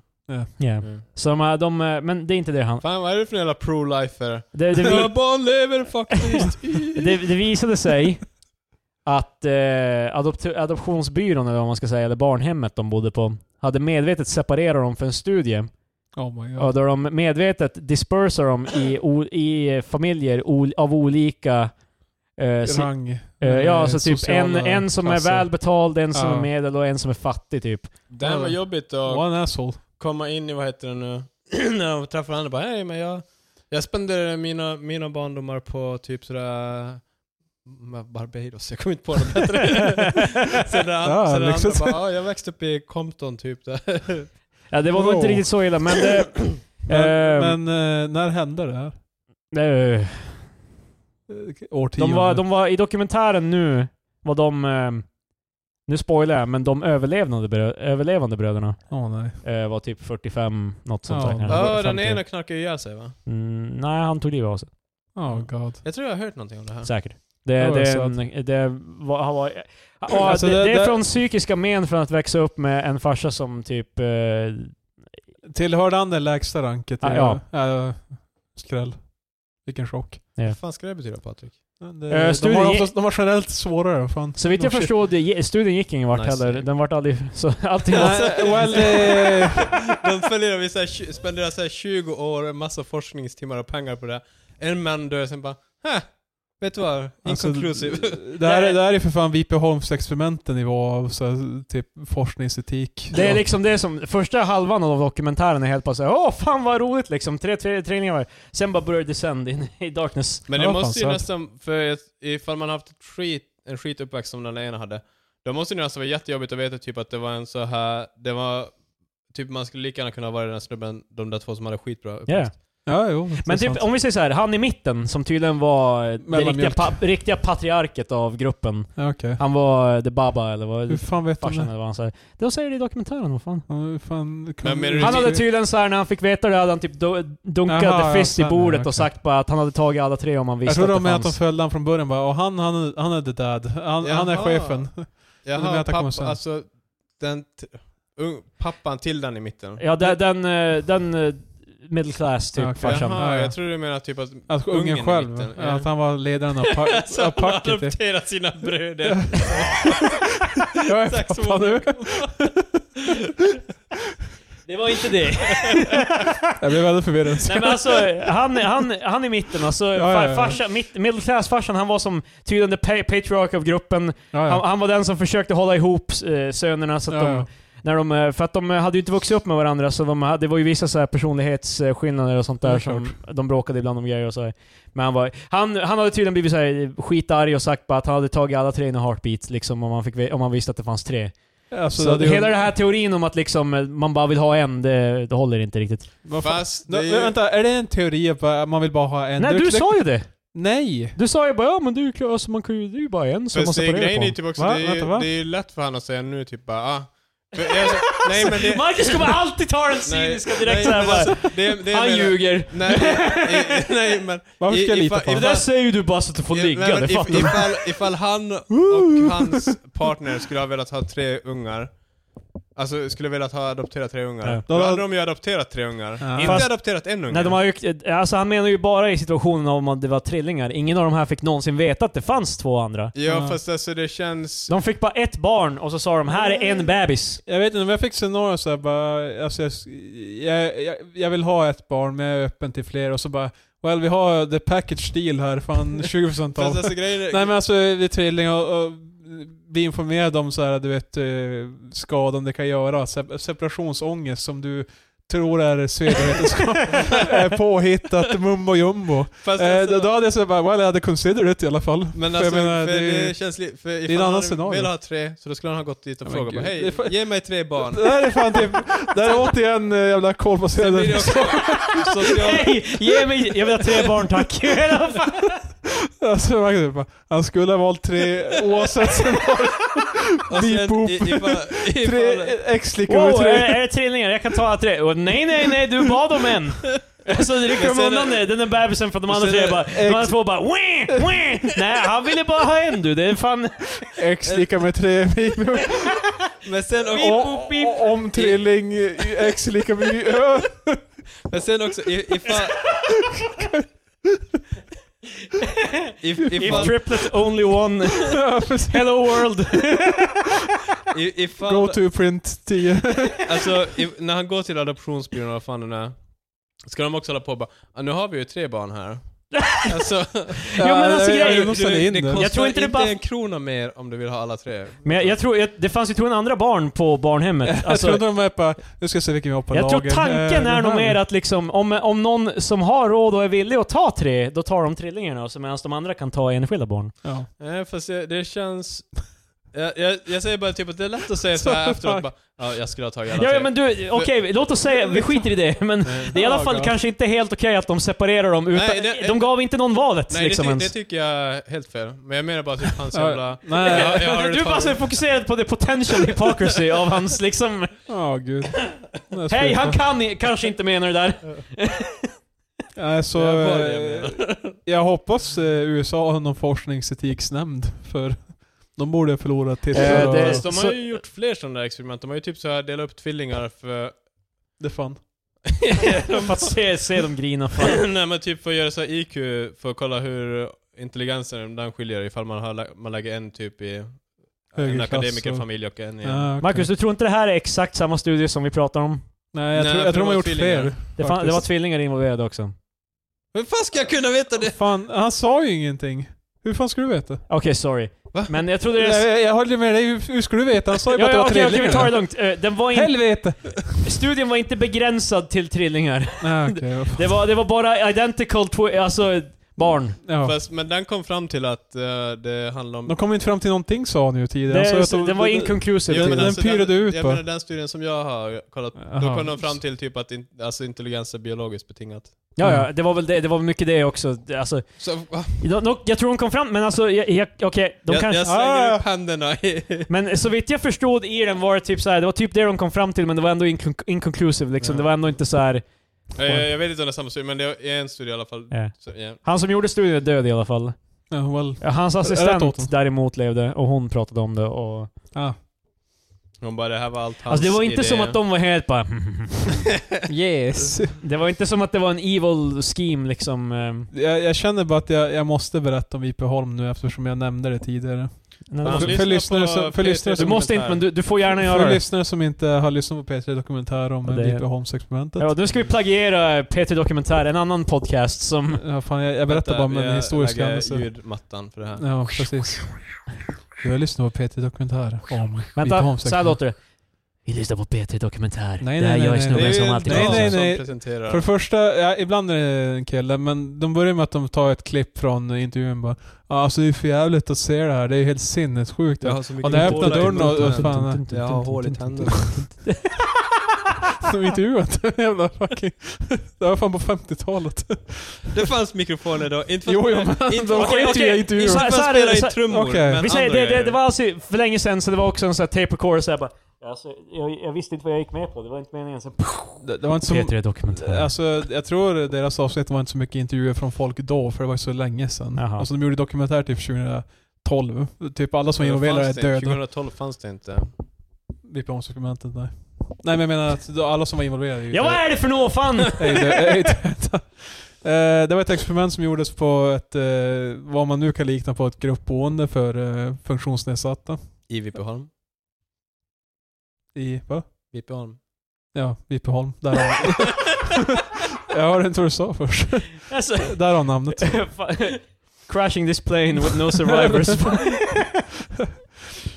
Speaker 2: Yeah.
Speaker 1: Mm.
Speaker 2: Så de, är- de, är- men det är inte det han...
Speaker 1: Fan vad är det för jävla pro-lifer?
Speaker 2: Det, det,
Speaker 1: Mina
Speaker 2: vi,
Speaker 1: barn lever faktiskt!
Speaker 2: det, det visade sig att eh, adopt, adoptionsbyrån, eller vad man ska säga, eller barnhemmet de bodde på, hade medvetet separerat dem för en studie.
Speaker 3: Oh my god.
Speaker 2: Och då de medvetet dispersar dem i, o, i familjer o, av olika... Eh, si-
Speaker 3: Rang.
Speaker 2: eh, ja, alltså typ
Speaker 3: sociala
Speaker 2: en, en som är
Speaker 3: klasser.
Speaker 2: välbetald, en som
Speaker 3: Ja.
Speaker 2: är medel och en som är fattig typ.
Speaker 1: Det här var jobbigt att
Speaker 3: One asshole.
Speaker 1: komma in i, vad heter det nu, när de träffar varandra bara hej men jag, jag spenderade mina, mina barndomar på typ sådär mm, Barbados, jag kom inte på något bättre. sen det
Speaker 3: Ja,
Speaker 1: andra, sen det
Speaker 3: liksom
Speaker 1: andra
Speaker 3: så.
Speaker 1: bara, ja, jag växte upp i Compton typ där.
Speaker 2: Ja, det var nog inte
Speaker 3: Wow.
Speaker 2: riktigt så illa, men det...
Speaker 3: Men,
Speaker 2: Ehm,
Speaker 3: men eh, när hände det här?
Speaker 2: eh,
Speaker 3: Eh, Årtionde?
Speaker 2: de, var, de var i dokumentären nu, var de... eh, Nu spoilar jag, men de överlevande, brö, överlevande bröderna
Speaker 3: Åh, nej.
Speaker 2: eh, var typ 45, något sånt
Speaker 3: Ja.
Speaker 2: där kanske.
Speaker 1: Ja, den
Speaker 2: 50.
Speaker 1: ena knarkade ihjäl sig va?
Speaker 2: Mm, nej, han tog livet av sig.
Speaker 3: Oh god.
Speaker 1: Jag tror jag har hört någonting om det här.
Speaker 2: Säkert. Det,
Speaker 3: Det
Speaker 2: det,
Speaker 3: var
Speaker 2: det,
Speaker 3: så att-
Speaker 2: en- det var... Han var ja,
Speaker 3: Alltså,
Speaker 2: det,
Speaker 3: det-
Speaker 2: det, är
Speaker 3: det-
Speaker 2: från psykiska men från att växa upp med en farsa som typ... eh,
Speaker 3: Tillhörde han det lägsta ranket? i-
Speaker 2: Ah,
Speaker 3: eh, skräll. Vilken chock.
Speaker 1: Vad fan ska det betyda Patrik?
Speaker 3: Men det-
Speaker 2: Eh,
Speaker 3: de,
Speaker 2: studien-
Speaker 3: har oftast, de har generellt svårare. Fan. Oh,
Speaker 2: så vitt jag
Speaker 3: De-
Speaker 2: förstod, det- studien gick ingen vart
Speaker 1: Nice.
Speaker 2: heller. Den vart aldrig... Så allting var
Speaker 3: Nej, well, eh,
Speaker 1: De spenderar, vi så här, tju- spenderar så här 20 år, en massa forskningstimmar och pengar på det. En man dör, sen bara Hä, vet du vad?
Speaker 3: alltså,
Speaker 1: Inconclusive.
Speaker 3: det, här, är- det här är för fan Vipeholms-experimenten nivå av så här, typ forskningsetik.
Speaker 2: Det är liksom det som, första halvan av dokumentären är helt bara såhär åh fan vad roligt liksom, tre tre- träningar var det." Sen bara börjar det descend in i darkness.
Speaker 1: Men det
Speaker 3: Ja, fan,
Speaker 1: måste ju
Speaker 3: sant.
Speaker 1: nästan, för ett- ifall man haft ett skit, en skituppväxt som den ena hade, då måste det nästan vara jättejobbigt att veta typ att det var en så här, det var, typ man skulle lika gärna kunna vara den här snubben, de där två som hade skitbra uppväxt.
Speaker 2: Ja.
Speaker 3: Ja, jo. det är
Speaker 2: Men
Speaker 3: sant.
Speaker 2: typ, om vi säger så här, han i mitten som tydligen var eh, det
Speaker 3: Mellanmjölk.
Speaker 2: riktiga, pa- riktiga patriarket av gruppen.
Speaker 3: Ja, Okej.
Speaker 2: Han var eh, the baba eller vad,
Speaker 3: Hur fan vet
Speaker 2: farsan
Speaker 3: han det?
Speaker 2: eller vad han säger. Det säger det i dokumentären, vad fan.
Speaker 3: Ja, hur fan kan-
Speaker 1: Men menar du typ-
Speaker 2: Han hade typ tydligen såhär, när han fick veta det hade han typ do- dunkat
Speaker 3: Jaha,
Speaker 2: the fist
Speaker 3: ja,
Speaker 2: i
Speaker 3: sen,
Speaker 2: bordet
Speaker 3: ja,
Speaker 2: och
Speaker 3: okej.
Speaker 2: sagt bara att han hade tagit alla tre om han
Speaker 3: Jag
Speaker 2: visste
Speaker 3: tror
Speaker 2: att det
Speaker 3: de menar att de
Speaker 2: fanns.
Speaker 3: följde han från början bara, och han, han, han är the dad. Han, han är
Speaker 1: Jaha.
Speaker 3: chefen.
Speaker 1: Jaha,
Speaker 3: menar att det kommer
Speaker 1: pappa,
Speaker 3: sen?
Speaker 1: alltså, den, t- ung- pappan till den i mitten.
Speaker 2: Ja, den, den, eh, den eh, middle class typ,
Speaker 3: Ja, okej.
Speaker 2: farsan.
Speaker 1: Jaha,
Speaker 3: Ja, ja.
Speaker 1: jag tror du menar typ att
Speaker 3: Att
Speaker 1: Ungen
Speaker 3: ungen
Speaker 1: i
Speaker 3: själv.
Speaker 1: mitten,
Speaker 3: ja,
Speaker 1: ja.
Speaker 3: Att han var ledaren av, pa
Speaker 1: Alltså,
Speaker 3: av
Speaker 1: han har
Speaker 3: packet.
Speaker 1: adopterat sina bröder.
Speaker 3: Jag är
Speaker 1: Exakt som
Speaker 3: pappa nu.
Speaker 2: Det var inte det.
Speaker 3: Jag blev väldigt förvirrad.
Speaker 2: Nej men alltså, han, han, han i mitten alltså.
Speaker 3: ja,
Speaker 2: far-
Speaker 3: ja.
Speaker 2: Farsan, mitt, middle class-farsan, han var som tydligen the pa- patriarch av gruppen.
Speaker 3: Ja,
Speaker 2: Han,
Speaker 3: ja.
Speaker 2: han var den som försökte hålla ihop eh, sönerna så att
Speaker 3: Ja,
Speaker 2: de...
Speaker 3: ja.
Speaker 2: När de, eh, för att de eh, hade ju inte vuxit upp med varandra, så de, hade- det var ju vissa så här personlighetsskillnader och sånt
Speaker 3: Det
Speaker 2: där
Speaker 3: är
Speaker 2: som de bråkade ibland om grejer och så. här. Men han, var, han, han hade tydligen blivit så här eh, skitarg och sagt bara att han hade tagit alla tre in i heartbeat, liksom, om, han fick, ve- om han visste att det fanns tre.
Speaker 3: Alltså,
Speaker 2: Så,
Speaker 3: det hade ju-
Speaker 2: hela den här teorin om att liksom, eh, man bara vill ha en, det, det håller inte riktigt.
Speaker 3: Vad fan-
Speaker 1: Fast det
Speaker 3: Nå,
Speaker 1: är ju,
Speaker 3: Vänta, är det en teori att bara- man vill bara ha en?
Speaker 2: Nej,
Speaker 3: Det-
Speaker 2: du
Speaker 3: det-
Speaker 2: sa ju det!
Speaker 3: Nej!
Speaker 2: Du sa ju bara ja men du är ju klar, alltså, man kan ju, det är ju bara en som man
Speaker 1: fast det är
Speaker 2: separerar
Speaker 1: grejen
Speaker 2: på.
Speaker 1: är ju typ också,
Speaker 3: Va?
Speaker 1: det, är,
Speaker 3: Vänta, va?
Speaker 1: det är ju lätt för han att säga nu typ bara ah. För jag- Nej men det...
Speaker 2: Marcus kommer alltid ta den cyniska direkt såhär
Speaker 1: men
Speaker 2: bara.
Speaker 1: alltså, det, det
Speaker 2: han
Speaker 1: menar-
Speaker 2: ljuger.
Speaker 1: Nej, i, i, nej men...
Speaker 3: Varför ska jag
Speaker 1: i-
Speaker 3: lita
Speaker 1: ifall-
Speaker 3: på
Speaker 2: Det
Speaker 3: honom?
Speaker 2: där säger ju du bara så att du får
Speaker 1: i- nej,
Speaker 2: ligga,
Speaker 1: men
Speaker 2: det
Speaker 1: if-
Speaker 2: fattar du.
Speaker 1: ifall, ifall han och hans partner skulle ha velat ha tre ungar Alltså, jag skulle velat ha adopterat tre ungar.
Speaker 2: Ja.
Speaker 1: Då hade de ju adopterat tre ungar.
Speaker 3: Ja.
Speaker 1: Inte
Speaker 2: Fast-
Speaker 1: adopterat en unge.
Speaker 2: Nej, de har ju, alltså han menar ju bara i situationen om att det var trillingar. Ingen av de här fick någonsin veta att det fanns två andra.
Speaker 1: Ja,
Speaker 3: Ja.
Speaker 1: fast alltså det känns...
Speaker 2: De fick bara ett barn och så sa de här är en bebis.
Speaker 3: Jag vet inte, men jag fick scenarion såhär bara, alltså jag, jag, jag, jag vill ha ett barn men jag är öppen till fler och så bara Well, vi har the package deal här, fan 20% av.
Speaker 1: Fast alltså grejen är-
Speaker 3: Nej men alltså, det är trillingar och, och bli informerad om så här, du vet, eh, skadan det kan göra. Se- Separationsångest som du tror är pseudovetenskap. eh, Påhittat mumbo jumbo.
Speaker 1: fast
Speaker 3: Eh,
Speaker 1: alltså-
Speaker 3: då, då hade jag sagt bara, well, I hade considered it i alla fall.
Speaker 1: Men
Speaker 3: För
Speaker 1: alltså,
Speaker 3: jag menar,
Speaker 1: för
Speaker 3: det är
Speaker 1: det,
Speaker 3: ju-
Speaker 1: känns lite... För
Speaker 3: ett
Speaker 1: ifall
Speaker 3: annat
Speaker 1: han hade
Speaker 3: scenario.
Speaker 1: velat ha tre, så då skulle han ha gått dit och
Speaker 3: Ja, men
Speaker 1: frågat bara
Speaker 3: gud. Det
Speaker 1: Hej,
Speaker 3: är fan-
Speaker 1: ge mig tre barn.
Speaker 3: Det här är fan typ, det här är återigen eh, jävla
Speaker 1: Sen blir
Speaker 3: kolbaserad.
Speaker 1: det också social...
Speaker 2: Hej! Ge mig... Jag vill ha tre barn tack.
Speaker 3: Alltså, man kan typ bara, han skulle ha valt tre oavsett scenario.
Speaker 2: Alltså,
Speaker 1: Och sen,
Speaker 3: Beep boop.
Speaker 1: i- ifall,
Speaker 3: Tre
Speaker 1: ifall,
Speaker 3: X lika med
Speaker 2: Wow, eh, är,
Speaker 3: tre.
Speaker 2: är det trillingar? Jag kan ta alla tre. Och, nej, nej, nej, du bad om en. Så rycker de
Speaker 1: sen-
Speaker 2: undan det. Den där bebisen från de andra
Speaker 1: sen är
Speaker 2: tre
Speaker 1: det
Speaker 2: bara... De andra två bara... "Wah, wah." Nej, han ville bara ha en du. Det är fan... eh.
Speaker 3: X lika med tre.
Speaker 1: men, sen
Speaker 2: Beep,
Speaker 1: också,
Speaker 2: boop, beep.
Speaker 3: Och Om trilling, eh, X lika med eh, Ö.
Speaker 1: men sen också i- ifall... If,
Speaker 2: If
Speaker 1: ifall,
Speaker 2: triplet only one. Hello world.
Speaker 1: i- ifall,
Speaker 3: Go to print 10.
Speaker 1: Alltså, i, när han går till adoptionsbyrån, eller vad fan den är. Ska de också hålla på och bara "Ah, nu har vi ju tre barn här. alltså,
Speaker 2: Jo, men alltså,
Speaker 3: jag,
Speaker 2: grejen-
Speaker 3: jag, måste
Speaker 1: du,
Speaker 3: in
Speaker 1: det
Speaker 3: det.
Speaker 1: kostar
Speaker 2: Jag tror
Speaker 1: inte,
Speaker 2: inte det bara-
Speaker 1: en krona mer om du vill ha alla tre.
Speaker 2: Men jag, jag tror... Jag, det fanns ju troligen andra barn på barnhemmet.
Speaker 3: jag tror
Speaker 2: Alltså,
Speaker 3: inte de är bara, nu ska jag se vilken vi har på
Speaker 2: jag tror
Speaker 3: lager. Eh,
Speaker 2: tanken
Speaker 3: den
Speaker 2: är nog
Speaker 3: här.
Speaker 2: mer att liksom, om, om någon som har råd och är villig att ta tre, då tar de trillingarna och så medan de andra kan ta enskilda barn.
Speaker 3: Ja.
Speaker 1: Nej, fast jag, det känns... Jag, jag, jag säger bara typ att det är lätt att säga så här
Speaker 3: Så
Speaker 1: efteråt
Speaker 3: fuck.
Speaker 1: bara, ja jag skulle ha tagit alla
Speaker 2: Ja,
Speaker 1: tre.
Speaker 2: ja men du, okej, låt oss säga, vi skiter i det, men
Speaker 1: Eh,
Speaker 2: det är i alla fall
Speaker 3: Ja,
Speaker 2: kanske inte helt okej att de separerar dem utan,
Speaker 1: Nej, det-
Speaker 2: de gav inte någon valet
Speaker 1: Nej
Speaker 2: liksom
Speaker 1: det, ty, det
Speaker 2: ens.
Speaker 1: tycker jag är helt fel. Men jag menar bara typ hans
Speaker 3: Ja.
Speaker 1: jävla...
Speaker 3: Nej.
Speaker 1: Ja, jag har
Speaker 2: du är
Speaker 1: det
Speaker 2: bara så
Speaker 1: tagit.
Speaker 2: fokuserad på the potential hypocrisy av hans liksom...
Speaker 3: Ja, gud. Den är
Speaker 2: Hej,
Speaker 3: slut.
Speaker 2: han kan i- kanske inte mena det där.
Speaker 3: Nej, så,
Speaker 1: Det var det jag
Speaker 3: jag, jag hoppas eh, USA har någon forskningsetiksnämnd för de borde ha förlorat till
Speaker 2: Eh, det-
Speaker 1: Fast de har
Speaker 2: så-
Speaker 1: ju gjort fler sådana där experiment. De har ju typ så här delat upp tvillingar för...
Speaker 3: det fan.
Speaker 2: För att se, se dem grina. Fan.
Speaker 1: Nej men typ för att göra så här IQ, för att kolla hur intelligensen den skiljer ifall man, har, lä- man lägger en typ i en
Speaker 3: Högre klass och-
Speaker 1: akademikerfamilj och en i en...
Speaker 3: Ja, okej.
Speaker 2: Marcus, du tror inte det här är exakt samma studie som vi pratar om?
Speaker 3: Nej,
Speaker 1: Nej,
Speaker 3: jag tror,
Speaker 1: för det
Speaker 3: jag tror de har
Speaker 1: var
Speaker 3: gjort
Speaker 1: tvillingar.
Speaker 3: fler.
Speaker 2: Det, fan, det var
Speaker 3: faktiskt.
Speaker 2: tvillingar involverade också.
Speaker 1: Hur fan ska jag kunna veta det?
Speaker 3: Fan, han sa ju ingenting. Hur fan skulle du veta?
Speaker 2: Okej, sorry.
Speaker 1: Va?
Speaker 2: Men jag trodde det...
Speaker 3: Jag, jag, jag håller med dig, hur, hur skulle du veta? Han sa ju
Speaker 2: Ja,
Speaker 3: bara
Speaker 2: ja,
Speaker 3: att det
Speaker 2: okej,
Speaker 3: var
Speaker 2: okej, vi
Speaker 3: trillingar.
Speaker 2: tar det lugnt. Eh, Den var in,
Speaker 3: Helvete!
Speaker 2: studien var inte begränsad till trillingar.
Speaker 3: Nej, okej. vad fan.
Speaker 2: Det var, det var bara identical twi- alltså barn.
Speaker 3: ja.
Speaker 1: Fast, men den kom fram till att eh, det handlar om...
Speaker 3: De kom inte fram till någonting sa han ju tidigare. Han sa
Speaker 2: Det,
Speaker 3: att de-
Speaker 2: den var
Speaker 3: de-
Speaker 2: inconclusive.
Speaker 1: Jo,
Speaker 3: den-
Speaker 1: men
Speaker 2: tydligen.
Speaker 1: alltså
Speaker 3: pyrade ut
Speaker 1: Jag
Speaker 3: bara.
Speaker 1: menar den studien som jag har kollat, då
Speaker 3: Jaha.
Speaker 1: kom de fram till typ att in, alltså intelligens är biologiskt betingat.
Speaker 2: Ja,
Speaker 1: Mm.
Speaker 2: ja, det var väl det, det var mycket det också. Det- Alltså,
Speaker 1: Så, va?
Speaker 2: de, de, jag tror de kom fram, men alltså, jag, jag, okej, de
Speaker 1: jag,
Speaker 2: kanske...
Speaker 1: jag slänger
Speaker 3: Ah.
Speaker 1: upp händerna i...
Speaker 2: Men så vitt jag förstod i den var det typ så här, det var typ det de kom fram till, men det var ändå inconc- inconclusive liksom.
Speaker 1: Ja.
Speaker 2: Det var ändå inte så här.
Speaker 1: Eh, jag vet inte om det är samma studie, men det är en studie i alla fall.
Speaker 2: Ja.
Speaker 1: Så, ja.
Speaker 2: eh. Han som gjorde studien är död i alla fall.
Speaker 3: Ja, well.
Speaker 2: Ja, Hans
Speaker 3: Rätt åt honom.
Speaker 2: assistent däremot levde, och hon pratade om det och...
Speaker 3: ah.
Speaker 1: Hon bara, det här var allt hans
Speaker 2: Alltså det var inte
Speaker 1: idé.
Speaker 2: som att de var helt bara...
Speaker 3: Yes.
Speaker 2: Det var inte som att det var en evil scheme liksom. eh,
Speaker 3: Jag, jag känner bara att jag, jag måste berätta om IP Holm nu eftersom jag nämnde det tidigare.
Speaker 2: nej,
Speaker 1: Fan,
Speaker 2: alltså,
Speaker 3: för,
Speaker 1: lyssna
Speaker 3: för, lyssnare
Speaker 1: på
Speaker 3: som, för,
Speaker 1: P3
Speaker 3: lyssnare
Speaker 2: Du
Speaker 3: som,
Speaker 2: måste inte, men du, du får gärna göra
Speaker 3: för
Speaker 2: det.
Speaker 3: lyssnare som inte har lyssnat på P3 Dokumentär om
Speaker 2: Ja, det är-
Speaker 3: IP Holms-experimentet.
Speaker 2: Ja, nu ska vi plagiera P3 Dokumentär, en annan podcast som...
Speaker 3: Ja, fan, jag, jag berättar bara om en historisk
Speaker 1: händelse.
Speaker 3: händelse.
Speaker 1: ljudmattan för det här.
Speaker 3: Ja, precis. Du har lyssnat på P3 Dokumentär om IP
Speaker 2: Vänta,
Speaker 3: Holms
Speaker 2: så här låter det. Vi lyssnar på P3 Dokumentär.
Speaker 3: Nej,
Speaker 2: det här
Speaker 3: nej,
Speaker 2: jag är
Speaker 3: nej,
Speaker 1: Det är ju
Speaker 2: snubben som
Speaker 1: en
Speaker 2: alltid
Speaker 1: dam
Speaker 3: Nej,
Speaker 2: pratar.
Speaker 3: nej, nej.
Speaker 1: som presenterar.
Speaker 3: För det första, ja, ibland är det en kille, men de börjar med att de tar ett klipp från intervjun bara. Ja, alltså det är för jävligt att se det här, det är ju helt sinnessjukt.
Speaker 1: Jag har så mycket
Speaker 3: Och när jag
Speaker 1: hål
Speaker 3: öppnar
Speaker 1: i
Speaker 3: dörren och-
Speaker 1: munnen.
Speaker 3: och fan-
Speaker 1: Jag har hål i tänderna.
Speaker 3: De intervjuat en jävla fucking... Det var fan på 50-talet.
Speaker 1: Det fanns mikrofoner då. Inte för
Speaker 3: Jo, jo, men
Speaker 1: inte
Speaker 3: de
Speaker 1: för-
Speaker 3: sket ju i intervjun.
Speaker 1: Inte för
Speaker 2: Så här-
Speaker 1: att
Speaker 2: så här
Speaker 1: spela
Speaker 2: är det,
Speaker 1: in
Speaker 2: så-
Speaker 1: trummor,
Speaker 3: okej.
Speaker 1: men
Speaker 2: Vi säger,
Speaker 1: andra
Speaker 2: det, det,
Speaker 1: grejer.
Speaker 2: det var alltså för länge sedan, så det var också en sån här tape recorder så jag bara... Alltså, jag, jag visste inte vad jag gick med på, det var inte meningen. Så...
Speaker 3: Det, det var inte så...
Speaker 2: P3 Dokumentär.
Speaker 3: Alltså, jag tror deras avsnitt var inte så mycket intervjuer från folk då, för det var så länge sedan.
Speaker 2: Jaha.
Speaker 3: Alltså de gjorde dokumentär typ 2012. Typ alla som var
Speaker 1: Men det
Speaker 3: involverade är
Speaker 1: fanns det inte.
Speaker 3: döda.
Speaker 1: 2012 fanns det inte.
Speaker 3: BPA-experimentet, nej. Nej men jag menar att då alla som var involverade är ju
Speaker 2: Ja vad är det för något fan?
Speaker 3: är ju dö- är ju döda. Eh, Det var ett experiment som gjordes på ett, eh, vad man nu kan likna på ett gruppboende för eh, funktionsnedsatta.
Speaker 1: I Vipeholm.
Speaker 3: I, va?
Speaker 1: Vipeholm.
Speaker 3: Ja, Vipeholm. Där har Jag hörde inte vad du sa först.
Speaker 2: Alltså,
Speaker 3: Där har namnet.
Speaker 2: fan. Crashing this plane with no survivors.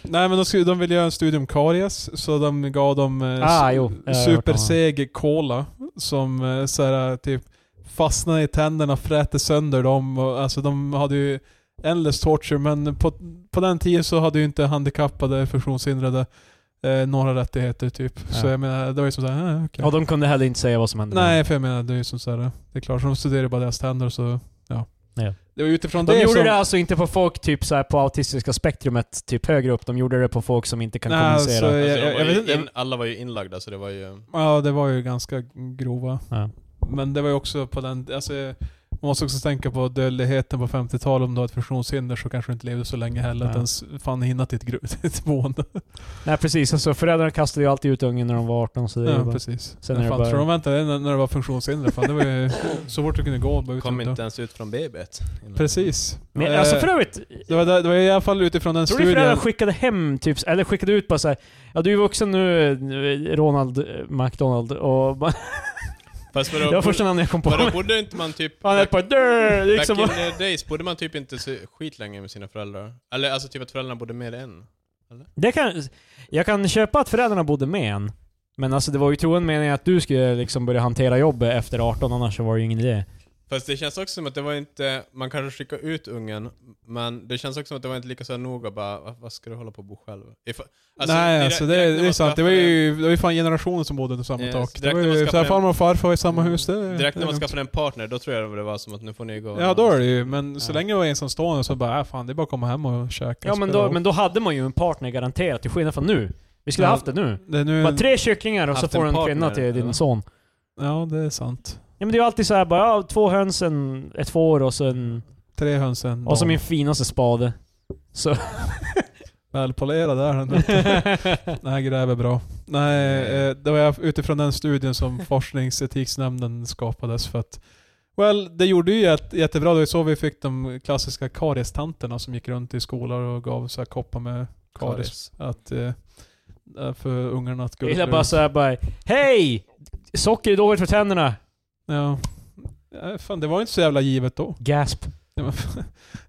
Speaker 3: Nej men de, skulle, de ville göra en studie om karies, så de gav dem eh,
Speaker 2: Ah, jo. Jag har hört om
Speaker 3: superseg cola som eh, så här, typ fastnade i tänderna, fräter sönder dem. Och, alltså de hade ju endless torture, men på, på den tiden så hade ju inte handikappade, funktionshindrade eh, några rättigheter typ. Så
Speaker 2: Ja.
Speaker 3: jag menar, det var ju som såhär, eh, okej.
Speaker 2: Och de kunde heller inte säga vad som hände.
Speaker 3: Nej, för jag menar, det är ju som såhär, det är klart, så de studerade bara deras tänder och så, ja.
Speaker 2: Ja.
Speaker 3: Det var utifrån
Speaker 2: De
Speaker 3: det
Speaker 2: gjorde
Speaker 3: som,
Speaker 2: det alltså inte på folk typ så här på autistiska spektrumet, typ högre upp. De gjorde det på folk som inte kan
Speaker 3: Nej, alltså,
Speaker 2: kommunicera.
Speaker 1: Alltså,
Speaker 3: jag,
Speaker 1: de
Speaker 3: jag,
Speaker 1: var
Speaker 3: jag vet
Speaker 1: ju
Speaker 3: inte,
Speaker 1: in, alla var ju inlagda så det var ju...
Speaker 3: Ja, det var ju ganska grova.
Speaker 2: Ja.
Speaker 3: Men det var ju också på den... Alltså, man måste också tänka på dödligheten på 50-talet. Om du har ett funktionshinder så kanske du inte levde så länge heller.
Speaker 2: Ja.
Speaker 3: Att ens fan hinna till ett, gru- till ett boende.
Speaker 2: Nej precis, alltså föräldrarna kastade ju alltid ut ungen när de var 18 så det är ju
Speaker 3: Ja,
Speaker 2: bara...
Speaker 3: precis.
Speaker 2: Sen
Speaker 3: Sen
Speaker 2: är det
Speaker 3: fan,
Speaker 2: bara-
Speaker 3: Tror de väntade när, när det var funktionshinder? Fan, det var ju så fort du kunde gå. Bara ut
Speaker 1: Kom
Speaker 3: och-
Speaker 1: inte ens ut från E BB't. innan.
Speaker 3: Precis.
Speaker 2: Men
Speaker 3: Eh,
Speaker 2: alltså för övrigt,
Speaker 3: det, var, där- det var i alla fall utifrån den
Speaker 2: tror du
Speaker 3: studien.
Speaker 2: föräldrar skickade hem typ, eller skickade ut bara såhär Ja du är vuxen nu, eh, Ronald eh, McDonald och... bara-
Speaker 1: Fast
Speaker 2: Det
Speaker 1: vadå,
Speaker 2: var första namnet jag kom på.
Speaker 1: vadå, borde inte man typ...
Speaker 2: Han är ett par dörr,
Speaker 1: back
Speaker 2: liksom.
Speaker 1: in the days borde man typ inte se skit länge med sina föräldrar. Eller alltså typ att föräldrarna borde med en.
Speaker 2: Det kan, jag kan köpa att föräldrarna bodde med en. Men alltså det var ju troen meningen att du skulle liksom börja hantera jobbet efter 18, annars så var det ju ingen idé.
Speaker 1: Fast det känns också som att det var inte, man kanske skickar ut ungen, men det känns också som att det var inte lika så här noga bara, "Va- vad ska du hålla på och bo själv? If,
Speaker 3: Nej, alltså det, det är sant. Det var ju, det var ju fan generationer som bodde under samma
Speaker 1: Yes,
Speaker 3: tak. Det
Speaker 1: direkt
Speaker 3: var
Speaker 1: när man
Speaker 3: ju så
Speaker 1: skaffade
Speaker 3: här,
Speaker 1: en-
Speaker 3: farmor och farfar var i samma hus. Det,
Speaker 1: Direkt när
Speaker 3: det-
Speaker 1: man skaffade en partner, då tror jag det var som att nu får ni gå.
Speaker 3: Ja då är det ju, men så
Speaker 2: Ja.
Speaker 3: länge jag var ensamstående så bara, äh, fan det är bara att komma hem och käka.
Speaker 2: Ja
Speaker 3: och
Speaker 2: men
Speaker 3: spela
Speaker 2: då,
Speaker 3: golf."
Speaker 2: men då hade man ju en partner garanterat, till skillnad från nu. Vi skulle
Speaker 3: Ja.
Speaker 2: haft det nu.
Speaker 3: det är nu,
Speaker 2: Bara tre kycklingar och så
Speaker 1: Haft
Speaker 2: får
Speaker 1: en
Speaker 2: du en
Speaker 1: partner,
Speaker 2: kvinna till
Speaker 1: eller?
Speaker 2: din son.
Speaker 3: Ja det är sant.
Speaker 2: Ja men det är ju alltid så här bara, ja, två höns, en, ett får och så en...
Speaker 3: Tre höns en
Speaker 2: Och så
Speaker 3: dam.
Speaker 2: min finaste spade. Så...
Speaker 3: Välpolerad är den. Den här gräver bra. Nej, eh, det var jag- utifrån den studien som forskningsetiksnämnden skapades för att Well, det gjorde ju jätte, jättebra. Det var ju så vi fick de klassiska kariestanterna som gick runt i skolor och gav så här koppar med karies.
Speaker 1: Karies.
Speaker 3: Att, eh, eh, för ungarna att gå
Speaker 2: Jag
Speaker 3: ut
Speaker 2: gillar
Speaker 3: och-
Speaker 2: bara såhär bara, Hej! Socker är dåligt för tänderna.
Speaker 3: Ja. Eh, Fan, det var ju inte så jävla givet då.
Speaker 2: Gasp.
Speaker 3: Ja, men-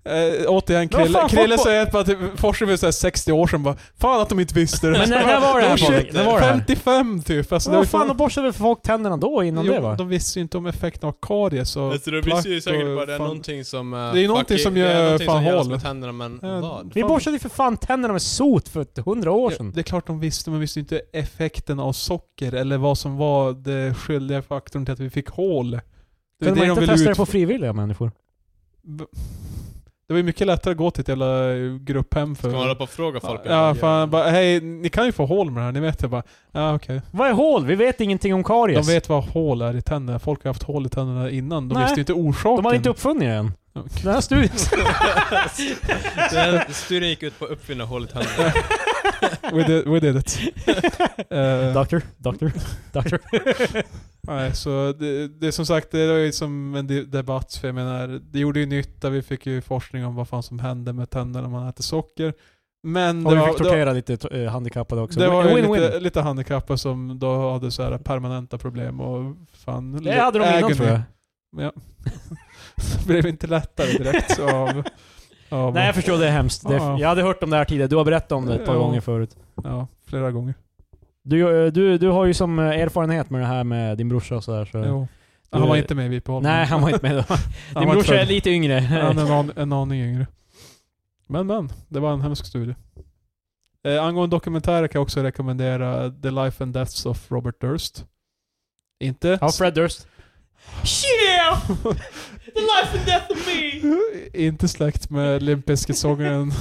Speaker 3: Eh, återigen,
Speaker 2: Men vad
Speaker 3: Krille,
Speaker 2: fan,
Speaker 3: Krille
Speaker 2: fotboll-
Speaker 3: säger att bara typ, forskning för så här 60 år sedan bara Fan att de inte visste det.
Speaker 2: Men när, när var det
Speaker 3: Oh,
Speaker 2: här Patrik? När var det här?
Speaker 3: 55 typ. Alltså, det var
Speaker 2: Vad
Speaker 3: ju
Speaker 2: fan, de borstade väl för folk tänderna då innan
Speaker 3: jo,
Speaker 2: det va?
Speaker 3: De visste ju inte om effekten av karies och
Speaker 1: Alltså det visste ju
Speaker 3: plack
Speaker 1: säkert
Speaker 3: och
Speaker 1: bara det är
Speaker 3: fan-
Speaker 1: någonting som... eh,
Speaker 3: är ju någonting
Speaker 1: fuck-
Speaker 3: som
Speaker 1: det är
Speaker 3: gör
Speaker 1: någonting
Speaker 3: fan
Speaker 1: som gör oss
Speaker 3: hål.
Speaker 1: med tänderna, men
Speaker 3: Ja,
Speaker 1: vad?
Speaker 2: Vi
Speaker 3: fan.
Speaker 2: borstade ju för fan tänderna med sot för hundra år
Speaker 3: Ja,
Speaker 2: sedan.
Speaker 3: det är klart de visste, men visste ju inte effekten av socker eller vad som var det skyldiga faktorn till att vi fick hål. Det är
Speaker 2: Kunde
Speaker 3: det
Speaker 2: man
Speaker 3: de
Speaker 2: inte
Speaker 3: ville
Speaker 2: testa det
Speaker 3: ut...
Speaker 2: på frivilliga människor?
Speaker 3: Det var ju mycket lättare att gå till ett jävla grupphem för...
Speaker 1: Ska man hålla på och fråga folk?
Speaker 3: Ja, fan bara hej, ni kan ju få hål med det här, ni vet det bara. Ja, okej.
Speaker 2: Vad är hål? Vi vet ingenting om karies.
Speaker 3: De vet vad hål är i tänderna. Folk har haft hål i tänderna innan. De
Speaker 2: Nej.
Speaker 3: visste ju inte orsaken.
Speaker 2: De hade inte uppfunnit det än.
Speaker 3: Okej.
Speaker 2: Den här studien...
Speaker 1: Den här studien gick ut på att uppfinna hål i tänderna.
Speaker 3: We did, we did it. Eh,
Speaker 2: Doctor, doctor, doctor.
Speaker 3: nej, så det, det är som sagt, det var ju som en de- debatt. För jag menar, det gjorde ju nytta. Vi fick ju forskning om vad fan som händer med tänderna när man äter socker. Men
Speaker 2: Och
Speaker 3: det
Speaker 2: vi
Speaker 3: var,
Speaker 2: fick
Speaker 3: det var-
Speaker 2: tortera lite eh, handikappade också.
Speaker 3: det var ju
Speaker 2: Win-win.
Speaker 3: lite, lite handikappade som då hade så här permanenta problem och fan...
Speaker 2: Det hade de innan tror jag.
Speaker 3: Det blev inte lättare direkt av... av
Speaker 2: Nej jag förstår, det är hemskt. Det är,
Speaker 3: Ja.
Speaker 2: jag hade hört om det här tidigare, du har berättat om det ett par
Speaker 3: Ja.
Speaker 2: gånger förut.
Speaker 3: Ja, flera gånger.
Speaker 2: Du, eh, du, du har ju som eh, erfarenhet med det här med din brorsa och sådär. Så.
Speaker 3: Jo.
Speaker 2: Du-
Speaker 3: Han var inte med i Vipeholm.
Speaker 2: Nej, han var inte med då.
Speaker 3: Han
Speaker 2: Din
Speaker 3: var
Speaker 2: brorsa
Speaker 3: född.
Speaker 2: är lite yngre.
Speaker 3: Han är en, an, en aning yngre. Men men, det var en hemsk studie. Eh, angående dokumentärer kan jag också rekommendera The Life and Deaths of Robert Durst. Inte...
Speaker 2: Ja, Fred Durst. Yeah! The life and death of me!
Speaker 3: inte släkt med Limp Bizkit-sångaren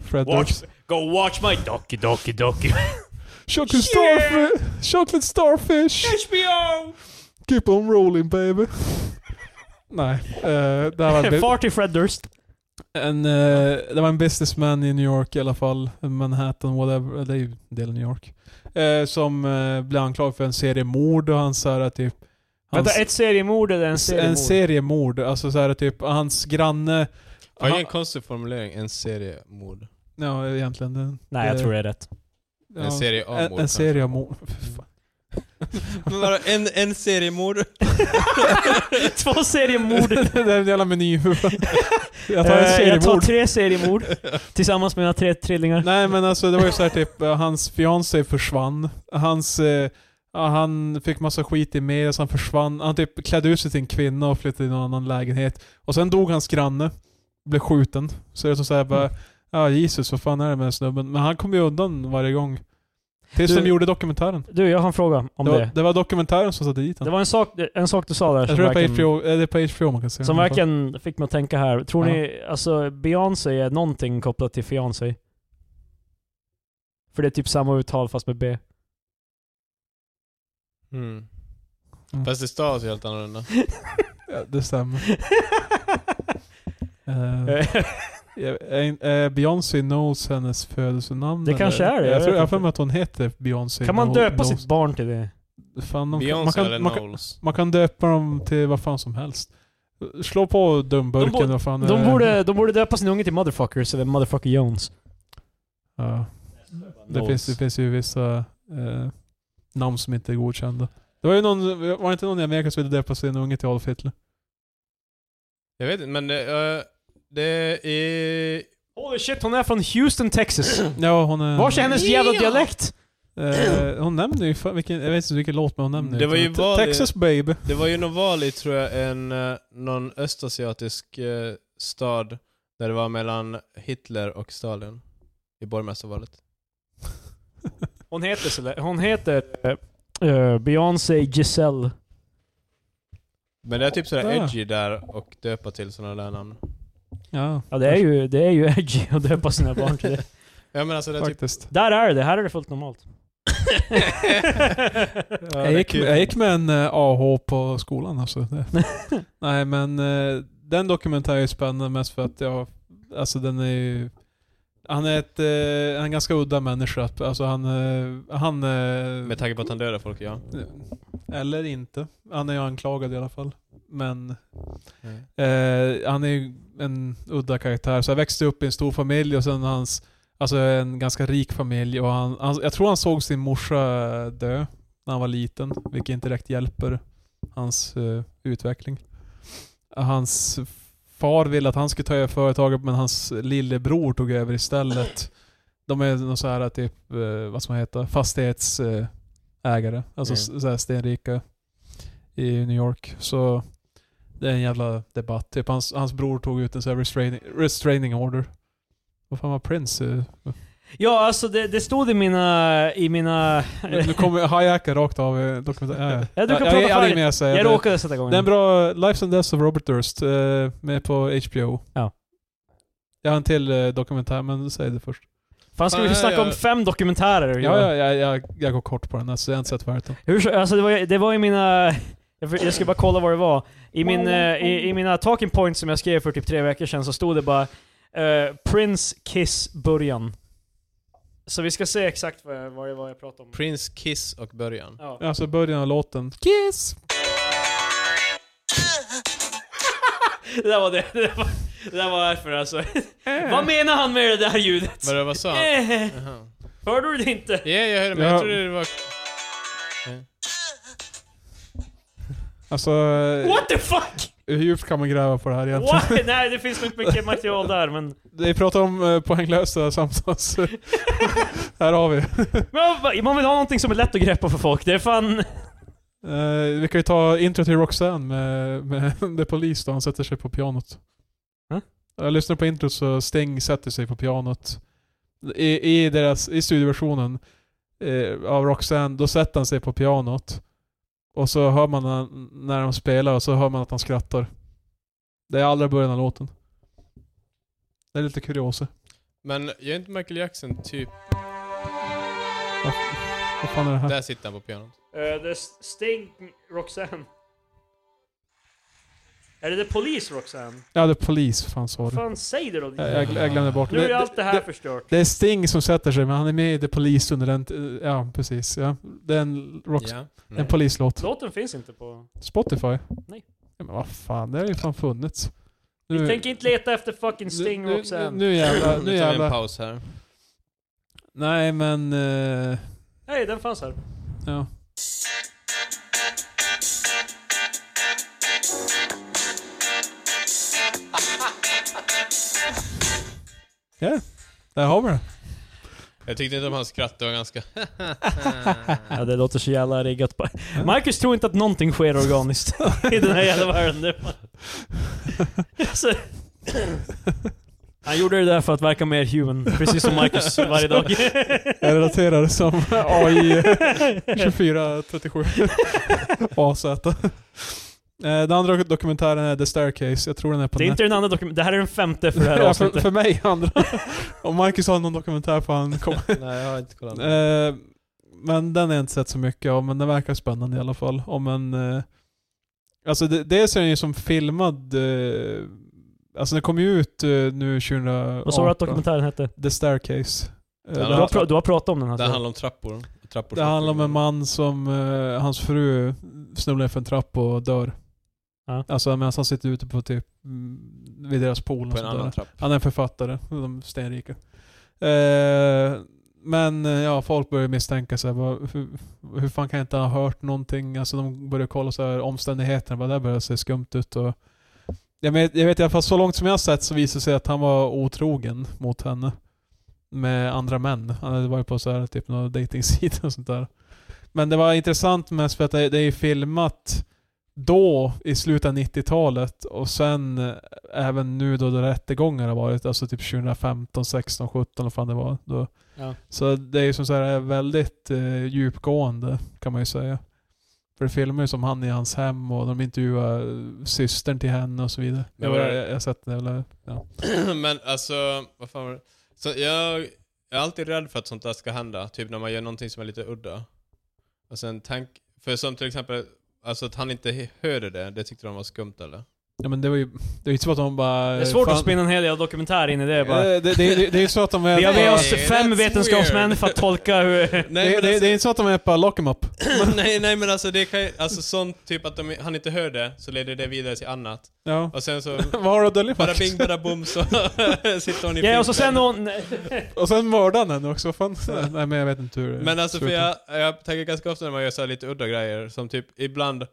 Speaker 3: Fred Durst.
Speaker 2: go watch my doki doki doki.
Speaker 3: Chocolate, starfi- chocolate starfish!
Speaker 2: HBO!
Speaker 3: Keep on rolling baby! Nej, eh, det här var...
Speaker 2: Far till Fred Durst.
Speaker 3: En, eh, det var en businessman i New York i alla fall, Manhattan, whatever, det är ju del av New York. Eh, som eh, blev anklagad för en serie mord och han så här typ...
Speaker 2: Vänta,
Speaker 3: hans-
Speaker 2: ett seriemord eller en seriemord?
Speaker 3: en serie mord, alltså så här typ hans granne...
Speaker 1: Var det
Speaker 3: han,
Speaker 1: en konstig formulering? En serie mord.
Speaker 3: ja, egentligen. Den,
Speaker 2: Nej, jag tror det är rätt.
Speaker 3: Ja,
Speaker 1: En serie av mord
Speaker 3: En, en
Speaker 1: kanske.
Speaker 3: serie av mord.
Speaker 1: Men vadå, en, en serie mord?
Speaker 2: Två seriemord.
Speaker 3: det är en jävla meny i huvudet. Jag tar en
Speaker 2: Eh,
Speaker 3: serie
Speaker 2: jag tar
Speaker 3: mord.
Speaker 2: tre seriemord tillsammans med mina tre trillingar.
Speaker 3: Nej men alltså det var ju så här typ, eh, hans fiancé försvann. Hans... Eh, ja, han fick massa skit i media så han försvann. Han typ klädde ut sig till en kvinna och flyttade till en annan lägenhet. Och sen dog hans granne. Blev skjuten. Så det är som såhär
Speaker 2: Mm.
Speaker 3: bara... Ja, Jesus, vad fan är det med den snubben? Men han kom ju undan varje gång. Tills
Speaker 2: Du-
Speaker 3: de gjorde dokumentären.
Speaker 2: Du, jag har en fråga om
Speaker 3: Det
Speaker 2: det.
Speaker 3: var, det var dokumentären som satte dit
Speaker 2: Det
Speaker 3: honom.
Speaker 2: var en sak, en sak du sa där
Speaker 3: Jag tror det är på HBO, eh, det är på HBO man kan se
Speaker 2: som
Speaker 3: honom.
Speaker 2: verkligen fick mig att tänka här. Tror
Speaker 3: Ja.
Speaker 2: ni, alltså Beyoncé är någonting kopplat till Fiancé? För det är typ samma uttal fast med B. Eh,
Speaker 1: Mm.
Speaker 3: Mm.
Speaker 1: Fast det stavas ju helt annorlunda.
Speaker 3: Ja, det stämmer. Eh, jag- eh, eh, Beyoncé knows hennes födelsenamn.
Speaker 2: Det kanske är det, jag
Speaker 3: Jag, tror,
Speaker 2: vet
Speaker 3: jag har
Speaker 2: inte.
Speaker 3: för mig att hon heter Beyoncé.
Speaker 2: kan man
Speaker 3: Kno-
Speaker 2: döpa
Speaker 3: knows.
Speaker 2: sitt barn till det?
Speaker 3: Fan, de, man,
Speaker 1: Beyoncé eller
Speaker 3: kan, man, kan,
Speaker 1: Knowles.
Speaker 3: man kan döpa dem till vad fan som helst. Slå på dumburken,
Speaker 2: De bo-
Speaker 3: vad fan är
Speaker 2: De
Speaker 3: det?
Speaker 2: borde, de borde döpa sin unge till Motherfuckers eller Motherfucker Jones.
Speaker 3: Ja. Det, finns, det finns ju vissa eh, namn som inte är godkända. Det var ju någon, var det inte någon i Amerika som ville döpa sin unge till Adolf Hitler?
Speaker 1: Jag vet inte, men det, eh, det är...
Speaker 2: Holy shit, hon är från Houston, Texas.
Speaker 3: Ja, hon är...
Speaker 2: Vars är hennes jävla
Speaker 1: Ja.
Speaker 2: dialekt?
Speaker 3: Eh, hon nämnde ju, fan vilken, jag vet inte vilken låt men hon nämnde
Speaker 1: Det var ju
Speaker 3: Te-
Speaker 1: val i-
Speaker 3: Texas baby.
Speaker 1: Det var ju någon val i, tror jag, en, eh, någon östasiatisk eh, stad där det var mellan Hitler och Stalin i borgmästarvalet.
Speaker 2: Hon heter, så- hon heter eh, eh, Beyoncé Giselle.
Speaker 1: Men det är typ sådär
Speaker 3: Ja.
Speaker 1: edgy där och döpa till sådana där namn.
Speaker 3: Ja,
Speaker 2: Ja, det är ju, det är ju edgy att döpa sina barn till det.
Speaker 1: Ja men alltså det är typ...
Speaker 3: faktiskt.
Speaker 2: Där är det, här är det fullt normalt.
Speaker 1: typ- Ja,
Speaker 3: jag,
Speaker 1: det är
Speaker 3: gick,
Speaker 1: kul.
Speaker 3: jag gick med en eh, AH på skolan alltså. Det- Nej men eh, den dokumentären är ju spännande mest för att jag, alltså den är ju han är ett, eh, han är en ganska udda människa. Alltså han, eh, han... eh,
Speaker 1: Med tanke på att han dödar folk, ja.
Speaker 3: Eller inte. Han är ju anklagad i alla fall. Men
Speaker 1: Nej.
Speaker 3: Eh, han är ju en udda karaktär. Så jag växte upp i en stor familj och sen hans, alltså en ganska rik familj. Och han, han, jag tror han såg sin morsa dö när han var liten, vilket inte direkt hjälper hans eh, utveckling. Hans far ville att han skulle ta över företaget men hans lillebror tog över istället. De är någon så här typ, eh, vad ska man heta, fastighetsägare. Alltså
Speaker 1: Mm.
Speaker 3: mm. så här stenrika i New York. Så det är en jävla debatt. Typ hans, hans bror tog ut en sån här restraining, restraining order. Vad fan var Prince? eh?
Speaker 2: Ja, alltså det, det stod i mina... I mina
Speaker 3: Nu nu kommer jag hajacka rakt av eh, dokumentären. Ja,
Speaker 2: Ja, du kan
Speaker 3: jag,
Speaker 2: prata
Speaker 3: jag, jag,
Speaker 2: färdigt.
Speaker 3: jag, jag, säga.
Speaker 2: jag
Speaker 3: Det-
Speaker 2: råkade sätta igång
Speaker 3: Det är en
Speaker 2: den.
Speaker 3: bra Lives and Deaths of Robert Durst eh, med på HBO.
Speaker 2: Ja.
Speaker 3: Jag har en till eh, dokumentär, men säg det först.
Speaker 2: Fan, ska vi
Speaker 1: Fan,
Speaker 2: snacka
Speaker 1: jag-
Speaker 2: om fem dokumentärer?
Speaker 3: Ja, ja, jag, jag, jag går kort på den här, så jag har inte sett färdigt den.
Speaker 2: Hur, så- alltså det var, det var i mina... Jag för- jag ska bara kolla vad det var. I, min, eh, i, I mina talking points som jag skrev för typ tre veckor sedan så stod det bara eh, Prince Kiss början. Så vi ska se exakt vad, vad det var jag pratade om.
Speaker 1: Prince, Kiss och början.
Speaker 2: Ja.
Speaker 3: Alltså början av låten. Kiss!
Speaker 2: Det där var det. Det där var, det där var därför alltså. Vad menar han med det där ljudet?
Speaker 1: Vadå, Eh. vad sa han?
Speaker 2: Eh,
Speaker 1: Jaha.
Speaker 2: Hörde du det inte?
Speaker 1: Ja, jag hörde, men
Speaker 3: Ja.
Speaker 1: jag trodde det var...
Speaker 3: Alltså, eh,
Speaker 2: What the fuck?
Speaker 3: hur djupt kan man gräva på det här egentligen?
Speaker 2: What? Nej, det finns nog inte mycket material där men...
Speaker 3: Vi pratar om eh, poänglösa samtal, så här har vi det.
Speaker 2: Men vad- Man vill ha någonting som är lätt att greppa för folk. Det är fan...
Speaker 3: Eh, vi kan ju ta intro till Roxanne med, med The Police då han sätter sig på pianot.
Speaker 2: Mm.
Speaker 3: Jag lyssnar på introt så Sting sätter sig på pianot. I, i, deras, i studioversionen eh, av Roxanne, då sätter han sig på pianot. Och så hör man när, när de spelar och så hör man att han skrattar. Det är allra början av låten. Det är lite kuriosa.
Speaker 1: Men gör inte Michael Jackson typ...
Speaker 3: Vad fan är det här?
Speaker 1: Där sitter han på pianot.
Speaker 2: Uh, det är Sting, Roxanne. Är det The Police Roxanne?
Speaker 3: Ja, The Police. Fan, sorry.
Speaker 2: Fan, säg det då!
Speaker 3: Jag, jag, jag glömde bort
Speaker 2: Nu är allt det här
Speaker 3: det,
Speaker 2: förstört.
Speaker 3: det är Sting som sätter sig, men han är med i The Police under den... t- Ja, precis. Ja. Det är en, rock,
Speaker 1: Ja. Mm.
Speaker 3: en Police-låt.
Speaker 2: Låten finns inte på...
Speaker 3: Spotify?
Speaker 2: Nej.
Speaker 3: Ja, men vad fan, det har ju fan funnits.
Speaker 2: Vi tänker inte leta efter fucking Sting
Speaker 3: nu, nu,
Speaker 2: Roxanne.
Speaker 3: nu jävlar, nu
Speaker 1: Nu tar vi en
Speaker 3: jävlar.
Speaker 1: paus här.
Speaker 3: Nej men... eh,
Speaker 2: Nej, den fanns här.
Speaker 3: ja. Ja, där har vi det.
Speaker 1: Jag tyckte inte om hans skratt, det var ganska...
Speaker 2: Ja, det låter så jävla riggat. på- Marcus tror inte att någonting sker organiskt i den här jävla världen. Det är bara- alltså. Han gjorde det där för att verka mer human, precis som Marcus varje dag.
Speaker 3: Jag relaterar det som AI 2437 AZ. Eh, Den andra dokumentären är The Staircase. Jag tror den är på
Speaker 2: Det är inte den andra dokumentären, det här är den femte för det här
Speaker 3: Ja, för,
Speaker 2: avsnittet.
Speaker 3: för mig andra. Om Marcus har någon dokumentär får han komma.
Speaker 1: Nej, jag har inte kollat.
Speaker 3: Eh, men den har jag inte sett så mycket av, men den verkar spännande i alla fall. Om en, eh, alltså det, dels är den ju som filmad, eh, alltså den kom ju ut eh, nu 2018.
Speaker 2: Vad sa du att dokumentären hette?
Speaker 3: The Staircase.
Speaker 1: Den
Speaker 3: Eh,
Speaker 2: Du
Speaker 1: Ja,
Speaker 2: har,
Speaker 1: har-
Speaker 2: pra- du har pratat om den
Speaker 1: Det
Speaker 2: här.
Speaker 1: handlar om trappor. trappor
Speaker 3: det
Speaker 1: som
Speaker 3: handlar om
Speaker 1: flyger.
Speaker 3: en man som, eh, hans fru snubblar för en trappa och dör.
Speaker 2: Ja.
Speaker 3: Alltså medan han sitter ute på typ, mm, vid deras pool. och
Speaker 1: På en
Speaker 3: sånt
Speaker 1: annan
Speaker 3: där.
Speaker 1: trapp.
Speaker 3: Han är en författare, de är stenrika. Eh, men eh, ja, folk börjar misstänka så här, vad, hur, hur fan kan jag inte ha hört någonting? Alltså de börjar kolla så här omständigheterna, bara där börjar det se skumt ut och... Jag vet, jag vet i alla fall så långt som jag har sett så visar det sig att han var otrogen mot henne. Med andra män. Han hade varit på så här typ någon dejtingsida och sånt där. Men det var intressant mest för att det, det är filmat då i slutet av 90-talet och sen eh, även nu då det rättegångar har varit, alltså typ 2015, 16, 17 och fan det var då.
Speaker 2: Ja.
Speaker 3: Så det är ju som så här väldigt eh, djupgående kan man ju säga. För det filmar ju som han i hans hem och de intervjuar eh, systern till henne och så vidare.
Speaker 1: Men
Speaker 3: Jag,
Speaker 1: var
Speaker 3: jag,
Speaker 1: det-
Speaker 3: jag har sett det, eller, ja.
Speaker 1: Men alltså, vad fan var det? Så jag, jag är alltid rädd för att sånt där ska hända. Typ när man gör någonting som är lite udda. Och sen tänk, för som till exempel, alltså att han inte he- hörde det, det tyckte de var skumt eller?
Speaker 3: ja men det var ju, det är ju inte så att de bara...
Speaker 2: Det är svårt
Speaker 3: fan-
Speaker 2: att spinna en hel jävla dokumentär in i det bara.
Speaker 3: Eh, Det, det, det, det är ju så att de är...
Speaker 2: Vi har med oss
Speaker 1: Nej,
Speaker 2: fem
Speaker 1: that's
Speaker 2: vetenskapsmän
Speaker 1: weird.
Speaker 2: för att tolka hur...
Speaker 1: Nej,
Speaker 3: det,
Speaker 1: men
Speaker 3: det,
Speaker 1: alltså-
Speaker 3: det är inte så att de är på lock 'em up.
Speaker 1: nej, nej men alltså det kan ju, alltså sånt typ att de, han inte hörde, så leder det vidare till annat.
Speaker 3: Ja.
Speaker 1: Och sen så,
Speaker 3: Vad har du att dölja
Speaker 1: bara
Speaker 3: Marcus?
Speaker 1: bing bara bom så sitter hon i
Speaker 2: Ja, och så
Speaker 1: filmen.
Speaker 2: sen hon...
Speaker 3: Och sen mördade han henne också. Fan. Nej men jag vet inte hur det
Speaker 1: Men alltså för
Speaker 3: slutar.
Speaker 1: jag, jag tänker ganska ofta när man gör så här lite udda grejer, som typ ibland,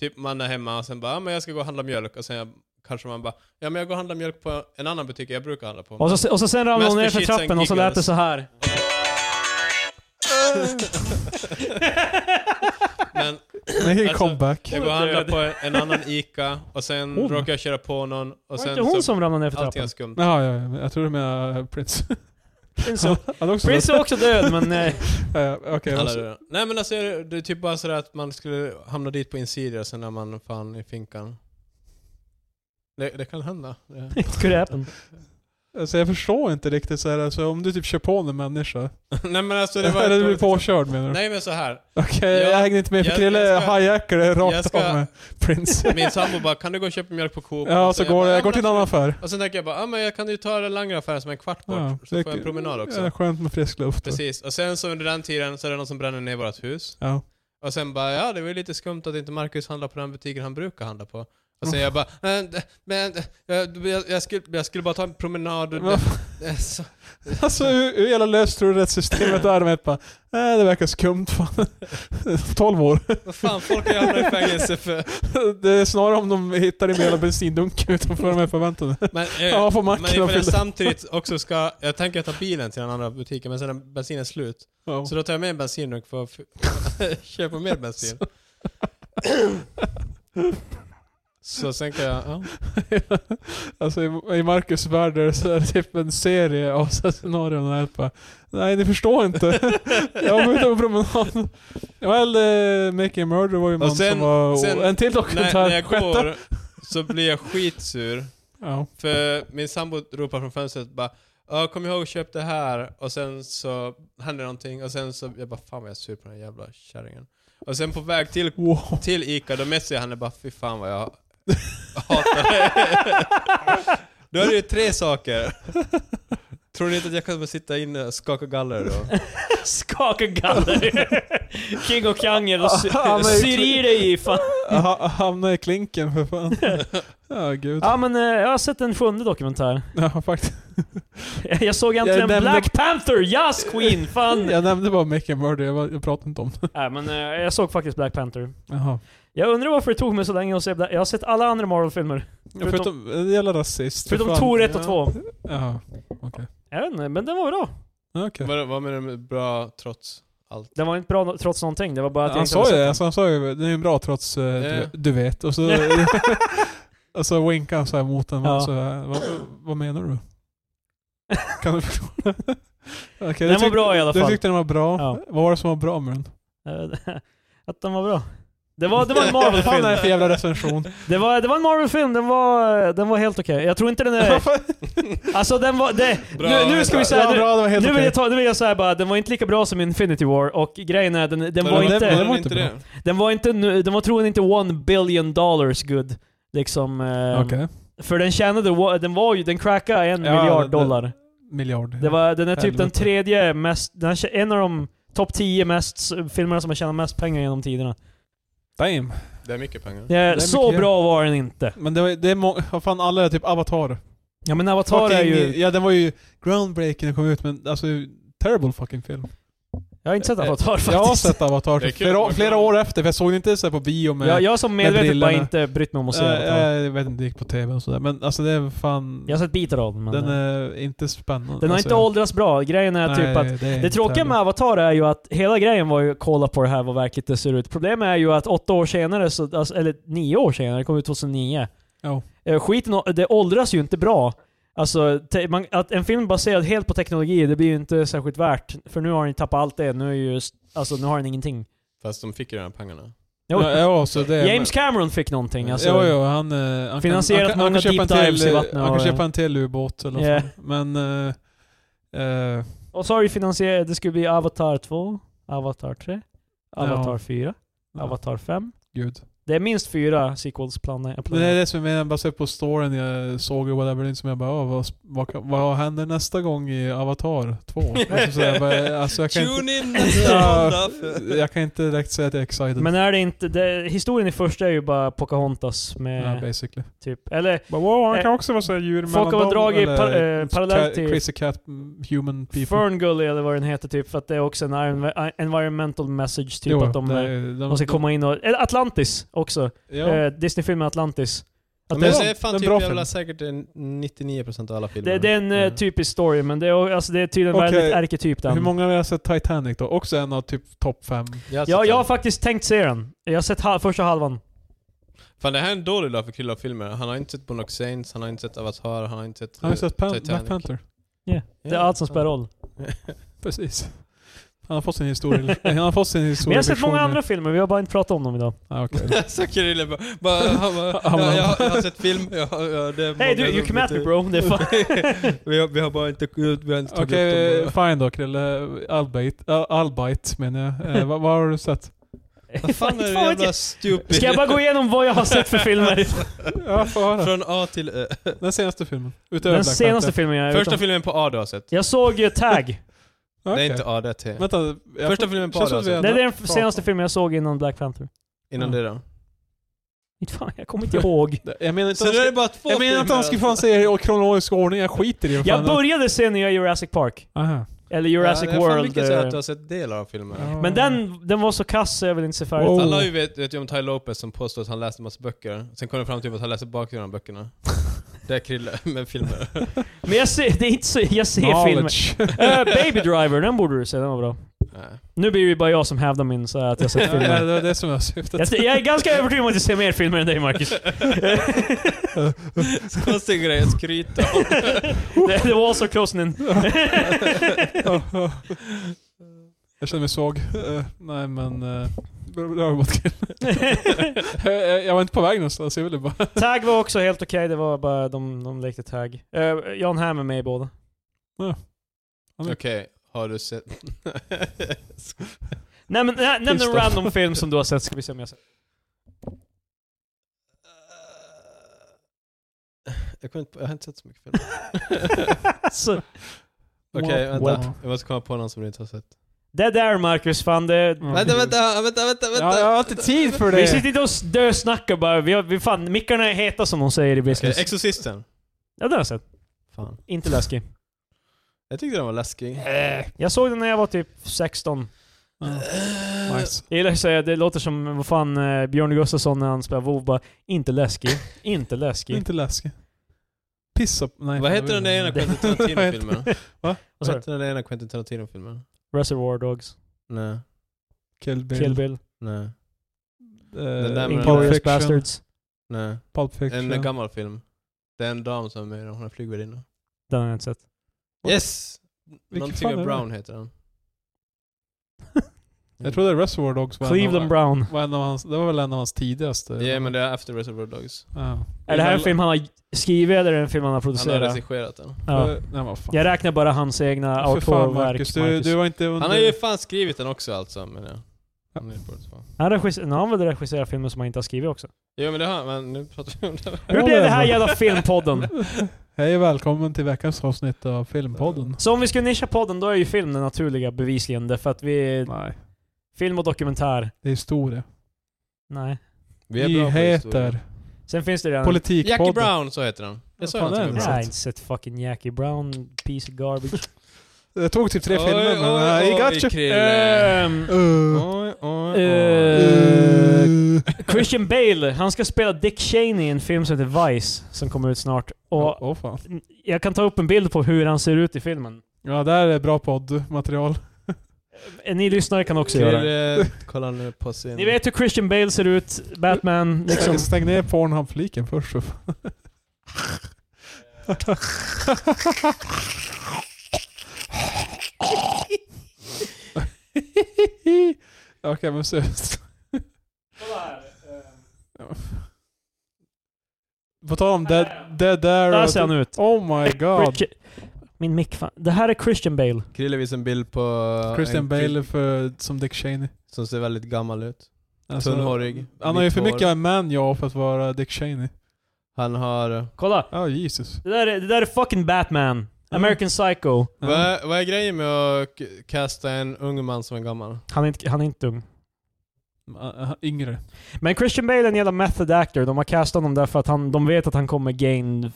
Speaker 1: typ man är hemma och sen bara, ja men jag ska gå och handla mjölk, och sen jag, kanske man bara, ja men jag går och handlar mjölk på en annan butik jag brukar handla på.
Speaker 2: Och så, och så sen ramlade
Speaker 1: Mest
Speaker 2: hon ner för
Speaker 1: för shits
Speaker 2: trappen
Speaker 1: and
Speaker 2: och så lät det
Speaker 1: giggles.
Speaker 2: så här.
Speaker 1: Men
Speaker 3: Men det är
Speaker 1: alltså,
Speaker 3: comeback.
Speaker 1: jag går och handlar på en annan ICA, och sen
Speaker 3: Hon?
Speaker 1: råkar jag köra på någon, och
Speaker 2: Oh. Var det
Speaker 1: sen
Speaker 2: inte hon
Speaker 1: så,
Speaker 2: som ramlade ner för
Speaker 1: allting är
Speaker 2: trappen?
Speaker 1: skumt.
Speaker 3: Jaha, ja, ja, jag tror du menar Prince.
Speaker 2: Prince,
Speaker 3: Han också
Speaker 2: Prince är också död, men... eh,
Speaker 3: Ja, ja, Okej,
Speaker 1: Alla
Speaker 3: alltså,
Speaker 1: det. Nej men alltså det är typ bara sådär att man skulle hamna dit på insidier sen när man fan i finkan. Det, det kan hända. Det-
Speaker 2: It could happen.
Speaker 3: alltså, jag förstår inte riktigt så här, alltså, om du typ kör på en människa.
Speaker 1: Nej men alltså det var...
Speaker 3: Eller du blir påkörd menar du?
Speaker 1: Nej men så här.
Speaker 3: Okej,
Speaker 1: Ja,
Speaker 3: jag hänger inte med för
Speaker 1: jag-
Speaker 3: Krille
Speaker 1: jag ska-
Speaker 3: hijackar det
Speaker 1: jag
Speaker 3: rakt
Speaker 1: ska-
Speaker 3: av med Prince.
Speaker 1: Min sambo bara, kan du gå och köpa mjölk på Coop?
Speaker 3: Ja,
Speaker 1: Och
Speaker 3: så går
Speaker 1: bara,
Speaker 3: jag,
Speaker 1: "Ja,
Speaker 3: jag går
Speaker 1: men
Speaker 3: till en annan affär.
Speaker 1: Och sen tänker jag bara, ja men jag kan ju ta den längre affären som är en kvart bort,
Speaker 3: Ja,
Speaker 1: så
Speaker 3: det-
Speaker 1: får jag en promenad också.
Speaker 3: Ja, skönt med frisk luft.
Speaker 1: Precis, och sen så under den tiden så är det någon som bränner ner vårt hus.
Speaker 3: Ja.
Speaker 1: Och sen bara, ja det var ju lite skumt att inte Marcus handlar på den butiken han brukar handla på. Och sen jag bara, men, men jag, jag, jag, skulle, jag skulle bara ta en promenad. Eh,
Speaker 3: Men-
Speaker 1: Så-
Speaker 3: Alltså hur, hur jävla löst tror du rättssystemet är? De är bara, nej det verkar skumt fan. 12 år.
Speaker 1: Vad fan, folk har ju hamnat i fängelse för...
Speaker 3: Det är snarare om de hittar en hela bensindunken utanför de här förväntade.
Speaker 1: Men, eh,
Speaker 3: Ja, får
Speaker 1: men
Speaker 3: macken
Speaker 1: ifall
Speaker 3: och
Speaker 1: jag
Speaker 3: fylla.
Speaker 1: samtidigt också ska... Jag tänker jag ta bilen till den andra butiken, men sen är bensinen slut.
Speaker 3: Ja.
Speaker 1: Så då tar jag med en bensindunk för att f- köpa mer bensin. Så sen kan jag... Ja.
Speaker 3: alltså i- i Marcus värld är det så här typ en serie av så här scenarion och hjälpa. Nej, ni förstår inte. jag var ute på promenad. Well, eh, Making a Murder var ju en man
Speaker 1: Och sen-
Speaker 3: som var...
Speaker 1: sen-
Speaker 3: en till
Speaker 1: När,
Speaker 3: dokumentär.
Speaker 1: när jag
Speaker 3: Sjätte.
Speaker 1: går så blir jag skitsur.
Speaker 3: Ja.
Speaker 1: För min sambo ropar från fönstret bara Ja, kom ihåg att köpa det här. Och sen så händer någonting. Och sen så, jag bara fan vad jag är sur på den här jävla kärringen. Och sen på väg till
Speaker 3: Wow.
Speaker 1: till Ica, då mässade jag henne bara fy fan vad jag hatar det. Då är det ju tre saker. Tror ni inte att jag kommer sitta inne och skaka galler då?
Speaker 2: Skaka galler. King och Kanger och sy-
Speaker 3: Ja, men-
Speaker 2: syr i dig i fan.
Speaker 3: Ha- Hamna i klinken för fan. Ja, gud.
Speaker 2: Ja men eh, jag har sett en sjunde dokumentär.
Speaker 3: Ja, faktiskt.
Speaker 2: Jag såg äntligen
Speaker 3: nämnde-
Speaker 2: Black Panther, yes Queen, fan!
Speaker 3: Jag nämnde bara Make a Murder, jag, var- jag pratade inte om det.
Speaker 2: Nej men eh, jag såg faktiskt Black Panther.
Speaker 3: Jaha.
Speaker 2: Jag undrar varför det tog mig så länge att se Black... Jag har sett alla andra Marvel-filmer.
Speaker 3: Förutom, Förutom en jävla rasist. för
Speaker 2: Förutom
Speaker 3: fan.
Speaker 2: Tor 1 och
Speaker 3: Ja.
Speaker 2: 2.
Speaker 3: Ja, okej.
Speaker 2: Jag vet inte, men den var bra.
Speaker 3: Ja, okej.
Speaker 1: Vad, vad menar du med bra trots allt?
Speaker 2: Den var inte bra no- trots någonting, det var bara att jag
Speaker 3: Han
Speaker 2: inte hade
Speaker 3: sa ju
Speaker 2: sett
Speaker 3: det,
Speaker 2: den.
Speaker 3: alltså, han sa ju den är ju bra trots eh,
Speaker 1: Ja.
Speaker 3: du, du vet. Och så, och så winkade han så här mot den.
Speaker 2: Ja.
Speaker 3: Så här, vad, vad menar du? Kan du förklara? okay,
Speaker 2: Den var bra i alla
Speaker 3: Du
Speaker 2: fall.
Speaker 3: tyckte den var bra.
Speaker 2: Ja.
Speaker 3: Vad var det som var bra med den?
Speaker 2: Eh, att den var bra. Det var, det var en Marvel-film.
Speaker 3: Vad är det för jävla recension?
Speaker 2: Det var, det var en Marvel-film, den var, den var helt okej. Jag tror inte den är... Alltså den var... Det,
Speaker 1: Bra,
Speaker 2: nu, nu ska vi
Speaker 3: det
Speaker 2: säga...
Speaker 3: var
Speaker 2: Nu,
Speaker 3: bra, det var helt
Speaker 2: nu vill
Speaker 3: okej.
Speaker 2: jag, ta, nu vill jag säga bara, den var inte lika bra som Infinity War och grejen är den, den
Speaker 1: Men
Speaker 3: den-
Speaker 2: var inte...
Speaker 3: den-
Speaker 1: var
Speaker 3: den var
Speaker 1: inte
Speaker 3: inte
Speaker 1: det.
Speaker 2: Den var inte, nu- den var troligen inte one billion dollars good. Liksom. ehm,
Speaker 3: Okej.
Speaker 2: För den tjänade, wa- den var ju, den crackade en
Speaker 3: Ja,
Speaker 2: miljard
Speaker 3: det-
Speaker 2: dollar.
Speaker 3: Miljard.
Speaker 2: Det var, den är typ den
Speaker 3: Helvete.
Speaker 2: tredje mest, den är en av de topp 10 mest s- filmerna som har tjänat mest pengar genom tiderna.
Speaker 3: Damn.
Speaker 1: Det är mycket pengar.
Speaker 2: Eh,
Speaker 3: är
Speaker 2: så
Speaker 3: mycket.
Speaker 2: bra var den inte.
Speaker 3: Men det, var, det är många, vad fan alla är typ Avatar.
Speaker 2: Ja men Avatar är ju...
Speaker 3: Ja den var ju groundbreaking när den kom ut men alltså terrible fucking film.
Speaker 2: Jag har inte sett
Speaker 3: Eh,
Speaker 2: Avatar faktiskt.
Speaker 3: Jag har sett Avatar
Speaker 1: Det är kul,
Speaker 3: flera,
Speaker 1: man
Speaker 3: flera
Speaker 1: kan-
Speaker 3: år efter för jag såg den inte så här på bio med...
Speaker 2: jag, jag har som medvetet bara
Speaker 3: brillorna.
Speaker 2: inte brytt mig om att se
Speaker 3: Eh,
Speaker 2: Avatar.
Speaker 3: eh, jag vet inte, det gick på TV och sådär. Men alltså det är fan...
Speaker 2: Jag har sett bitar av den men...
Speaker 3: den
Speaker 2: eh,
Speaker 3: är inte spännande.
Speaker 2: Den har
Speaker 3: alltså,
Speaker 2: inte åldrats bra. Grejen är typ att
Speaker 3: det, är
Speaker 2: Det
Speaker 3: inte
Speaker 2: tråkiga med
Speaker 3: terrible.
Speaker 2: Avatar är ju att hela grejen var ju kolla på det här vad verkligt det ser ut. Problemet är ju att åtta år senare, så, alltså, eller nio år senare, det kom ut 2009.
Speaker 3: Ja.
Speaker 2: Eh, Skiten, å- det åldras ju inte bra. Alltså, te, man, att en film baserad helt på teknologi, det blir ju inte särskilt värt. För nu har den tappat allt det. Nu, är ju, s- alltså, nu har den ingenting.
Speaker 1: Fast de fick ju de här pengarna.
Speaker 2: Jo.
Speaker 3: Ja, ja, så det,
Speaker 2: James Cameron fick någonting. Alltså.
Speaker 3: Jo, jo, han, eh, han kan-
Speaker 2: Finansierat
Speaker 3: han kan- han
Speaker 2: många
Speaker 3: kan köpa en
Speaker 2: deep dives
Speaker 3: till,
Speaker 2: i vattnet
Speaker 3: Han
Speaker 2: och-
Speaker 3: kan köpa en till ubåt eller
Speaker 2: Ja.
Speaker 3: yeah. Men... eh, eh,
Speaker 2: Och så har vi finansierat, det skulle bli Avatar 2, Avatar 3, Avatar 4, Avatar 5.
Speaker 3: gud.
Speaker 2: Det är minst fyra sequels planerade.
Speaker 3: Det är det som jag menar, baserat på storyn jag såg i Whatever Lin som jag bara "Ah, vad, vad, kan- vad händer nästa gång i Avatar 2? alltså, så jag, bara, alltså, jag, kan inte,
Speaker 1: Tune in
Speaker 3: Ja,
Speaker 1: nästa måndag!
Speaker 3: jag kan inte direkt säga att jag är excited.
Speaker 2: Men är det inte, det, historien i första är ju bara Pocahontas
Speaker 3: ja,
Speaker 2: med
Speaker 3: basically.
Speaker 2: typ, eller
Speaker 3: Men wow, han
Speaker 2: Eh,
Speaker 3: kan också vara såhär djur
Speaker 2: folk
Speaker 3: mellan
Speaker 2: har väl
Speaker 3: dem,
Speaker 2: dragit
Speaker 3: eller
Speaker 2: par- eh, parallellt
Speaker 3: ca-
Speaker 2: till-
Speaker 3: Crazy Cat mm, Human People.
Speaker 2: Ferngully eller vad den heter typ, för att det är också en env- environmental message typ
Speaker 3: Jo,
Speaker 2: att de,
Speaker 3: det
Speaker 2: är-
Speaker 3: är- de,
Speaker 2: de ska komma in och, eller Atlantis också,
Speaker 3: Ja.
Speaker 2: eh, Disney-filmen Atlantis. Att
Speaker 1: Men
Speaker 2: det,
Speaker 1: det
Speaker 2: är,
Speaker 1: är fan
Speaker 3: en
Speaker 1: typ
Speaker 3: bra
Speaker 1: jävla
Speaker 3: film.
Speaker 1: säkert en 99% av alla filmer.
Speaker 2: det, det är en eh,
Speaker 1: Mm.
Speaker 2: typisk story, men det är, alltså, det är tydligen
Speaker 3: Okej.
Speaker 2: väldigt arketyp den.
Speaker 3: Hur många har sett Titanic då? Också en av typ topp fem.
Speaker 1: har
Speaker 2: ja,
Speaker 1: sett
Speaker 2: jag
Speaker 1: den.
Speaker 2: har faktiskt tänkt se den. Jag har sett hal- första halvan.
Speaker 1: Fan det här är en dålig dag för Krille av filmer. Han har inte sett Bonox Saints, han har inte sett Avatar, han har inte sett...
Speaker 3: Har ni
Speaker 1: eh,
Speaker 3: sett Pan-
Speaker 1: Titanic.
Speaker 3: Black Panther?
Speaker 2: Det är allt som spelar roll.
Speaker 3: Precis. Han har fått sin historia. han har fått sin historia.
Speaker 2: Men jag har sett många andra filmer, vi har bara inte pratat om dem idag.
Speaker 3: Ah, okej.
Speaker 1: Så Krille bara... bara, han bara
Speaker 3: Han bara-
Speaker 1: ja, jag, har- jag har sett film, jag, har- ja, det är många
Speaker 2: Hey du, you
Speaker 1: som
Speaker 2: come at me
Speaker 1: inte-
Speaker 2: bro. Det är fan-
Speaker 1: vi, har, vi har bara inte, vi har inte tagit
Speaker 3: Okej, eh,
Speaker 1: upp dem.
Speaker 3: fine då Krille. Albite, uh, Albite menar jag. Eh, vad, vad har du sett?
Speaker 1: Vad fan är det
Speaker 2: Fan,
Speaker 1: jävla stupid?
Speaker 2: Ska jag bara gå igenom vad jag har sett för filmer?
Speaker 3: Ja, få höra.
Speaker 1: Från A till Ö.
Speaker 3: Den senaste filmen. Utöver
Speaker 2: Den
Speaker 3: Black
Speaker 2: senaste
Speaker 3: Panther.
Speaker 2: filmen jag
Speaker 1: Första filmen på A du har sett.
Speaker 2: Jag såg ju Tag.
Speaker 3: Okej.
Speaker 1: Nej inte A, det är T.
Speaker 3: Vänta. jag
Speaker 1: Första
Speaker 3: får-
Speaker 1: filmen på
Speaker 3: känns
Speaker 1: Adam
Speaker 3: som vi
Speaker 2: Det är
Speaker 3: ändå-
Speaker 2: den senaste filmen jag såg innan Black Panther.
Speaker 1: Innan
Speaker 3: Ja.
Speaker 1: det då.
Speaker 2: Inte fan, jag kommer inte ihåg.
Speaker 3: Jag menar inte
Speaker 1: Så
Speaker 3: att han
Speaker 1: det är
Speaker 3: ska-
Speaker 1: bara två
Speaker 3: jag menar inte att han
Speaker 1: filmer
Speaker 3: skulle fan säga det i kronologisk ordning. Jag skiter i det.
Speaker 2: Jag
Speaker 3: fan.
Speaker 2: började se nya Jurassic Park.
Speaker 3: Aha.
Speaker 2: Eller Jurassic
Speaker 1: Ja, det är fan
Speaker 2: World.
Speaker 1: mycket så
Speaker 2: eh,
Speaker 1: att du har sett delar av filmen.
Speaker 3: Ja.
Speaker 2: Men den, den var så kass så jag vill inte se färdigt.
Speaker 3: Wow.
Speaker 1: Alla har ju vet, vet ju om Ty Lopez som påstår att han läste en massa böcker. Sen kom det fram till att han läste bakgrunden av böckerna. Det är Krille med filmer.
Speaker 2: Men jag ser, det är inte så, jag ser filmer.
Speaker 3: Knowledge.
Speaker 2: Eh, Baby Driver, den borde du se, den var bra.
Speaker 1: Nej.
Speaker 2: Nu blir det ju bara jag som hävdar min så här att jag sett
Speaker 3: Ja, ja,
Speaker 2: filmer.
Speaker 3: det är det som är syftet.
Speaker 2: Jag, jag är ganska övertygad om att jag ser mer filmer än dig Marcus.
Speaker 1: Så Konstig grej att skryta om.
Speaker 2: Det, det var så Closnin.
Speaker 3: jag känner mig svag. Eh, nej men... Uh, Robotkill. Eh, jag, jag var inte på väg någonstans, jag ville bara...
Speaker 2: Tag var också helt okej, det var bara de, de lekte tag. Eh, Jan Hamm är med i båda.
Speaker 1: Okej, har du sett...
Speaker 2: Nej men nä- nämn en
Speaker 3: Kristoff.
Speaker 2: random film som du har sett ska vi se om jag har sett.
Speaker 1: Jag, kunde inte, jag har inte sett så mycket film.
Speaker 2: Så,
Speaker 1: Okej, vänta. Jag måste komma på någon som du inte har sett.
Speaker 2: det där Marcus, fan det...
Speaker 3: Mm.
Speaker 1: Vänta, vänta, vänta, vänta, vänta!
Speaker 3: Ja, jag har inte tid för
Speaker 2: Vi
Speaker 3: det!
Speaker 2: sitter inte och dösnackar bara. Vi, har, vi fan, mickarna är heta som de säger i
Speaker 1: Okej,
Speaker 2: business.
Speaker 1: Exorcisten.
Speaker 2: ja, det har jag sett.
Speaker 1: Fan.
Speaker 2: Inte läskig.
Speaker 1: Jag tyckte den var läskig.
Speaker 3: Äh.
Speaker 2: Jag såg den när jag var typ 16.
Speaker 3: Ja. Nice.
Speaker 2: Jag gillar att säga, det låter som, vad fan, eh, Björn Gustafsson när han spelar WoW bara, inte läskig, inte läskig.
Speaker 3: Inte läskig. Piss upp. Nej,
Speaker 1: Vad
Speaker 3: fan,
Speaker 1: heter
Speaker 3: det
Speaker 1: den
Speaker 3: var-
Speaker 1: där ena Quentin Tarantino-filmen?
Speaker 2: Vad
Speaker 1: Vad
Speaker 2: sa du?
Speaker 1: heter den där ena Quentin Tarantino-filmen?
Speaker 2: Reservoir Dogs,
Speaker 1: Nej,
Speaker 3: Kill Bill.
Speaker 2: Kill Bill,
Speaker 1: nej,
Speaker 3: Eh,
Speaker 1: Den där med-
Speaker 3: Pulp
Speaker 2: Inglourious
Speaker 3: Fiction.
Speaker 2: Bastards.
Speaker 1: nej.
Speaker 3: Pulp
Speaker 1: En
Speaker 3: Fiction.
Speaker 1: eh, gammal film. Det är en dam som är med i den, hon är flygvärdinna.
Speaker 2: Den har jag inte sett.
Speaker 1: Yes!
Speaker 3: Vilken
Speaker 1: Någonting
Speaker 3: fan är
Speaker 1: av
Speaker 3: det?
Speaker 1: Brown heter den.
Speaker 3: Jag trodde Reservoir Dogs var
Speaker 2: Cleveland Brown.
Speaker 3: var en av hans, det var väl en av hans tidigaste?
Speaker 1: Ja men det är efter Reservoir Dogs.
Speaker 3: Ja.
Speaker 2: Är det här en
Speaker 1: Inglour-
Speaker 2: film han har skrivit eller är det en film han har
Speaker 1: Han har
Speaker 2: producerat?
Speaker 1: regisserat den.
Speaker 2: Ja.
Speaker 3: Eh, Nej, vad fan.
Speaker 2: Jag räknar bara hans egna
Speaker 3: För fan
Speaker 2: autorverk.
Speaker 3: Marcus, du, du var inte under...
Speaker 1: Han har ju fan skrivit den också alltså, men ja. Han är på det, så.
Speaker 2: Han regisserar, han har väl regisserat filmer som han inte har skrivit också.
Speaker 1: Jo men det har men nu pratar vi om det.
Speaker 2: Hur blev det här jävla filmpodden?
Speaker 3: Hej och välkommen till veckans avsnitt av Filmpodden.
Speaker 2: Så om vi skulle nischa podden, då är ju film den naturliga bevisligen. Därför att vi...
Speaker 3: Nej,
Speaker 2: Film och dokumentär.
Speaker 3: det är historia.
Speaker 2: Nej.
Speaker 1: Vi
Speaker 3: Vi
Speaker 1: historia.
Speaker 3: heter
Speaker 2: Sen finns det redan...
Speaker 1: Jackie
Speaker 3: Politikpodden.
Speaker 1: Brown, så heter den. Jag sa
Speaker 3: Vad fan
Speaker 1: någonting
Speaker 3: är
Speaker 1: om
Speaker 3: det?
Speaker 2: Nej,
Speaker 1: den.
Speaker 2: jag har inte sett fucking Jackie Brown, piece of garbage.
Speaker 3: Det tog typ tre
Speaker 1: Oj,
Speaker 3: filmer, men
Speaker 1: oj,
Speaker 3: eh, I
Speaker 1: oj,
Speaker 3: got you.
Speaker 1: Krille.
Speaker 2: Ehm,
Speaker 3: Eh,
Speaker 1: Oj, oj,
Speaker 2: eh, Christian Bale, han ska spela Dick Cheney i en film som heter Vice, som kommer ut snart. Och
Speaker 3: Åh, åh, fan.
Speaker 2: jag kan ta upp en bild på hur han ser ut i filmen.
Speaker 3: Ja, det här är bra poddmaterial.
Speaker 2: Eh, Ni lyssnare kan också göra det.
Speaker 1: Krille kollar nu på sin...
Speaker 2: Ni vet hur Christian Bale ser ut, Batman, liksom.
Speaker 3: Stäng, eh, stäng ner Pornhub-fliken först. för fan. Okej, men seriöst. På tal om det det där...
Speaker 2: Där ser han ut.
Speaker 3: Oh my god.
Speaker 2: Richard- Min mick fan. Det här är Christian Bale.
Speaker 1: Krille visar en bild på...
Speaker 3: Christian
Speaker 1: en
Speaker 3: Bale för, som Dick Cheney.
Speaker 1: Som ser väldigt gammal ut.
Speaker 3: Alltså,
Speaker 1: Tunnhårig,
Speaker 3: Han har ju
Speaker 1: vitt
Speaker 3: för
Speaker 1: hår.
Speaker 3: mycket man-ja för att vara Dick Cheney.
Speaker 1: Han har...
Speaker 2: Kolla!
Speaker 3: Ja, Jesus.
Speaker 2: Det där är, det där är fucking
Speaker 3: Mm.
Speaker 2: Batman. American Psycho.
Speaker 3: Ja.
Speaker 1: Vad, är, vad är grejen med att k- kasta en ung man som en gammal?
Speaker 2: Han är inte, han är inte ung.
Speaker 3: Ah, ah, Yngre.
Speaker 2: Men Christian Bale är en jävla method actor. De har castat honom därför att han, de vet att han kommer gain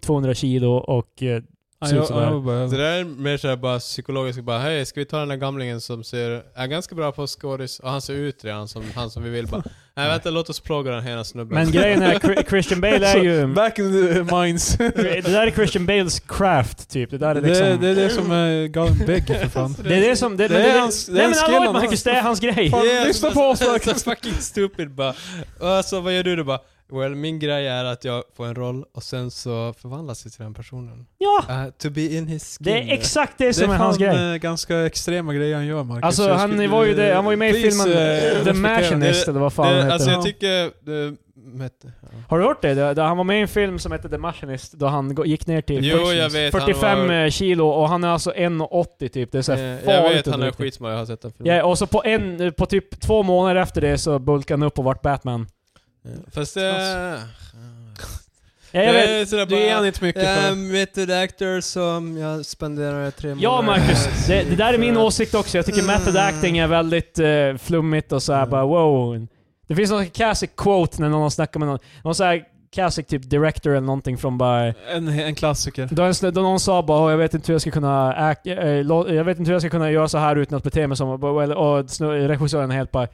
Speaker 2: 200 kilo och... eh,
Speaker 3: Ja,
Speaker 2: Ser ut
Speaker 3: jag,
Speaker 2: sådär.
Speaker 3: jag bara,
Speaker 1: Så det där är mer såhär bara psykologiskt, bara hej, ska vi ta den där gamlingen som ser, är ganska bra på skådis, och han ser ut redan som han som vi vill bara. Nej vänta, låt oss plåga den här snubben.
Speaker 2: Men grejen är, Chri- Christian Bale är ju...
Speaker 3: Back in the mines.
Speaker 2: Det där är Christian Bales craft, typ. Det där är
Speaker 3: det,
Speaker 2: liksom...
Speaker 3: det är det som är Galen Bigg för fan.
Speaker 2: Det är det som... Det,
Speaker 3: det
Speaker 2: men
Speaker 3: är hans- det är
Speaker 2: nej men
Speaker 3: hans
Speaker 2: allvarligt
Speaker 3: skill, han-
Speaker 2: Marcus, det är hans grej.
Speaker 3: Fan, lyssna på oss,
Speaker 1: så, så
Speaker 3: verkligen.
Speaker 1: alltså, fucking stupid bara. Och Alltså vad gör du då bara? Well, min grej är att jag får en roll och sen så förvandlas jag till den personen.
Speaker 2: Ja!
Speaker 1: Uh, to be in his skin.
Speaker 2: Det är exakt det som
Speaker 3: det
Speaker 2: är hans
Speaker 3: fan,
Speaker 2: grej.
Speaker 3: eh, ganska extrema grejer han gör Marcus.
Speaker 2: Alltså
Speaker 3: Jag
Speaker 2: han
Speaker 3: skulle-
Speaker 2: var ju, det, han var ju med i
Speaker 3: please,
Speaker 2: filmen
Speaker 3: eh,
Speaker 2: The
Speaker 3: respektera.
Speaker 2: Machinist
Speaker 1: det-
Speaker 2: eller vad fan den
Speaker 1: det,
Speaker 2: heter.
Speaker 1: alltså jag tycker... Det, met, ja.
Speaker 2: Har du hört det? det? det- Han var med i en film som hette The Machinist då han gå- gick ner till
Speaker 1: Jo, jag vet, han
Speaker 2: 45
Speaker 1: var-
Speaker 2: kilo och han är alltså 1,80 typ. Det är såhär
Speaker 1: Eh, jag
Speaker 2: farligt
Speaker 1: vet, han är
Speaker 2: otroligt.
Speaker 1: skitsmal, jag har sett den filmen.
Speaker 2: Ja, och så på, en, på typ två månader efter det så bulkade han upp och vart Batman.
Speaker 1: Ja. Fast det...
Speaker 2: Ja, jag
Speaker 1: det
Speaker 2: vet.
Speaker 1: är sådär
Speaker 3: Det är han
Speaker 1: bara...
Speaker 3: inte mycket
Speaker 1: Jag är
Speaker 3: för.
Speaker 1: en method actor som jag spenderar tre
Speaker 2: Ja
Speaker 1: månader
Speaker 2: Marcus, det, det där är min
Speaker 1: för att-
Speaker 2: åsikt också. Jag tycker method acting är väldigt eh, flummigt och såhär
Speaker 1: Mm.
Speaker 2: bara wow. Det finns någon classic quote när någon har snackat med någon. Någon såhär classic typ director eller någonting från bara
Speaker 3: Eh, En, en klassiker.
Speaker 2: Då, en, snö- då någon sa bara "Åh, jag vet inte hur jag ska kunna äk, eh, lå- jag vet inte hur jag ska kunna göra så här utan att bete mig som... Och, och snö- regissören helt bara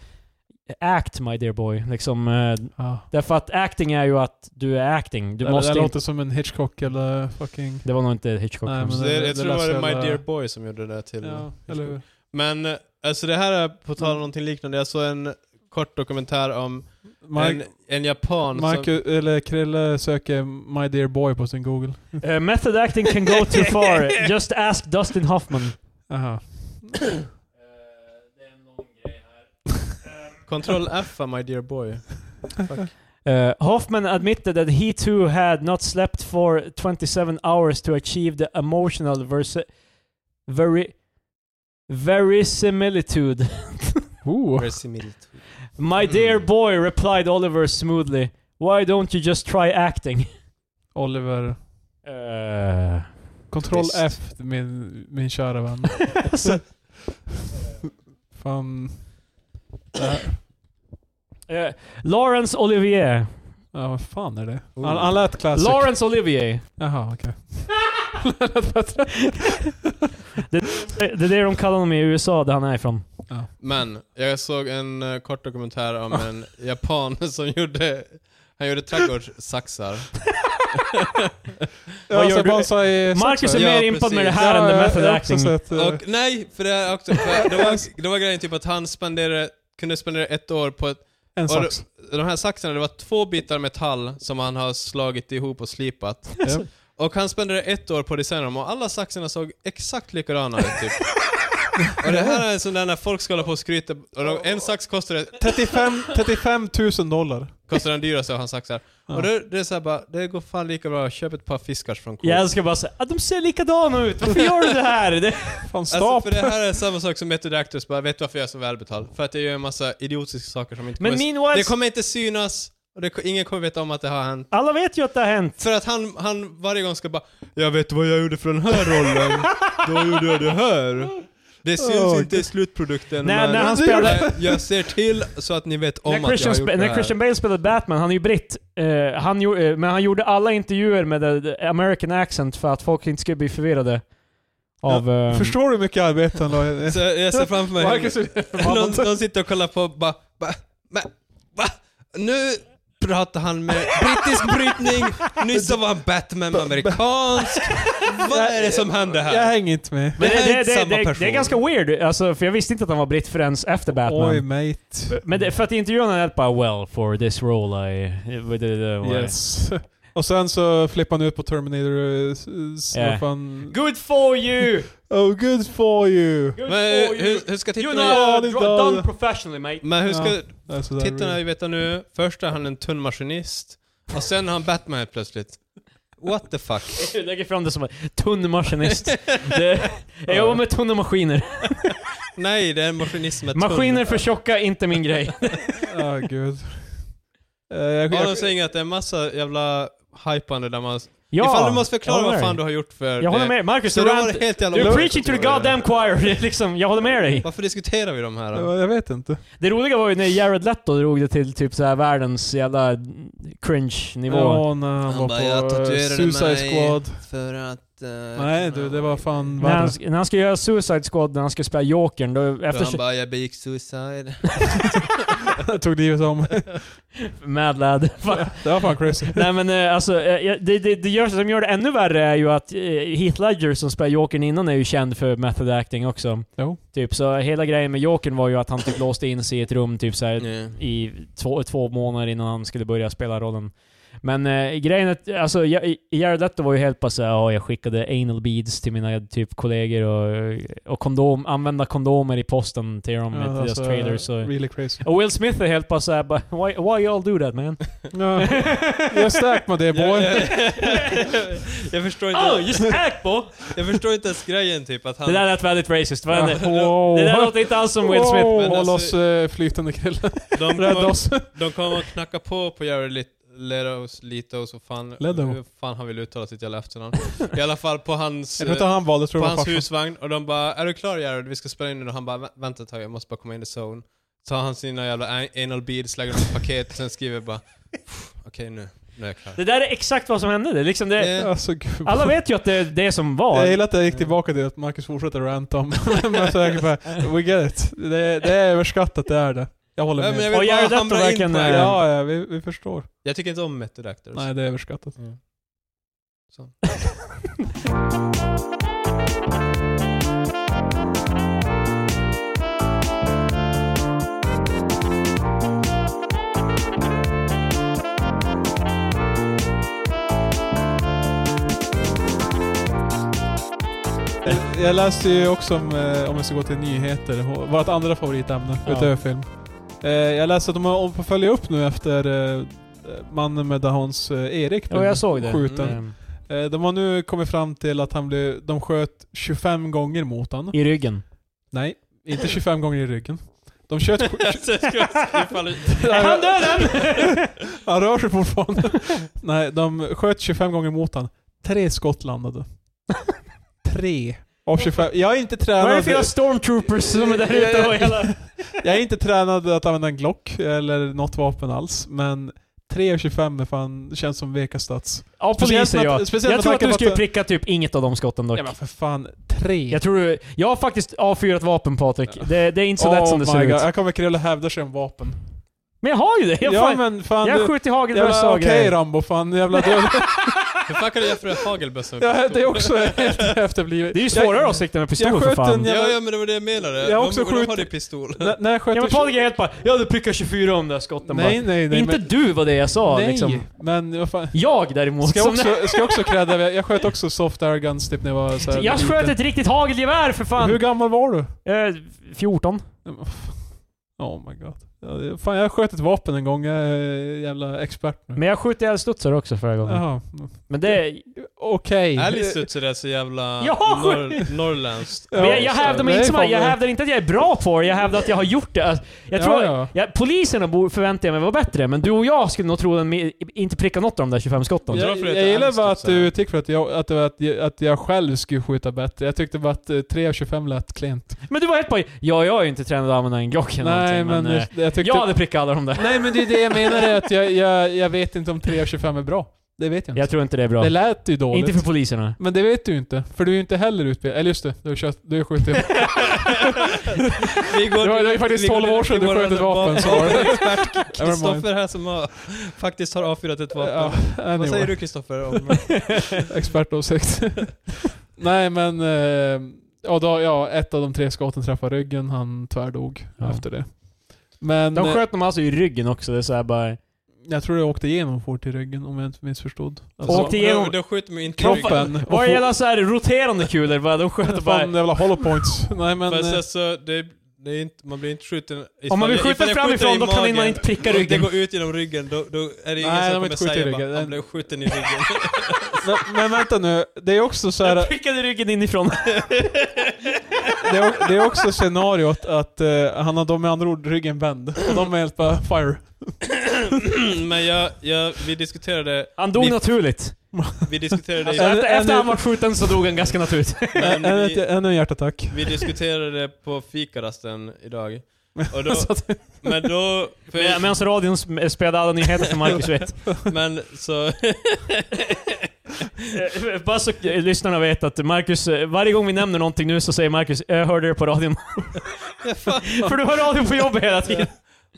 Speaker 2: Act my dear boy. Liksom, eh,
Speaker 3: Ja.
Speaker 2: därför att acting är ju att du är acting. Du
Speaker 3: det,
Speaker 2: måste
Speaker 3: det
Speaker 2: inte...
Speaker 3: låter som en Hitchcock eller fucking...
Speaker 2: Det var nog inte Hitchcock.
Speaker 3: Nej,
Speaker 2: kanske.
Speaker 3: men-
Speaker 1: Det,
Speaker 3: Det-
Speaker 1: jag
Speaker 3: det
Speaker 1: tror det var
Speaker 3: läser
Speaker 1: My
Speaker 3: jag-
Speaker 1: Dear Boy som gjorde det där till...
Speaker 3: Ja, eller hur?
Speaker 1: Men eh, alltså det här är på tal om någonting liknande. Jag såg en kort dokumentär om en,
Speaker 3: Mark,
Speaker 1: en japan som...
Speaker 3: Marcus, eller Krille söker My Dear Boy på sin Google.
Speaker 2: Eh, method acting can go too far. Just ask Dustin Hoffman.
Speaker 3: Aha.
Speaker 1: Control F är My Dear Boy.
Speaker 2: Eh, Hoffman admitted that he too had not slept for 27 hours to achieve the emotional versi- veri- verisimilitude.
Speaker 3: Oh.
Speaker 1: Verisimilitude.
Speaker 2: My dear boy, replied Oliver smoothly. Why don't you just try acting?
Speaker 3: Oliver.
Speaker 2: Eh,
Speaker 3: Kontroll
Speaker 2: Visst.
Speaker 3: F, min, min kära vän.
Speaker 2: så-
Speaker 3: Fan. Äh, Det här-
Speaker 2: eh, Lawrence Olivier.
Speaker 3: Ja, äh, vad fan är det?
Speaker 1: Oh.
Speaker 3: Han, han lät classic.
Speaker 2: Lawrence Olivier.
Speaker 3: Jaha, okej.
Speaker 2: Eh, Det, det är det de kallar honom i USA, där han är ifrån.
Speaker 1: Men, jag såg en eh, kort dokumentär om en japan som gjorde, han gjorde trädgårdssaxar.
Speaker 2: Vad
Speaker 3: Ja,
Speaker 2: gör du?
Speaker 3: Saban sa i
Speaker 2: Marcus är
Speaker 1: Ja,
Speaker 2: mer impad med det
Speaker 1: precis.
Speaker 2: här än the method acting.
Speaker 3: eh,
Speaker 1: Och, nej, för det är också, för det, var, det var grejen typ att han spenderade, kunde spendera ett år på ett,
Speaker 3: en
Speaker 1: och
Speaker 3: sax.
Speaker 1: de här saxarna, det var två bitar metall som han har slagit ihop och slipat.
Speaker 3: Japp.
Speaker 1: Och han spenderade ett år på att designa dem och alla saxarna såg exakt likadana ut typ. Och det här är en sån där när folk ska hålla på och skryta, och de, en sax kostade,
Speaker 3: 35, 35 000 dollar.
Speaker 1: kostade den dyraste av hans saxar.
Speaker 3: Ja.
Speaker 1: Och det, det är såhär bara, det går fan lika bra att köpa ett par fiskars från Coop.
Speaker 2: Jag älskar bara säga, ah, de ser likadana ut, varför gör du det här? Det,
Speaker 3: Fan, stopp!
Speaker 1: Alltså, för det här är samma sak som Method Actors, bara vet du varför jag är så välbetald? För att jag gör en massa idiotiska saker som inte
Speaker 2: men
Speaker 1: kommer...
Speaker 2: meanwhile,
Speaker 1: Det kommer inte synas, och det, ko- ingen kommer veta om att det har hänt.
Speaker 2: alla vet ju att det har hänt.
Speaker 1: För att han, han varje gång ska bara Jag vet vad jag gjorde för den här rollen, då gjorde jag det här. Det syns
Speaker 3: Åh,
Speaker 1: inte i slutprodukten
Speaker 2: Nej,
Speaker 1: men
Speaker 2: när han
Speaker 1: jag-
Speaker 2: spelar-
Speaker 1: jag ser till så att ni vet om
Speaker 2: När
Speaker 1: att jag
Speaker 2: Christian,
Speaker 1: har gjort
Speaker 2: spe-
Speaker 1: det
Speaker 2: när
Speaker 1: här.
Speaker 2: Christian Bale spelade Batman, han är ju britt, eh, han gjo- eh, men han gjorde alla intervjuer med the, the American accent för att folk inte skulle bli förvirrade. Av... ehm,
Speaker 3: Förstår du hur mycket arbete han la i-
Speaker 1: Så jag ser framför mig
Speaker 3: Marcus är alltså,
Speaker 1: någon,
Speaker 3: förbannad.
Speaker 1: någon sitter och kollar på och bara va, va, va? Nu pratar han med brittisk brytning, nyss så var han Batman med amerikansk. Vad är det som händer
Speaker 3: Jag
Speaker 1: här?
Speaker 3: hänger inte med.
Speaker 2: men
Speaker 1: det
Speaker 2: det,
Speaker 1: här är
Speaker 2: det,
Speaker 1: inte
Speaker 2: det,
Speaker 1: samma
Speaker 2: det, det,
Speaker 1: person.
Speaker 2: är ganska weird, alltså, för jag visste inte att han var britt förrän efter Batman.
Speaker 3: Oj, mate.
Speaker 2: Men det, för att i intervjun han helt bara 'Well, for this role I... I- I- I-
Speaker 3: Yes. Och sen så flippar han ut på Terminator. eh, s- s-
Speaker 2: Yeah.
Speaker 3: vad fan-
Speaker 2: Good for you!
Speaker 3: Oh, good for you!
Speaker 2: Good
Speaker 1: Men
Speaker 2: for you!
Speaker 1: hur, hur ska
Speaker 2: you
Speaker 1: tittarna...
Speaker 3: Ja,
Speaker 2: know,
Speaker 3: det är
Speaker 2: dra- done
Speaker 3: done.
Speaker 2: professionally mate.
Speaker 1: Men hur ska
Speaker 3: Ja. Alltså, där-
Speaker 1: tittarna ju veta nu? Först är han en tunn maskinist, och sen är han Batman helt plötsligt. What the fuck?
Speaker 2: Du lägger fram det som en tunn maskinist. Det, jag jobbar med tunna maskiner.
Speaker 1: Nej, det är en maskinist med tunn.
Speaker 2: Maskiner för tjocka, inte min grej.
Speaker 3: Ja, Ah, gud. Eh, jag,
Speaker 1: Ja, de
Speaker 3: jag,
Speaker 1: säger inget, det är en massa jävla hypande där man...
Speaker 2: Ja,
Speaker 1: Ifall du måste
Speaker 2: jag
Speaker 1: förklara
Speaker 2: håller
Speaker 1: vad
Speaker 2: med
Speaker 1: fan du
Speaker 2: dig.
Speaker 1: har gjort för
Speaker 2: Jag håller
Speaker 1: det.
Speaker 2: med Marcus,
Speaker 1: Så
Speaker 2: du
Speaker 1: det var
Speaker 2: rant,
Speaker 1: helt jävla
Speaker 2: You're
Speaker 1: löjligt
Speaker 2: preaching to the
Speaker 1: att göra det.
Speaker 2: goddamn choir. Det är liksom, jag håller med dig.
Speaker 1: Varför diskuterar vi de här? då?
Speaker 3: jag, jag vet inte.
Speaker 2: Det roliga var ju när Jared Leto drog det till typ så här världens jävla cringe-nivå.
Speaker 3: Ja, när han,
Speaker 1: Han
Speaker 3: var
Speaker 1: bara,
Speaker 3: på
Speaker 1: jag
Speaker 3: eh,
Speaker 1: tatuerade
Speaker 3: Suicide
Speaker 1: mig.
Speaker 3: Squad.
Speaker 1: För att... eh,
Speaker 3: Nej du, det var fan
Speaker 2: När han,
Speaker 3: värre.
Speaker 2: när han ska göra Suicide Squad, när han ska spela Jokern, då
Speaker 1: För han
Speaker 2: efter...
Speaker 1: bara, jag begick suicide.
Speaker 3: Jag tog livet av mig.
Speaker 2: Mad lad.
Speaker 3: Det var fan crazy.
Speaker 2: Nej men eh, alltså, eh, jag- det, det, det gör, som gör det ännu värre är ju att eh, Heath Ledger som spelar Jokern innan är ju känd för method acting också.
Speaker 3: Jo.
Speaker 2: Typ, så hela grejen med Jokern var ju att han typ låste in sig i ett rum typ så här, i två, två månader innan han skulle börja spela rollen. Men eh, grejen är att, alltså Ja- Jared Leto var ju helt bara såhär, ja jag skickade anal beads till mina typ kollegor och, och kondom, använda kondomer i posten till dem i deras trailers. Och,
Speaker 3: alltså, Really crazy.
Speaker 2: och Will Smith är helt bara såhär, bara, why, why you all do that man?
Speaker 3: Ja, jag stack med det
Speaker 1: Jag,
Speaker 3: boy.
Speaker 1: jag, jag förstår inte...
Speaker 2: Oh, just act bo!
Speaker 1: Jag förstår inte ens grejen typ att han...
Speaker 2: Det där lät väldigt racist. Vad är det?
Speaker 3: Wow.
Speaker 2: Det där låter inte alls som Will Smith.
Speaker 3: Wow,
Speaker 1: men
Speaker 3: Håll
Speaker 1: alltså-
Speaker 3: oss eh, flytande killen.
Speaker 1: de
Speaker 3: Rädda
Speaker 1: kommer,
Speaker 3: oss.
Speaker 1: de kommer att knacka på på Jared Lit- Letos, Litos och fan...
Speaker 3: Leto.
Speaker 1: Hur fan han vill uttala sitt jävla efternamn. I alla fall på hans...
Speaker 3: Jag tror inte han valde, jag tror
Speaker 1: på
Speaker 3: det var
Speaker 1: hans
Speaker 3: farsan.
Speaker 1: husvagn och de bara Är du klar Jared? Vi ska spela in nu och han bara "Vä- Vänta ett tag, jag måste bara komma in i zone. Tar han sina jävla an- anal beads, lägger dem i ett paket och sen skriver bara "Pff, Okej nu, nu är jag klar.
Speaker 2: Det där är exakt vad som hände. Det är liksom det,
Speaker 1: Eh,
Speaker 3: Alltså gud.
Speaker 2: alla vet ju att det är det som
Speaker 3: Jag
Speaker 2: var.
Speaker 3: gillar att jag gick tillbaka till att Marcus fortsätter ranta om. Men så är jag bara, We get it. Det, är- det är överskattat, det är det. Jag håller
Speaker 1: nej, men
Speaker 3: med.
Speaker 1: jag
Speaker 2: Och
Speaker 1: vill
Speaker 2: Jared Leto
Speaker 1: bara hamra in
Speaker 2: verkligen,
Speaker 1: på
Speaker 2: eh,
Speaker 1: det.
Speaker 3: Ja, ja vi, vi förstår.
Speaker 1: Jag tycker inte om method actors.
Speaker 3: Nej, det är överskattat.
Speaker 1: Mm. Så.
Speaker 3: Jag- Jag läste ju också om, eh, om vi ska gå till nyheter, h- vårt andra favoritämne
Speaker 2: Ja.
Speaker 3: utöver film. Eh, Jag läste att de har på följa upp nu efter eh, mannen med Dahons eh, Erik
Speaker 2: Ja, jag såg det.
Speaker 3: skjuten.
Speaker 1: Mm.
Speaker 2: Mm.
Speaker 3: Eh, De har nu kommit fram till att han blev, de sköt 25 gånger mot honom.
Speaker 2: I ryggen.
Speaker 3: Nej, inte 25 gånger i ryggen. De kör ett...
Speaker 1: Alltså, jag skulle- ifall-
Speaker 2: Är han död än?
Speaker 3: Han rör sig fortfarande. Nej, de sköt 25 gånger mot han. Tre skott landade. Tre. Av 25. Jag är inte tränad...
Speaker 2: Vad är det för jävla stormtroopers som är där ute och hela...
Speaker 3: Jag är inte tränad att använda en Glock eller något vapen alls, men 3 av 25 är fan, känns som veka stats.
Speaker 2: Ja,
Speaker 3: Speciellt
Speaker 2: poliser
Speaker 3: med-
Speaker 2: ja.
Speaker 3: speciellt
Speaker 2: Jag
Speaker 3: med
Speaker 2: tror att
Speaker 3: tanke
Speaker 2: du
Speaker 3: på
Speaker 2: skulle
Speaker 3: att-
Speaker 2: pricka typ inget av de skotten dock.
Speaker 3: Ja men för fan, 3.
Speaker 2: Jag tror du... Jag har faktiskt avfyrat vapen Patrik. Det, det är inte så
Speaker 3: Oh
Speaker 2: lätt som det ser ut.
Speaker 3: Här kommer Krille hävda sig om vapen.
Speaker 2: Men jag har ju det! Jag,
Speaker 3: ja
Speaker 2: fan,
Speaker 3: men fan
Speaker 2: jag
Speaker 3: du...
Speaker 2: skjuter hagelbössa
Speaker 3: Jävla
Speaker 2: och
Speaker 3: okej
Speaker 2: grejer.
Speaker 3: Rambo, fan jävla död.
Speaker 1: Hur fan kan du jämföra hagelbössan med
Speaker 3: ja,
Speaker 1: pistol?
Speaker 3: det är också helt efterblivet.
Speaker 2: Det är ju svårare att sikta med pistol
Speaker 3: jag
Speaker 2: för
Speaker 3: sköt
Speaker 2: fan.
Speaker 3: en-
Speaker 1: Ja, ja, men det var det jag menade.
Speaker 3: Jag har också
Speaker 1: de, de har
Speaker 3: skjutit-
Speaker 1: det pistol.
Speaker 3: N- när jag sköt
Speaker 2: Ja men
Speaker 3: du-
Speaker 2: Patrik är helt bara Ja du prickar 24 om de där skotten bara.
Speaker 3: Nej nej nej.
Speaker 2: Inte
Speaker 3: men,
Speaker 2: du var det jag sa
Speaker 3: nej,
Speaker 2: liksom.
Speaker 3: men vad fan.
Speaker 2: Jag däremot.
Speaker 3: Ska jag
Speaker 2: som-
Speaker 3: också, ska jag också credda, jag sköt också soft air guns typ när jag var såhär
Speaker 2: jag sköt ett riktigt hagelgevär för fan!
Speaker 3: Hur gammal var du?
Speaker 2: Eh, 14.
Speaker 3: Oh my god. Ja, det- Fan jag sköt ett vapen en gång, jag är jävla expert nu.
Speaker 2: Men jag sköt ihjäl studsar också förra gången.
Speaker 3: Jaha.
Speaker 2: Men det...
Speaker 3: Okej.
Speaker 1: Alice ut så där så jävla
Speaker 2: Jag har skjutit-
Speaker 1: norr, norrländskt.
Speaker 3: Ja,
Speaker 2: Men jag, jag,
Speaker 3: så-
Speaker 2: hävdar mig
Speaker 3: nej,
Speaker 2: inte som,
Speaker 3: fan,
Speaker 2: jag
Speaker 3: det-
Speaker 2: hävdar inte att jag är bra på det, jag hävdar att jag har gjort det. Alltså, Jag tror...
Speaker 3: Ja, ja.
Speaker 2: Jag, poliserna bo- förväntar jag mig var bättre, men du och jag skulle nog tro att de inte prickar något av de där 25 skotten.
Speaker 1: Ja. Dra
Speaker 3: Jag,
Speaker 1: för det
Speaker 3: jag,
Speaker 1: till
Speaker 3: gillar
Speaker 1: Alice
Speaker 3: bara
Speaker 1: typ
Speaker 3: att
Speaker 1: så här.
Speaker 3: du tycker att jag, att, det var att, jag, att jag själv skulle skjuta bättre. Jag tyckte bara att eh, 3 av 25 lät klent.
Speaker 2: Men du var helt bara ja, jag är ju inte tränad att använda en Glock eller
Speaker 3: Nej men,
Speaker 2: någonting, men eh,
Speaker 3: jag, jag tyckte...
Speaker 2: jag hade prickat alla de där.
Speaker 3: Nej men det är det jag menar är att jag, jag, jag vet inte om 3 av 25 är bra. Det vet jag inte.
Speaker 2: Jag tror inte det är bra.
Speaker 3: Det lät ju dåligt.
Speaker 2: Inte för poliserna.
Speaker 3: Men det vet du ju inte, för du är ju inte heller utbildad. Eller just det, du har kört- du har skjutit.
Speaker 1: Vi går,
Speaker 3: Det var- det var ju faktiskt 12 år sedan
Speaker 1: vi
Speaker 3: du
Speaker 1: går-
Speaker 3: sköt ett vapen, så var det.
Speaker 1: Expert
Speaker 3: Never mind.
Speaker 1: Kristoffer här som har, faktiskt har avfyrat ett vapen.
Speaker 3: ja,
Speaker 1: Vad
Speaker 3: anyway.
Speaker 1: säger du Kristoffer om...
Speaker 3: Expertåsikt. Nej men... Eh, ja, då, ja, ett av de tre skotten träffade ryggen, han tvärdog
Speaker 2: Ja.
Speaker 3: efter det. Men...
Speaker 2: De
Speaker 3: eh,
Speaker 2: sköt dem alltså i ryggen också, det är såhär bara...
Speaker 3: Jag tror det åkte igenom fort i ryggen om jag inte missförstod.
Speaker 2: Och till- igenom-
Speaker 1: Då skjuter man inte i ryggen.
Speaker 3: kroppen. och
Speaker 2: Vad
Speaker 3: fo-
Speaker 2: gäller såhär roterande kulor bara, de sköt bara...
Speaker 3: Fan jävla hollow points. Nej men...
Speaker 1: Fast
Speaker 3: eh,
Speaker 1: alltså, det, det är inte, man blir inte skjuten...
Speaker 2: Om man vill
Speaker 1: ifall-
Speaker 2: skjuta
Speaker 1: ifall jag skjuter
Speaker 2: framifrån
Speaker 1: i
Speaker 2: då kan man
Speaker 1: magen,
Speaker 2: inte pricka
Speaker 1: om det
Speaker 2: ryggen.
Speaker 1: går ut genom ryggen, då, då är det ingen
Speaker 3: Nej,
Speaker 1: som
Speaker 3: de har
Speaker 1: kommer
Speaker 3: inte skjutit i
Speaker 1: säga
Speaker 3: ryggen.
Speaker 1: bara, han blev skjuten i ryggen.
Speaker 3: men, men vänta nu, det är också så här,
Speaker 2: Jag prickade ryggen inifrån.
Speaker 3: det, är, det är också scenariot att eh, han har de med andra ord ryggen vänd. Och de är helt bara fire.
Speaker 1: Men jag, jag, vi diskuterade,
Speaker 2: Han dog
Speaker 1: Vi-
Speaker 2: naturligt.
Speaker 1: vi diskuterade,
Speaker 2: Så
Speaker 3: Alltså,
Speaker 1: i-
Speaker 2: efter,
Speaker 3: en-
Speaker 2: efter
Speaker 3: en-
Speaker 2: han var skjuten så dog han ganska naturligt.
Speaker 1: men
Speaker 3: Ännu
Speaker 1: vi,
Speaker 3: ett- ännu en hjärtattack.
Speaker 1: vi diskuterade det på fikarasten idag. Och då,
Speaker 3: Så att-
Speaker 1: men då... för-
Speaker 2: Med- Medan alltså, radion sp- spelade alla nyheter som Marcus vet.
Speaker 1: men så...
Speaker 2: Eh, Bara så eh, lyssnarna vet att Marcus, eh, varje gång vi nämner någonting nu så säger Marcus jag hörde det på radion. För du hör radion på jobbet hela tiden.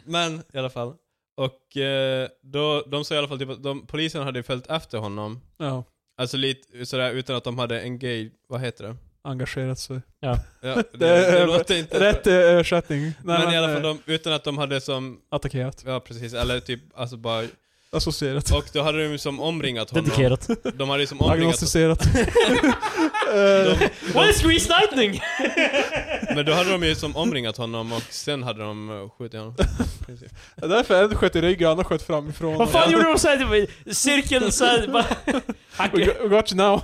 Speaker 1: Men i alla fall. Och eh, då, de sa i alla fall typ att de, polisen hade ju följt efter honom.
Speaker 3: ja,
Speaker 1: Alltså lite sådär utan att de hade en gay, vad heter det?
Speaker 3: engagerat sig.
Speaker 1: Ja, det,
Speaker 3: är-
Speaker 1: det låter inte...
Speaker 3: Rätt eh, översättning. Nej,
Speaker 1: Men i alla
Speaker 3: eh,
Speaker 1: fall de, utan att de hade som,
Speaker 3: Attackerat.
Speaker 1: ja precis, eller typ alltså bara,
Speaker 3: Associerat.
Speaker 1: och då hade de ju som omringat honom.
Speaker 2: Dedikerat.
Speaker 1: De hade ju som omringat honom.
Speaker 3: Agnostiserat. Eh,
Speaker 2: What is Grease Lightning?
Speaker 1: Men då hade de ju som omringat honom och sen hade de eh, skjutit honom. I princip.
Speaker 3: Därför en sköt i ryggen, andra sköt framifrån.
Speaker 2: Vad fan gjorde de såhär, typ, cirkeln såhär, bara...
Speaker 3: We
Speaker 2: Hacke.
Speaker 3: got, we got you now.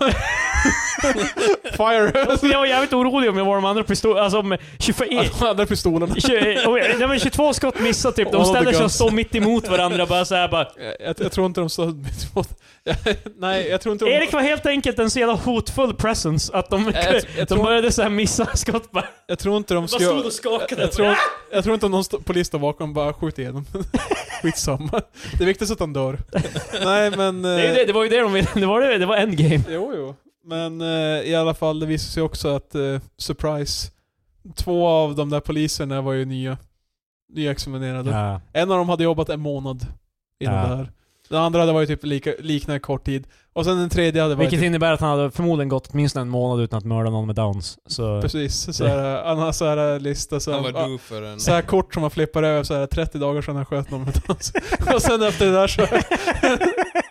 Speaker 3: Fire!
Speaker 2: Jag var jävligt orolig om jag var de andra pistolerna, alltså om 24...
Speaker 3: Alltså, andra pistolen.
Speaker 2: tjugo- om jag- oh Nej men 22 skott missade typ,
Speaker 3: All
Speaker 2: de
Speaker 3: of the
Speaker 2: ställer sig och
Speaker 3: guns.
Speaker 2: står mitt emot varandra bara såhär bara...
Speaker 3: Jag, jag tror inte de stöd mitt emot. Nej, jag tror inte de...
Speaker 2: Erik var helt enkelt en så jävla hotfull presence att de,
Speaker 3: Jag- jag- jag
Speaker 2: de
Speaker 3: tror-
Speaker 2: började så här missa skott bara.
Speaker 3: Jag tror inte de
Speaker 2: Bara stod
Speaker 3: skulle...
Speaker 2: och skakade.
Speaker 3: Jag tror, jag tror inte om någon st- polis står bakom bara skjut igenom. Skitsamma. Det viktigaste är att han dör. Nej men...
Speaker 2: det, är ju det, det var ju det de ville, det var, det, det var endgame.
Speaker 3: Jo, jo. Men eh, i alla fall, det visade sig också att, eh, surprise, två av de där poliserna var ju nya. Nyexaminerade.
Speaker 2: Ja.
Speaker 3: En av dem hade jobbat en månad innan
Speaker 2: Ja.
Speaker 3: det här. Den andra hade varit typ lika, liknande kort tid. Och sen den tredje hade varit
Speaker 2: Vilket
Speaker 3: typ,
Speaker 2: innebär att han hade förmodligen gått åtminstone en månad utan att mörda någon med downs. Så,
Speaker 3: precis såhär, han har såhär lista
Speaker 1: Han var
Speaker 3: såhär,
Speaker 1: due för en...
Speaker 3: såhär kort som man flippar över såhär 30 dagar sedan han sköt någon med dans. Och sen efter det där så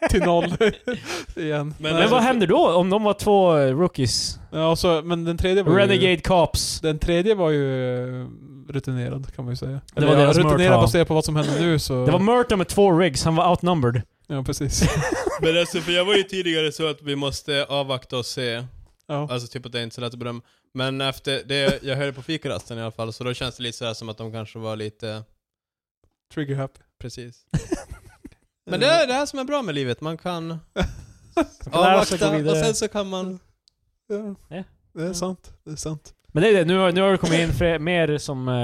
Speaker 3: till noll igen.
Speaker 1: Men-
Speaker 2: men
Speaker 3: Nej,
Speaker 2: vad händer då om de var två eh, rookies?
Speaker 3: ja, och så, men den tredje var ju...
Speaker 2: Renegade cops.
Speaker 3: Den tredje var ju eh, rutinerad kan man ju säga.
Speaker 2: Det var
Speaker 3: Eller,
Speaker 2: deras mörk,
Speaker 3: Rutinerad
Speaker 2: ja.
Speaker 3: baserat på vad som hände nu så...
Speaker 2: Det var Murta med två rigs, han var outnumbered.
Speaker 3: ja precis.
Speaker 1: Men alltså för jag var ju tidigare så att vi måste avvakta och se.
Speaker 3: Ja.
Speaker 1: Alltså typ att det är inte så lätt att bedöma. Men efter det jag hörde på fikarasten i alla fall, så då känns det lite sådär som att de kanske var lite...
Speaker 3: Trigger happy.
Speaker 1: Precis. Men det är det här som är bra med livet, man kan
Speaker 2: lära sig
Speaker 1: avvakta
Speaker 2: gå vidare.
Speaker 1: och sen så kan man...
Speaker 3: Ja.
Speaker 2: Ja.
Speaker 3: Det
Speaker 2: Ja.
Speaker 3: är sant. Det är sant.
Speaker 2: Men det är det, nu har, nu har det kommit in fler, mer som eh,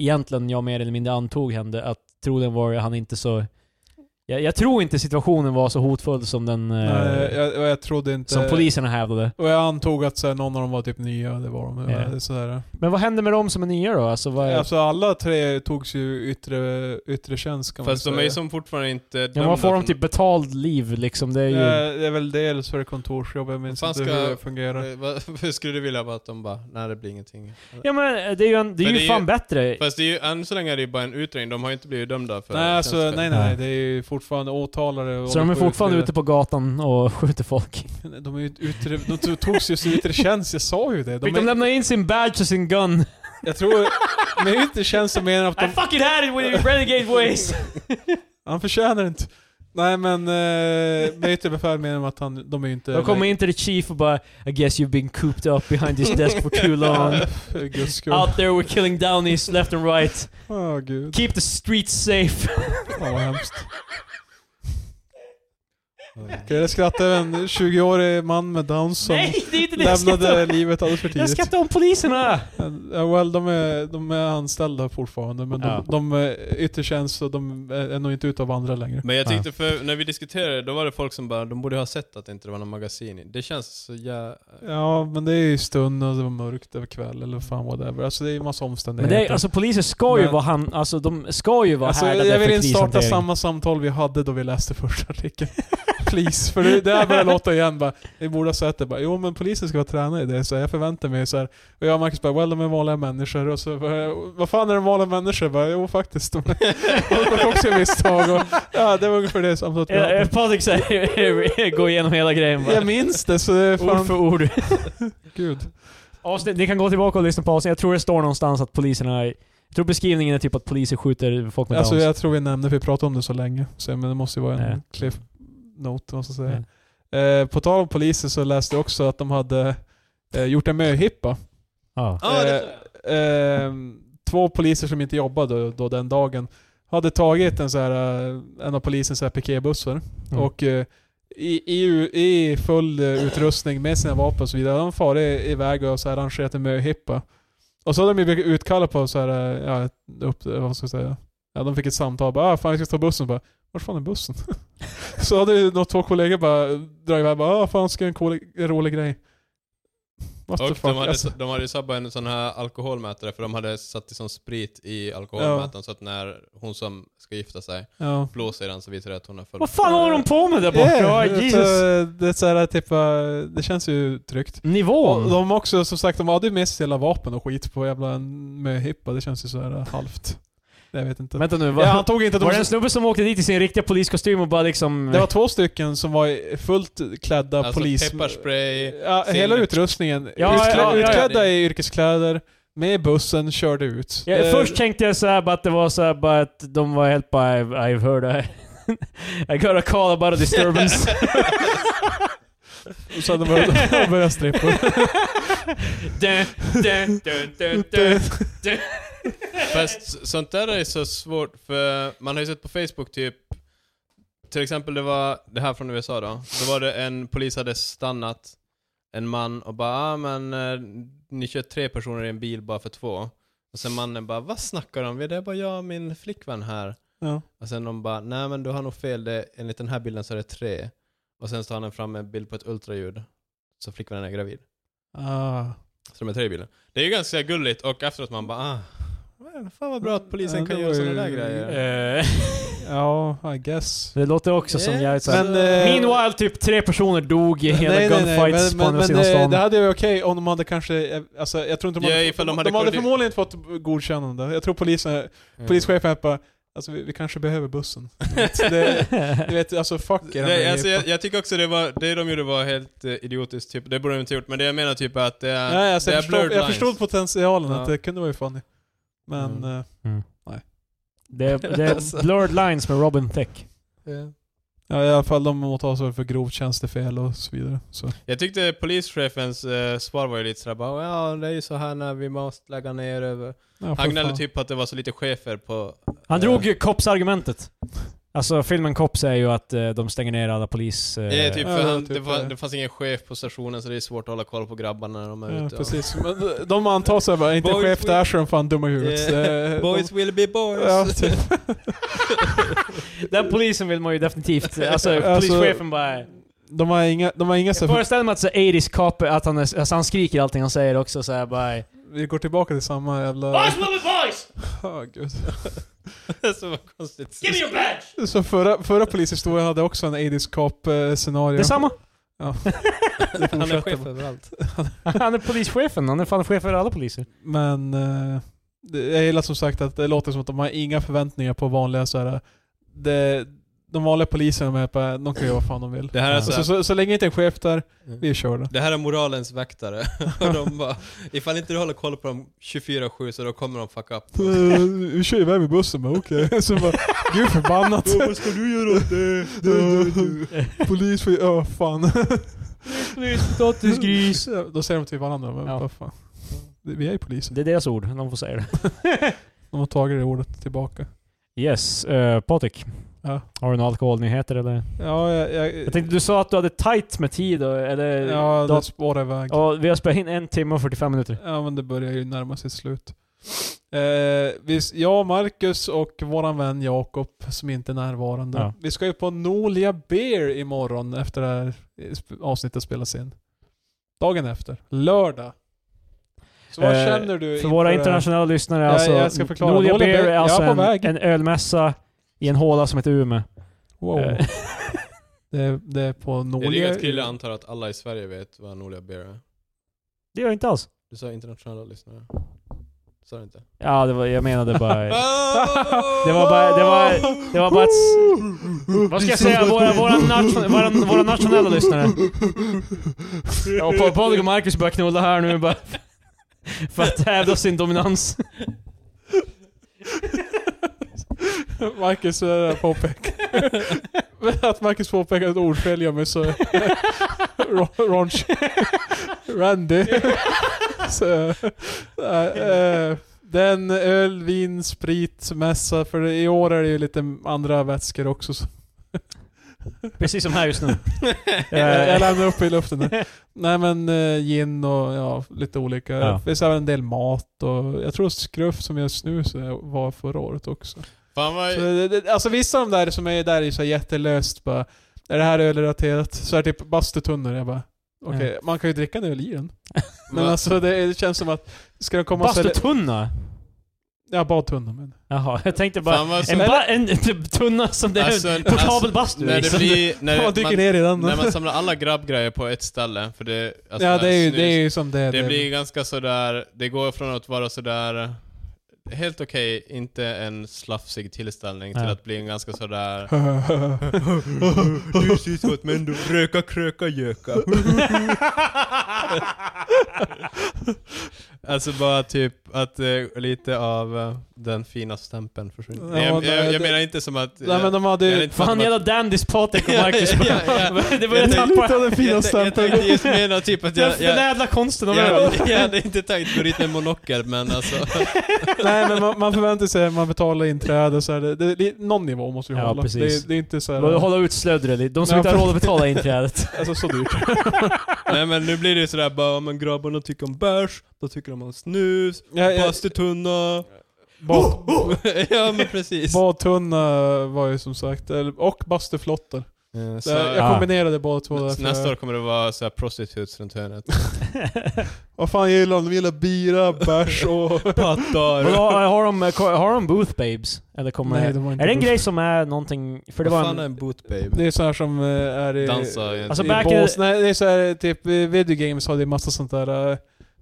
Speaker 2: egentligen jag mer eller mindre antog hände, att troligen var han inte så... Jag, jag tror inte situationen var så hotfull som den... eh,
Speaker 3: Nej, jag, jag, jag trodde inte...
Speaker 2: som poliserna hävdade.
Speaker 3: Och jag antog att så här, någon av dem var typ nya, det var de.
Speaker 2: Ja.
Speaker 3: Ja. Sådär.
Speaker 2: Men vad hände med de som är nya då? Alltså, vad är,
Speaker 3: Alltså alla tre togs ju yttre, yttre tjänst kan man
Speaker 1: Fast de är ju som fortfarande inte
Speaker 2: ja,
Speaker 1: dömda
Speaker 2: vad får de
Speaker 1: för-
Speaker 2: typ betald liv liksom? Det är ju...
Speaker 3: Ja, Det är väl dels för kontorsjobb, jag minns
Speaker 1: Fan
Speaker 3: inte
Speaker 1: ska-
Speaker 3: hur det fungerar.
Speaker 1: Eh, Vad- Hur skulle du vilja bara att de bara, nej det blir ingenting?
Speaker 2: Ja men eh, det är ju, en, det är
Speaker 1: Men
Speaker 2: ju
Speaker 1: det är
Speaker 2: fan
Speaker 1: ju-
Speaker 2: bättre.
Speaker 1: Fast det är ju, än så länge är det ju bara en utredning, de har ju inte blivit dömda för
Speaker 3: Nej, alltså, nej,
Speaker 1: tjänstefel.
Speaker 3: nej, nej, det är ju fortfarande åtalare och
Speaker 2: Så de är
Speaker 3: håller på och
Speaker 2: fortfarande
Speaker 3: utreder.
Speaker 2: ute på gatan och skjuter folk.
Speaker 3: De är ju yttre... De to- togs ju i yttre tjänst, jag sa ju det.
Speaker 2: Fick
Speaker 3: De
Speaker 2: de
Speaker 3: är,
Speaker 2: lämna in sin badge och sin gun?
Speaker 3: jag tror... Med yttre tjänst så menar jag att de...
Speaker 2: I fucking had it with renegade ways!
Speaker 3: Han förtjänar inte. Nej men, eh, med yttre befäl menar de att han, de är ju inte...
Speaker 2: De kommer in till the chief och bara I guess you've been cooped up behind this desk for too long.
Speaker 3: För guds skull. Åh
Speaker 2: Out there we're killing downies left and right.
Speaker 3: gud.
Speaker 2: Keep the streets safe.
Speaker 3: Fan vad hemskt. Okej, det skrattade en 20-årig man med Downs som
Speaker 2: Nej, det är inte det jag skrattar
Speaker 3: lämnade
Speaker 2: om.
Speaker 3: livet alldeles för
Speaker 2: Jag
Speaker 3: tidigt.
Speaker 2: skrattar om poliserna!
Speaker 3: Ja, well, de är, de är anställda fortfarande men de,
Speaker 2: Ja.
Speaker 3: de är yttre tjänst och de är nog inte ute och vandrar längre.
Speaker 1: Men jag tyckte för, när vi diskuterade det, då var det folk som bara, de borde ha sett att det inte var någon magasin i. Det känns så jävla...
Speaker 3: Ja, men det är ju stund och det var mörkt över kväll eller fan whatever. Alltså det är ju massa
Speaker 2: Men
Speaker 3: omständigheter.
Speaker 2: det är, alltså poliser ska ju
Speaker 3: Men-
Speaker 2: vara han, alltså de ska ju vara
Speaker 3: Alltså,
Speaker 2: härdade
Speaker 3: jag vill
Speaker 2: för
Speaker 3: inte starta
Speaker 2: krishantering.
Speaker 3: samma samtal vi hade då vi läste första artikeln. Please. För det, det här börjar låta igen bara, vi borde ha sett det. Bara, jo men polisen ska vara tränade i det, så jag förväntar mig så här. Och jag och Marcus bara, well de är vanliga människor. Och så bara, vad fan är de vanliga människor? Bara, jo faktiskt. De har också gjort misstag. Och, ja, det var ungefär det samtalet vi
Speaker 2: Eh, eh,
Speaker 3: hade.
Speaker 2: Patrik säger, gå igenom hela grejen bara.
Speaker 3: Jag minns det, så det är
Speaker 2: Ord för
Speaker 3: fan...
Speaker 2: ord.
Speaker 3: Gud.
Speaker 2: Avsnitt, ni kan gå tillbaka och lyssna på avsnittet. Jag tror det står någonstans att poliserna... Jag tror beskrivningen är typ att poliser skjuter folk med
Speaker 3: Alltså
Speaker 2: downs.
Speaker 3: jag tror vi nämnde, för vi pratade om det så länge. Så, men det måste ju vara en
Speaker 2: Ja.
Speaker 3: cliff note, måste jag säga.
Speaker 2: Mm.
Speaker 3: Eh, på tal om polisen så läste jag också att de hade eh, gjort en möhippa.
Speaker 2: Ja.
Speaker 1: Ja, det
Speaker 3: Eh, eh, två poliser som inte jobbade då den dagen hade tagit en, så här, eh, en av polisens så här piketbussar
Speaker 2: Mm.
Speaker 3: och eh, i, i, i full eh, utrustning med sina vapen och så vidare. De farit iväg och så här arrangerat en möhippa. Och så hade de ju blivit utkallade på så här, eh, ja, ett upp, eh, vad ska jag säga? Ja, de fick ett samtal bara ah, fan vi ska ta bussen. Bara, Vart fan är bussen? så hade ju de två kollegor bara dragit iväg bara ah, fan ska jag göra en, cool, en rolig grej. What the
Speaker 1: Och
Speaker 3: fuck?
Speaker 1: de hade,
Speaker 3: alltså.
Speaker 1: de hade ju sabbat en sån här alkoholmätare för de hade satt liksom sprit i alkoholmätaren så att när hon som ska gifta sig
Speaker 3: ja.
Speaker 1: blåser i den så visar det att hon är full.
Speaker 2: Vad fan håller de på med där borta?
Speaker 3: Yeah, eh,
Speaker 2: Ja, Jesus.
Speaker 3: det, det, är så här, typ, eh, det känns ju tryggt. Och
Speaker 2: Nivån.
Speaker 3: de har också, som sagt, de hade ju med sig hela vapen och skit på jävla en möhippa. Det känns ju så här eh, halvt. Jag vet inte.
Speaker 2: Vänta nu,
Speaker 3: ja, han
Speaker 2: var,
Speaker 3: tog inte att
Speaker 2: var det
Speaker 3: de,
Speaker 2: en snubbe som åkte dit i sin riktiga poliskostym och bara liksom...
Speaker 3: Det var två stycken som var fullt klädda
Speaker 1: alltså
Speaker 3: polis...
Speaker 1: pepparspray,
Speaker 3: Ja,
Speaker 1: sin-
Speaker 3: hela utrustningen.
Speaker 2: ja,
Speaker 3: Utklä,
Speaker 2: ja, ja.
Speaker 3: utklädda i yrkeskläder, med bussen, körde ut.
Speaker 2: ja,
Speaker 3: Eh,
Speaker 2: Först tänkte jag såhär bara att det var såhär bara att de var helt bara I've, I've heard I, I got a call about a disturbance.
Speaker 3: Så hade de börjat- de börjat strippa.
Speaker 2: Dun, dun, dun, dun, dun.
Speaker 1: Fast sånt där är så svårt för man har ju sett på Facebook typ till exempel det var det här från USA då. Då var det en polis hade stannat en man och bara ah, men eh, ni kör tre personer i en bil bara för två. Och sen mannen bara vad snackar de om? Det är bara jag och min flickvän här.
Speaker 3: Ja.
Speaker 1: Och sen de bara nej men du har nog fel. Det, enligt den här bilden så är det tre. Och sen tar han fram en bild på ett ultraljud. Så flickvännen är gravid.
Speaker 3: Ah.
Speaker 1: Så de är tre i bilen. Det är ju ganska gulligt och efteråt man bara ah, well, fan vad bra att polisen
Speaker 3: Ja,
Speaker 1: kan
Speaker 3: det
Speaker 1: göra
Speaker 3: var
Speaker 1: sådana
Speaker 3: ju-
Speaker 1: där grejer.
Speaker 2: Eh,
Speaker 3: Ja, I guess.
Speaker 2: Det låter också som jävligt såhär...
Speaker 3: Men, eh,
Speaker 2: Meanwhile, typ tre personer dog i hela gunfights på andra
Speaker 3: men,
Speaker 2: sidan
Speaker 3: men
Speaker 2: stan.
Speaker 3: det, det hade ju varit okej om de hade kanske, eh, alltså jag tror inte de
Speaker 1: Ja,
Speaker 3: hade,
Speaker 1: ifall
Speaker 3: de,
Speaker 1: de
Speaker 3: de
Speaker 1: hade
Speaker 3: hade,
Speaker 1: koordi-
Speaker 3: förmodligen inte fått godkännande. Jag tror polisen,
Speaker 1: Mm.
Speaker 3: polischefen hade bara, alltså vi, vi kanske behöver bussen. det, du vet, alltså fuck er.
Speaker 1: Nej, alltså, jag, jag tycker också det var, det de gjorde var helt eh, idiotiskt, typ. det borde de inte gjort, men det jag menar typ är att det är,
Speaker 3: Nej, alltså,
Speaker 1: det är
Speaker 3: jag, förstod,
Speaker 1: blurred
Speaker 3: jag förstod
Speaker 1: lines.
Speaker 3: potentialen,
Speaker 1: Ja.
Speaker 3: att det kunde vara ju funny. Men,
Speaker 1: Mm.
Speaker 3: eh, Alltså.
Speaker 2: Det, det är blurred lines med Robin Thicke.
Speaker 3: eh, Ja, i alla fall de åtalas väl för grovt tjänstefel och så vidare. Så.
Speaker 1: Jag tyckte polischefens eh, svar var ju lite sådär bara, ja det är ju så här när vi måste lägga ner över.
Speaker 3: Ja, för
Speaker 1: Han gnällde
Speaker 3: fan.
Speaker 1: typ på att det var så lite chefer på...
Speaker 2: Han
Speaker 1: eh,
Speaker 2: drog ju Cops-argumentet. Alltså filmen Cops är ju att eh, de stänger ner alla polis... eh,
Speaker 1: Ja, typ,
Speaker 3: Ja,
Speaker 1: för
Speaker 3: ja,
Speaker 1: han,
Speaker 3: typ,
Speaker 1: det, var,
Speaker 3: ja.
Speaker 1: det fanns ingen chef på stationen så det är svårt att hålla koll på grabbarna när de är
Speaker 3: Ja,
Speaker 1: ute.
Speaker 3: precis. Men eh, de antar sig bara, inte
Speaker 1: Boys
Speaker 3: chef
Speaker 1: will-
Speaker 3: där så är de fan dumma i huvudet. Eh,
Speaker 1: Yeah.
Speaker 3: Det-
Speaker 1: Boys will be boys!
Speaker 3: Ja, typ.
Speaker 2: Den polisen vill man ju definitivt... Alltså,
Speaker 3: Alltså-
Speaker 2: polischefen bara...
Speaker 3: De har inga, de har inga så
Speaker 2: Jag
Speaker 3: här-
Speaker 2: föreställer mig att så 80s cop, att han, är, alltså, han skriker allting han säger också så här bara...
Speaker 3: Vi går tillbaka till samma jävla...
Speaker 7: Boys will be boys!
Speaker 3: Ah, gud.
Speaker 1: så var konstigt.
Speaker 7: Give me your badge!
Speaker 3: Så förra, förra polishistorien hade också en eh, 80s cop-scenario.
Speaker 2: Det är samma.
Speaker 1: Han är chef överallt.
Speaker 2: Han är polischefen, han är fan chef för alla poliser.
Speaker 3: Men eh, det- jag gillar som sagt att det låter som att de har inga förväntningar på vanliga så här. Det, de vanliga poliserna de är på, de kan göra vad fan de vill.
Speaker 1: Det här är
Speaker 3: Ja.
Speaker 1: så
Speaker 3: så,
Speaker 1: här-
Speaker 3: så, så, länge inte en chef där, vi är körda.
Speaker 1: Det här är moralens väktare. och de bara, ifall inte du håller koll på dem 24-7 så då kommer de fucka upp.
Speaker 3: Eh, Vi kör iväg med bussen, men okej. Så bara, gud förbannat. vad ska du göra åt det? Polis får ja fan.
Speaker 2: Potatisgris.
Speaker 3: Då säger de till varandra, men
Speaker 2: Ja.
Speaker 3: vad fan. Vi är ju polisen.
Speaker 2: Det är deras ord, de får säga det.
Speaker 3: De har tagit det ordet tillbaka.
Speaker 2: Yes, uh, Patrik.
Speaker 3: Ja.
Speaker 2: Har du några alkoholnyheter eller?
Speaker 3: Ja, jag... jag,
Speaker 2: Jag tänkte du sa att du hade tight med tid och, eller...
Speaker 3: ja,
Speaker 2: dat-
Speaker 3: det spårar iväg.
Speaker 2: Eh, Ja, vi har spelat in en timme och 45 minuter.
Speaker 3: Ja men det börjar ju närma sig slut. Eh, vi, jag, Marcus och våran vän Jakob som inte är närvarande.
Speaker 2: Ja.
Speaker 3: Vi ska ju på Nolia Beer imorgon efter det här eh, sp- avsnittet spelas in. Dagen efter. Lördag. Så vad
Speaker 2: Eh,
Speaker 3: känner du?
Speaker 2: För
Speaker 3: inför
Speaker 2: våra
Speaker 3: det här?
Speaker 2: internationella lyssnare,
Speaker 3: Ja,
Speaker 2: alltså...
Speaker 3: jag ska förklara.
Speaker 2: Nolia
Speaker 3: Nolia
Speaker 2: Beer
Speaker 3: Beer,
Speaker 2: är
Speaker 3: jag
Speaker 2: alltså
Speaker 3: är på
Speaker 2: en,
Speaker 3: väg.
Speaker 2: en ölmässa i en håla som heter Umeå.
Speaker 3: Wow.
Speaker 2: Eh.
Speaker 3: det, är- det är på
Speaker 1: Det är
Speaker 3: Nolia.
Speaker 1: Rigas kille antar att alla i Sverige vet vad Norlia Beer är.
Speaker 2: Det gör jag inte alls.
Speaker 1: Du sa internationella lyssnare. Sa du inte?
Speaker 2: Ja, det var, jag menade bara...
Speaker 1: Ah!
Speaker 2: Det var bara, det var, det var bara ett... Vad ska jag säga? Våra, våra, nation, våra, våra nationella lyssnare. Ja, och Patrik och Marcus börjar knulla här nu bara. För att hävda sin dominans.
Speaker 3: Marcus eh, påpekar. att Marcus påpekar ett ordfel gör mig så... Ron- Ronch. Randy. så, nej, eh, den öl, vin, sprit, mässa. För i år är det ju lite andra vätskor också. Så
Speaker 2: Precis som här just nu.
Speaker 3: jag, jag
Speaker 2: Eh,
Speaker 3: lämnar upp i luften nu. Nej men eh, gin och ja, lite olika.
Speaker 2: Ja.
Speaker 3: Det finns även en del mat och jag tror skruff som jag snus eh, var förra året också.
Speaker 1: Fan
Speaker 3: Så,
Speaker 1: vad...
Speaker 3: det, det, alltså vissa av de där som är där är så här jättelöst bara, är det här ölrelaterat? Så är det typ bastutunnor. Jag bara, okej,
Speaker 2: Mm.
Speaker 3: man kan ju dricka en öl i den. Men
Speaker 1: Va?
Speaker 3: alltså det, är- det känns som att, ska de komma och sälja...
Speaker 2: Bastutunna?
Speaker 3: Ja, badtunnor men.
Speaker 2: Jaha, jag tänkte bara...
Speaker 1: Fan vad
Speaker 2: En,
Speaker 1: som...
Speaker 2: ba, en typ tunna som det är
Speaker 1: Alltså,
Speaker 2: en portabel
Speaker 1: alltså,
Speaker 2: bastu
Speaker 1: När det
Speaker 2: liksom.
Speaker 1: blir... När,
Speaker 3: man
Speaker 1: det,
Speaker 3: dyker
Speaker 1: man, alltså,
Speaker 3: ner i den.
Speaker 1: när man samlar alla grabbgrejer på ett ställe, för det... alltså,
Speaker 3: ja, det är, ju,
Speaker 1: snus-
Speaker 3: det är ju som det är.
Speaker 1: Det blir ganska sådär, det går från att vara sådär helt okej, inte en slafsig tillställning, till
Speaker 2: Ja.
Speaker 1: att bli en ganska sådär... Du ser ut men du röka, kröka, göka. alltså bara typ att eh, lite av eh, den fina stämpeln försvinner.
Speaker 3: Ja,
Speaker 1: jag,
Speaker 3: nej,
Speaker 1: jag,
Speaker 3: det-
Speaker 1: jag menar inte som att... eh,
Speaker 3: Nej men de hade
Speaker 1: jag är
Speaker 3: ju...
Speaker 1: inte
Speaker 2: Fan
Speaker 1: som att-
Speaker 2: jävla dandys Patrik och Marcus.
Speaker 1: Ja, ja, ja, ja.
Speaker 2: Det börjar
Speaker 1: Jag tänkte-
Speaker 2: tappa...
Speaker 3: Lite av den fina
Speaker 1: jag, jag, jag
Speaker 3: stämpeln.
Speaker 1: tänkte just mena typ att
Speaker 2: Den
Speaker 1: jag... jag
Speaker 2: ädla konsten av öl.
Speaker 1: jag, jag hade inte tänkt gå dit med monokel men alltså...
Speaker 3: Nej men man, man förväntar sig att man betalar inträde så här, det, det, det, någon nivå måste vi
Speaker 2: Ja,
Speaker 3: hålla.
Speaker 2: precis.
Speaker 3: Det, det är inte så här,
Speaker 2: Vadå, Hålla ut slödret lite. De som
Speaker 3: Ja,
Speaker 2: inte har
Speaker 3: för-
Speaker 2: råd att betala inträdet.
Speaker 3: alltså så dyrt.
Speaker 1: Nej men nu blir det ju sådär bara, men grabbarna tycker om bärs, då tycker de om snus,
Speaker 3: Ja, ja,
Speaker 1: bastutunna.
Speaker 3: bad-
Speaker 1: ja men precis.
Speaker 3: Badtunna var ju som sagt, eller- och bastuflotter.
Speaker 1: Eh,
Speaker 3: Så,
Speaker 1: Så,
Speaker 3: jag kombinerade båda två där.
Speaker 1: så
Speaker 3: för-
Speaker 1: nästa år kommer det vara såhär prostitutes runt hörnet.
Speaker 3: Vad fan gillar de? De gillar bira, bärs och...
Speaker 1: Pattar.
Speaker 2: Vadå, har, de, har de booth babes? Eller kommer
Speaker 3: Nej, det var inte
Speaker 2: Är det en
Speaker 3: booth.
Speaker 2: grej som är någonting... För det
Speaker 1: Vad
Speaker 2: var
Speaker 1: fan är
Speaker 2: en,
Speaker 1: en boot babe?
Speaker 3: Det är så här som eh, är i...
Speaker 1: Dansa i en-
Speaker 2: Alltså,
Speaker 3: i
Speaker 2: back in
Speaker 3: bås.
Speaker 2: the-
Speaker 3: Nej, det är så här typ, eh, video games hade ju massa sånt där... eh,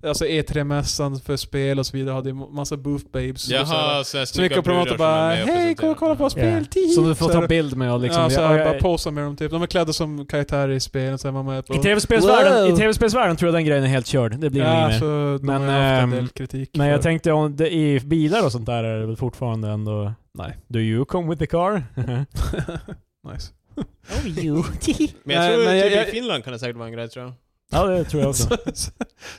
Speaker 3: Alltså E3-mässan för spel och så vidare hade ju massa booth babes. och så här.
Speaker 1: Jaha, såhär
Speaker 3: Så mycket
Speaker 1: snygga
Speaker 3: och promota
Speaker 1: brudar som
Speaker 3: bara
Speaker 1: är med och
Speaker 3: Hej,
Speaker 1: presenterar.
Speaker 3: kolla, kolla på spel,
Speaker 2: Yeah.
Speaker 3: tihi!"
Speaker 2: Som du får
Speaker 3: Så
Speaker 2: ta
Speaker 3: här.
Speaker 2: bild med och liksom...
Speaker 3: ja, så här,
Speaker 2: jag-
Speaker 3: bara
Speaker 2: jag-
Speaker 3: posa med dem typ. De är klädda som karaktärer i spel. Så här, man med på.
Speaker 2: I tv-spelsvärlden
Speaker 3: Wow.
Speaker 2: i TV-spelsvärlden tror jag den grejen är helt körd. Det blir nog
Speaker 3: ja,
Speaker 2: inget mer.
Speaker 3: så de
Speaker 2: Men,
Speaker 3: har ju haft en
Speaker 2: ehm,
Speaker 3: del kritik.
Speaker 2: Men jag
Speaker 3: för-
Speaker 2: tänkte om det, i bilar och sånt där är det väl fortfarande ändå...
Speaker 3: Nej.
Speaker 2: Do you come with the car?
Speaker 3: nice.
Speaker 4: Oh you.
Speaker 1: Men jag
Speaker 3: Nej,
Speaker 1: tror
Speaker 3: men
Speaker 1: typ
Speaker 3: jag- jag-
Speaker 1: i Finland kan det säkert vara en grej tror jag.
Speaker 4: ja, det tror jag också.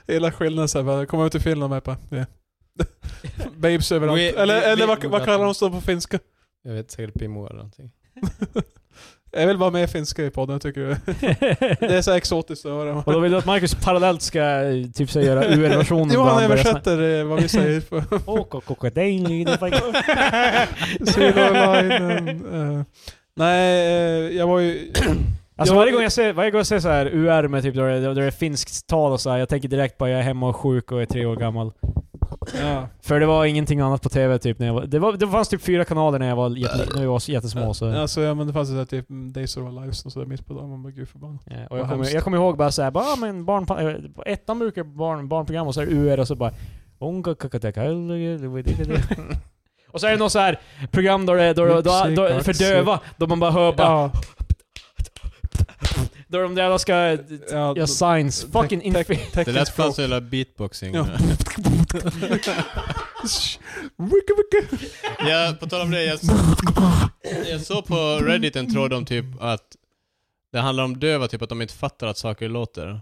Speaker 3: Hela skillnaden så här, bara, komma ut till Finland med på. Yeah. Babes överallt.
Speaker 1: We-
Speaker 3: eller
Speaker 1: we-
Speaker 3: eller
Speaker 1: we-
Speaker 3: vad, vad kallar de så på finska?
Speaker 1: Jag vet säkert Pimo eller någonting.
Speaker 3: Jag vill vara med finska i podden, jag tycker du? Det är så här exotiskt att höra.
Speaker 4: Och då vill du att Marcus parallellt ska eh, typ så här göra UR-versionen?
Speaker 3: Jo,
Speaker 4: då
Speaker 3: han
Speaker 4: börjar
Speaker 3: översätter eh, vad vi säger. på-
Speaker 4: snacka- Och- och- och- det är en liten pojke.
Speaker 3: Silverlinen, eh. Nej, eh, jag var ju...
Speaker 4: Alltså
Speaker 3: Jag-
Speaker 4: varje gång jag ser, varje gång jag ser så här UR med typ, där det, där det är finskt tal och så här, jag tänker direkt bara jag är hemma och sjuk och är tre år gammal.
Speaker 3: Ja.
Speaker 4: För det var ingenting annat på TV typ när jag var... Det, var, det fanns typ fyra kanaler när jag var, jätte, när vi var jättesmå så...
Speaker 3: Alltså, ja, men det fanns ju så här typ Days of Our Lives och sådär mitt på dagen. Man bara gud förbannat.
Speaker 4: Ja, Eh, Och jag
Speaker 3: Vad
Speaker 4: kommer
Speaker 3: hemskt.
Speaker 4: jag kommer ihåg bara såhär, bara ah, men barn, eh, på ettan brukar barn, barnprogram och så är det UR och så bara... "Onka kakateka, ellegelelegele." Och så är det något så här program då det, då, då, då, då, för döva, då man bara hör bara...
Speaker 3: Ja,
Speaker 4: Då de där ska...
Speaker 3: ja,
Speaker 4: Ja, science. Fucking infi...
Speaker 1: Det
Speaker 3: Teknisk
Speaker 1: lät fan
Speaker 3: språk.
Speaker 1: som jävla beatboxing.
Speaker 3: Ja.
Speaker 1: Ja.
Speaker 3: Wicka, wicka.
Speaker 1: på tal om det, jag, jag såg på Reddit en tråd om typ att det handlar om döva, typ att de inte fattar att saker låter.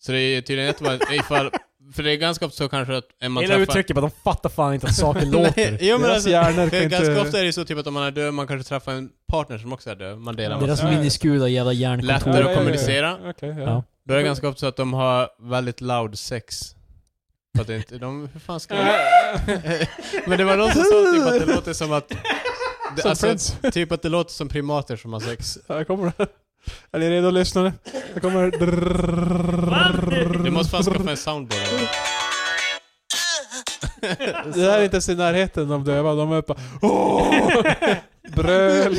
Speaker 1: Så det är tydligen jättebra ifall... För det är ganska ofta så kanske att en man
Speaker 4: Hela
Speaker 1: träffar...
Speaker 4: uttrycket bara, de fattar fan inte att saker
Speaker 1: Nej,
Speaker 4: låter.
Speaker 1: jo, men
Speaker 3: Deras
Speaker 1: alltså,
Speaker 3: hjärnor
Speaker 1: för
Speaker 3: kan
Speaker 1: ganska
Speaker 3: inte-
Speaker 1: ofta är det så typ att om man är döv, man kanske träffar en partner som också är döv. Man delar med
Speaker 4: Deras
Speaker 3: Ja, ja.
Speaker 4: miniskula jävla hjärnkontor.
Speaker 1: Lättare
Speaker 3: Ja, ja,
Speaker 1: att
Speaker 3: ja,
Speaker 1: kommunicera.
Speaker 3: Okej, ja.
Speaker 4: Ja.
Speaker 1: Då är det ganska ofta så att de har väldigt loud sex. För att det inte, de, hur fan ska de... Men det var någon som sa typ att det låter som att... Det,
Speaker 3: Som
Speaker 1: alltså,
Speaker 3: Friends.
Speaker 1: typ att det låter som primater som har sex.
Speaker 3: Här kommer det. Är ni redo lyssnare? Här kommer
Speaker 1: Du måste fan skaffa en soundboard.
Speaker 3: Det här är inte ens i närheten av döva. De är bara Åh! Bröl.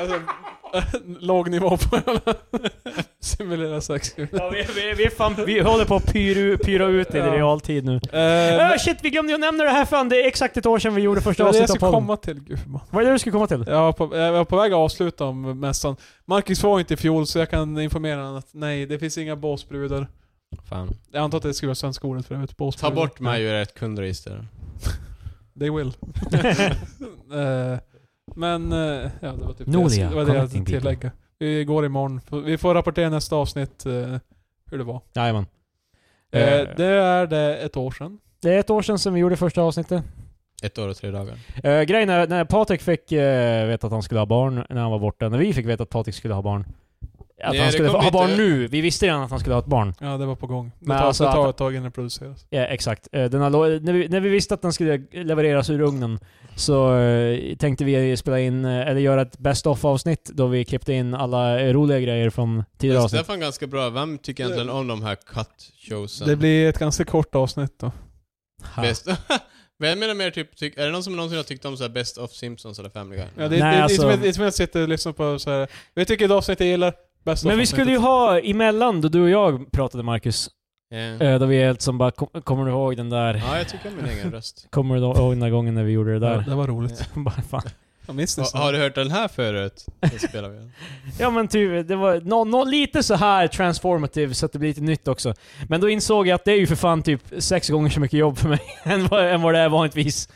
Speaker 3: alltså, låg nivå på Simulera sex. Eh,
Speaker 4: Ja, vi, vi, vi, är fan, vi håller på att pyra, pyra ut i
Speaker 3: Ja.
Speaker 4: realtid nu.
Speaker 3: Eh,
Speaker 4: Äh, shit, vi glömde ju nämna det här fan. Det är exakt ett år sedan vi gjorde
Speaker 3: det
Speaker 4: första
Speaker 3: var det jag
Speaker 4: avsnittet av
Speaker 3: skulle
Speaker 4: podden.
Speaker 3: komma till. Gud, man.
Speaker 4: Vad är det du skulle komma till?
Speaker 3: jag, var på, jag var på väg att avsluta om mässan. Marcus var inte i fjol så jag kan informera honom att nej, det finns inga båsbrudar.
Speaker 1: Fan.
Speaker 3: Jag antar att det skulle vara svenska ordet för övrigt.
Speaker 1: Ta
Speaker 3: Båsbrudar.
Speaker 1: bort mig ur ert kundregister.
Speaker 3: They will. Eh, men, eh, ja det var typ det,
Speaker 4: Nolia,
Speaker 3: jag- det var det jag
Speaker 4: connecting people.
Speaker 3: tillägga. Vi går imorgon. F- Vi får rapportera nästa avsnitt eh, hur det var.
Speaker 4: Jajamän.
Speaker 3: Eh,
Speaker 4: Eh,
Speaker 3: det är det ett år sedan.
Speaker 4: Det är ett år sedan som vi gjorde första avsnittet.
Speaker 1: Ett år och tre dagar.
Speaker 4: Eh, grejen är, när Patrik fick eh, veta att han skulle ha barn när han var borta, när vi fick veta att Patrik skulle ha barn. Att
Speaker 1: Nej,
Speaker 4: han
Speaker 1: det
Speaker 4: skulle
Speaker 1: kom
Speaker 4: ha
Speaker 1: inte-
Speaker 4: barn nu. Vi visste redan att han skulle ha ett barn.
Speaker 3: Ja, det var på gång. Det tar,
Speaker 4: Men alltså
Speaker 3: det tar
Speaker 4: att-
Speaker 3: ett tag innan det produceras.
Speaker 4: Ja, exakt. Eh, Den har, lo- när, vi, när vi visste att den skulle levereras ur ugnen så eh, tänkte vi spela in, eh, eller göra ett best of-avsnitt då vi klippte in alla eh, roliga grejer från tidigare
Speaker 1: Det är
Speaker 4: avsnitt.
Speaker 1: fan ganska bra. Vem tycker egentligen om de här cut
Speaker 3: Det
Speaker 1: showsen?
Speaker 3: blir ett ganska kort avsnitt då.
Speaker 4: Ha.
Speaker 1: Bäst. Men jag menar mer typ, tyck, är det någon som någonsin har tyckt om så här Best of Simpsons eller Family Guy?
Speaker 3: Ja, det, det,
Speaker 4: Nej,
Speaker 3: det,
Speaker 4: alltså-
Speaker 3: det, är som- det är som att sitta och lyssna på så här. Vi tycker ett avsnitt jag gillar. Bäst
Speaker 4: Men vi
Speaker 3: avsnittet."
Speaker 4: skulle ju ha emellan, då du och jag pratade Marcus,
Speaker 1: Ja.
Speaker 3: Mm.
Speaker 4: eh, då vi helt som bara, "Kom- kommer du ihåg den där?
Speaker 1: ja, jag tycker om min egen röst.
Speaker 4: Kommer du ihåg den där gången när vi gjorde det
Speaker 3: Ja,
Speaker 4: där?
Speaker 3: det var roligt.
Speaker 4: Bara, fan.
Speaker 3: Jag minns det.
Speaker 1: Ha,
Speaker 3: så.
Speaker 1: har du hört den här förut? Den spelar vi. den.
Speaker 4: Ja men typ, det var nå nå lite så här transformative så att det blir lite nytt också. Men då insåg jag att det är ju för fan typ sex gånger så mycket jobb för mig än vad, än vad det är vanligtvis.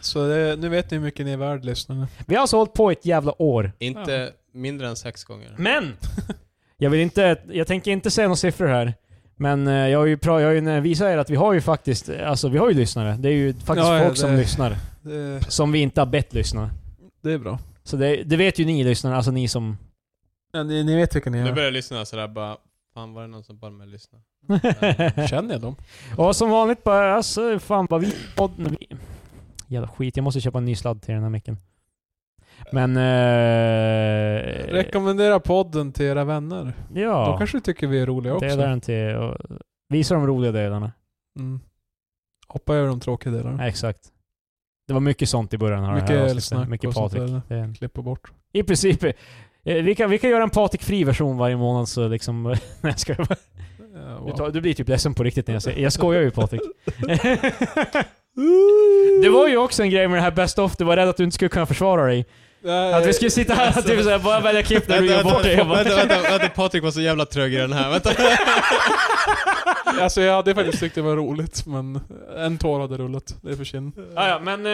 Speaker 3: Så det, nu vet ni hur mycket ni är värd lyssnarna.
Speaker 4: Vi har alltså hållit på ett jävla år.
Speaker 1: Inte mindre än sex gånger.
Speaker 4: Men! Jag vill inte, jag tänker inte säga några siffror här. Men eh, jag har ju, pra- jag har ju visat er att vi har ju faktiskt, eh, alltså vi har ju lyssnare. Det är ju faktiskt
Speaker 3: Ja, ja,
Speaker 4: folk som
Speaker 3: det-
Speaker 4: lyssnar.
Speaker 3: Det,
Speaker 4: Som vi inte har bett lyssna.
Speaker 3: det är bra.
Speaker 4: Så det, det vet ju ni lyssnare, alltså ni som...
Speaker 3: Ja, ni, ni vet vilka ni
Speaker 1: Nu
Speaker 3: är.
Speaker 1: börjar jag lyssna sådär bara, fan var det någon som bad mig lyssna?
Speaker 3: Känner jag dem?
Speaker 4: Och som vanligt bara, alltså fan vad vi... podden- vi- Jävla skit, jag måste köpa en ny sladd till den här micken. Men... Eh,
Speaker 3: Rekommendera podden till era vänner. De
Speaker 4: ja.
Speaker 3: kanske tycker vi är roliga också.
Speaker 4: Det är där den till... Och, visa de roliga delarna.
Speaker 3: Mm. Hoppa över de tråkiga delarna.
Speaker 4: Ja, exakt. Det var mycket sånt i början av det
Speaker 3: Mm. Mycket snack
Speaker 4: här avsnittet. Mycket
Speaker 3: och sånt
Speaker 4: Patrik.
Speaker 3: där.
Speaker 4: Det är en-
Speaker 3: Klippa bort.
Speaker 4: I princip. eh, Vi kan, vi kan göra en Patrik-fri version varje månad så liksom... Nej jag skojar bara.
Speaker 3: Ja,
Speaker 4: du,
Speaker 3: wow.
Speaker 4: tar, du blir typ ledsen på riktigt när jag säger... Jag skojar ju Patrik. Det var ju också en grej med det här Best of, du var rädd att du inte skulle kunna försvara dig. Att vi skulle sitta
Speaker 3: alltså,
Speaker 4: här och typ såhär, bara välja klipp när du gör bort dig. Jag bara-
Speaker 1: Vänta, vänta, vänta, Patrik var så jävla trög i den här. Vänta.
Speaker 3: Alltså jag hade faktiskt tyckt det var roligt, men en tår hade rullat. Det är för sin.
Speaker 4: Ah, ja, men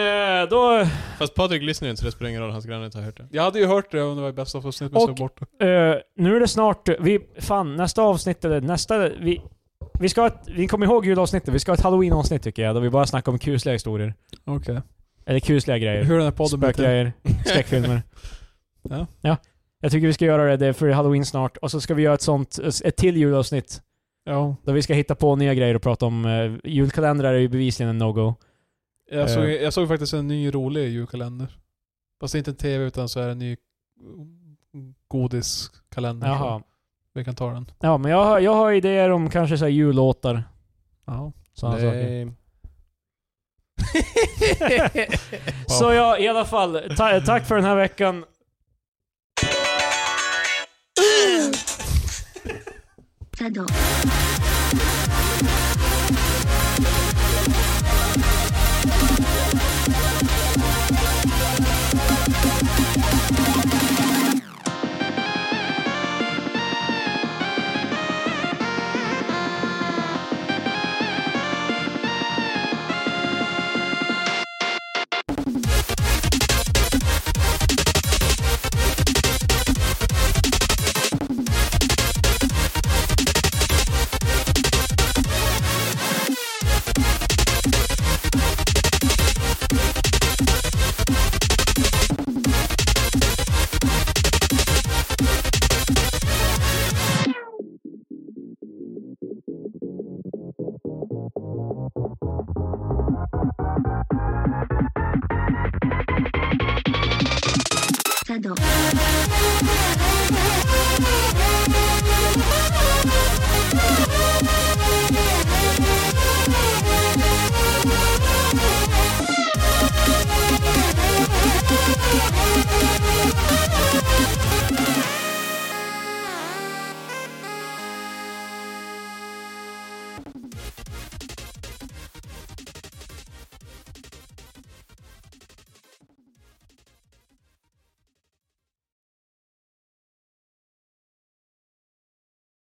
Speaker 4: eh, då...
Speaker 1: Fast Patrik lyssnar ju inte så det spelar ingen roll, hans granne har hört det.
Speaker 3: Jag hade ju hört det om det var i bästa avsnitt, men
Speaker 4: Och-
Speaker 3: så bort det.
Speaker 4: Eh, nu är det snart... Vi, fan, nästa avsnitt eller nästa... Vi, vi ska ha ett, Vi kommer ihåg julavsnittet. Vi ska ha ett halloween-avsnitt tycker jag. Då vi bara snackar om kusliga historier.
Speaker 3: Okej.
Speaker 4: Eller kusliga Eh, grejer.
Speaker 3: Hur den här podden blev till.
Speaker 4: Spökgrejer. Skräckfilmer.
Speaker 3: Ja.
Speaker 4: ja. Jag tycker vi ska göra det. Det är för halloween snart. Och så ska vi göra ett sånt... Ett till julavsnitt.
Speaker 3: Ja.
Speaker 4: Där vi ska hitta på nya grejer och prata om. eh, julkalendrar är ju bevisligen en no-go.
Speaker 3: Jag såg,
Speaker 4: Eh.
Speaker 3: jag såg faktiskt en ny rolig julkalender. Fast det är inte en TV utan så är det en ny mm, godiskalender.
Speaker 4: Jaha.
Speaker 3: Vi kan ta den.
Speaker 4: Ja, men jag, har- jag har idéer om kanske så här jullåtar.
Speaker 3: Ja.
Speaker 4: Sådana saker. Så ja, i alla fall. Ta tack för den här veckan.
Speaker 8: Fado.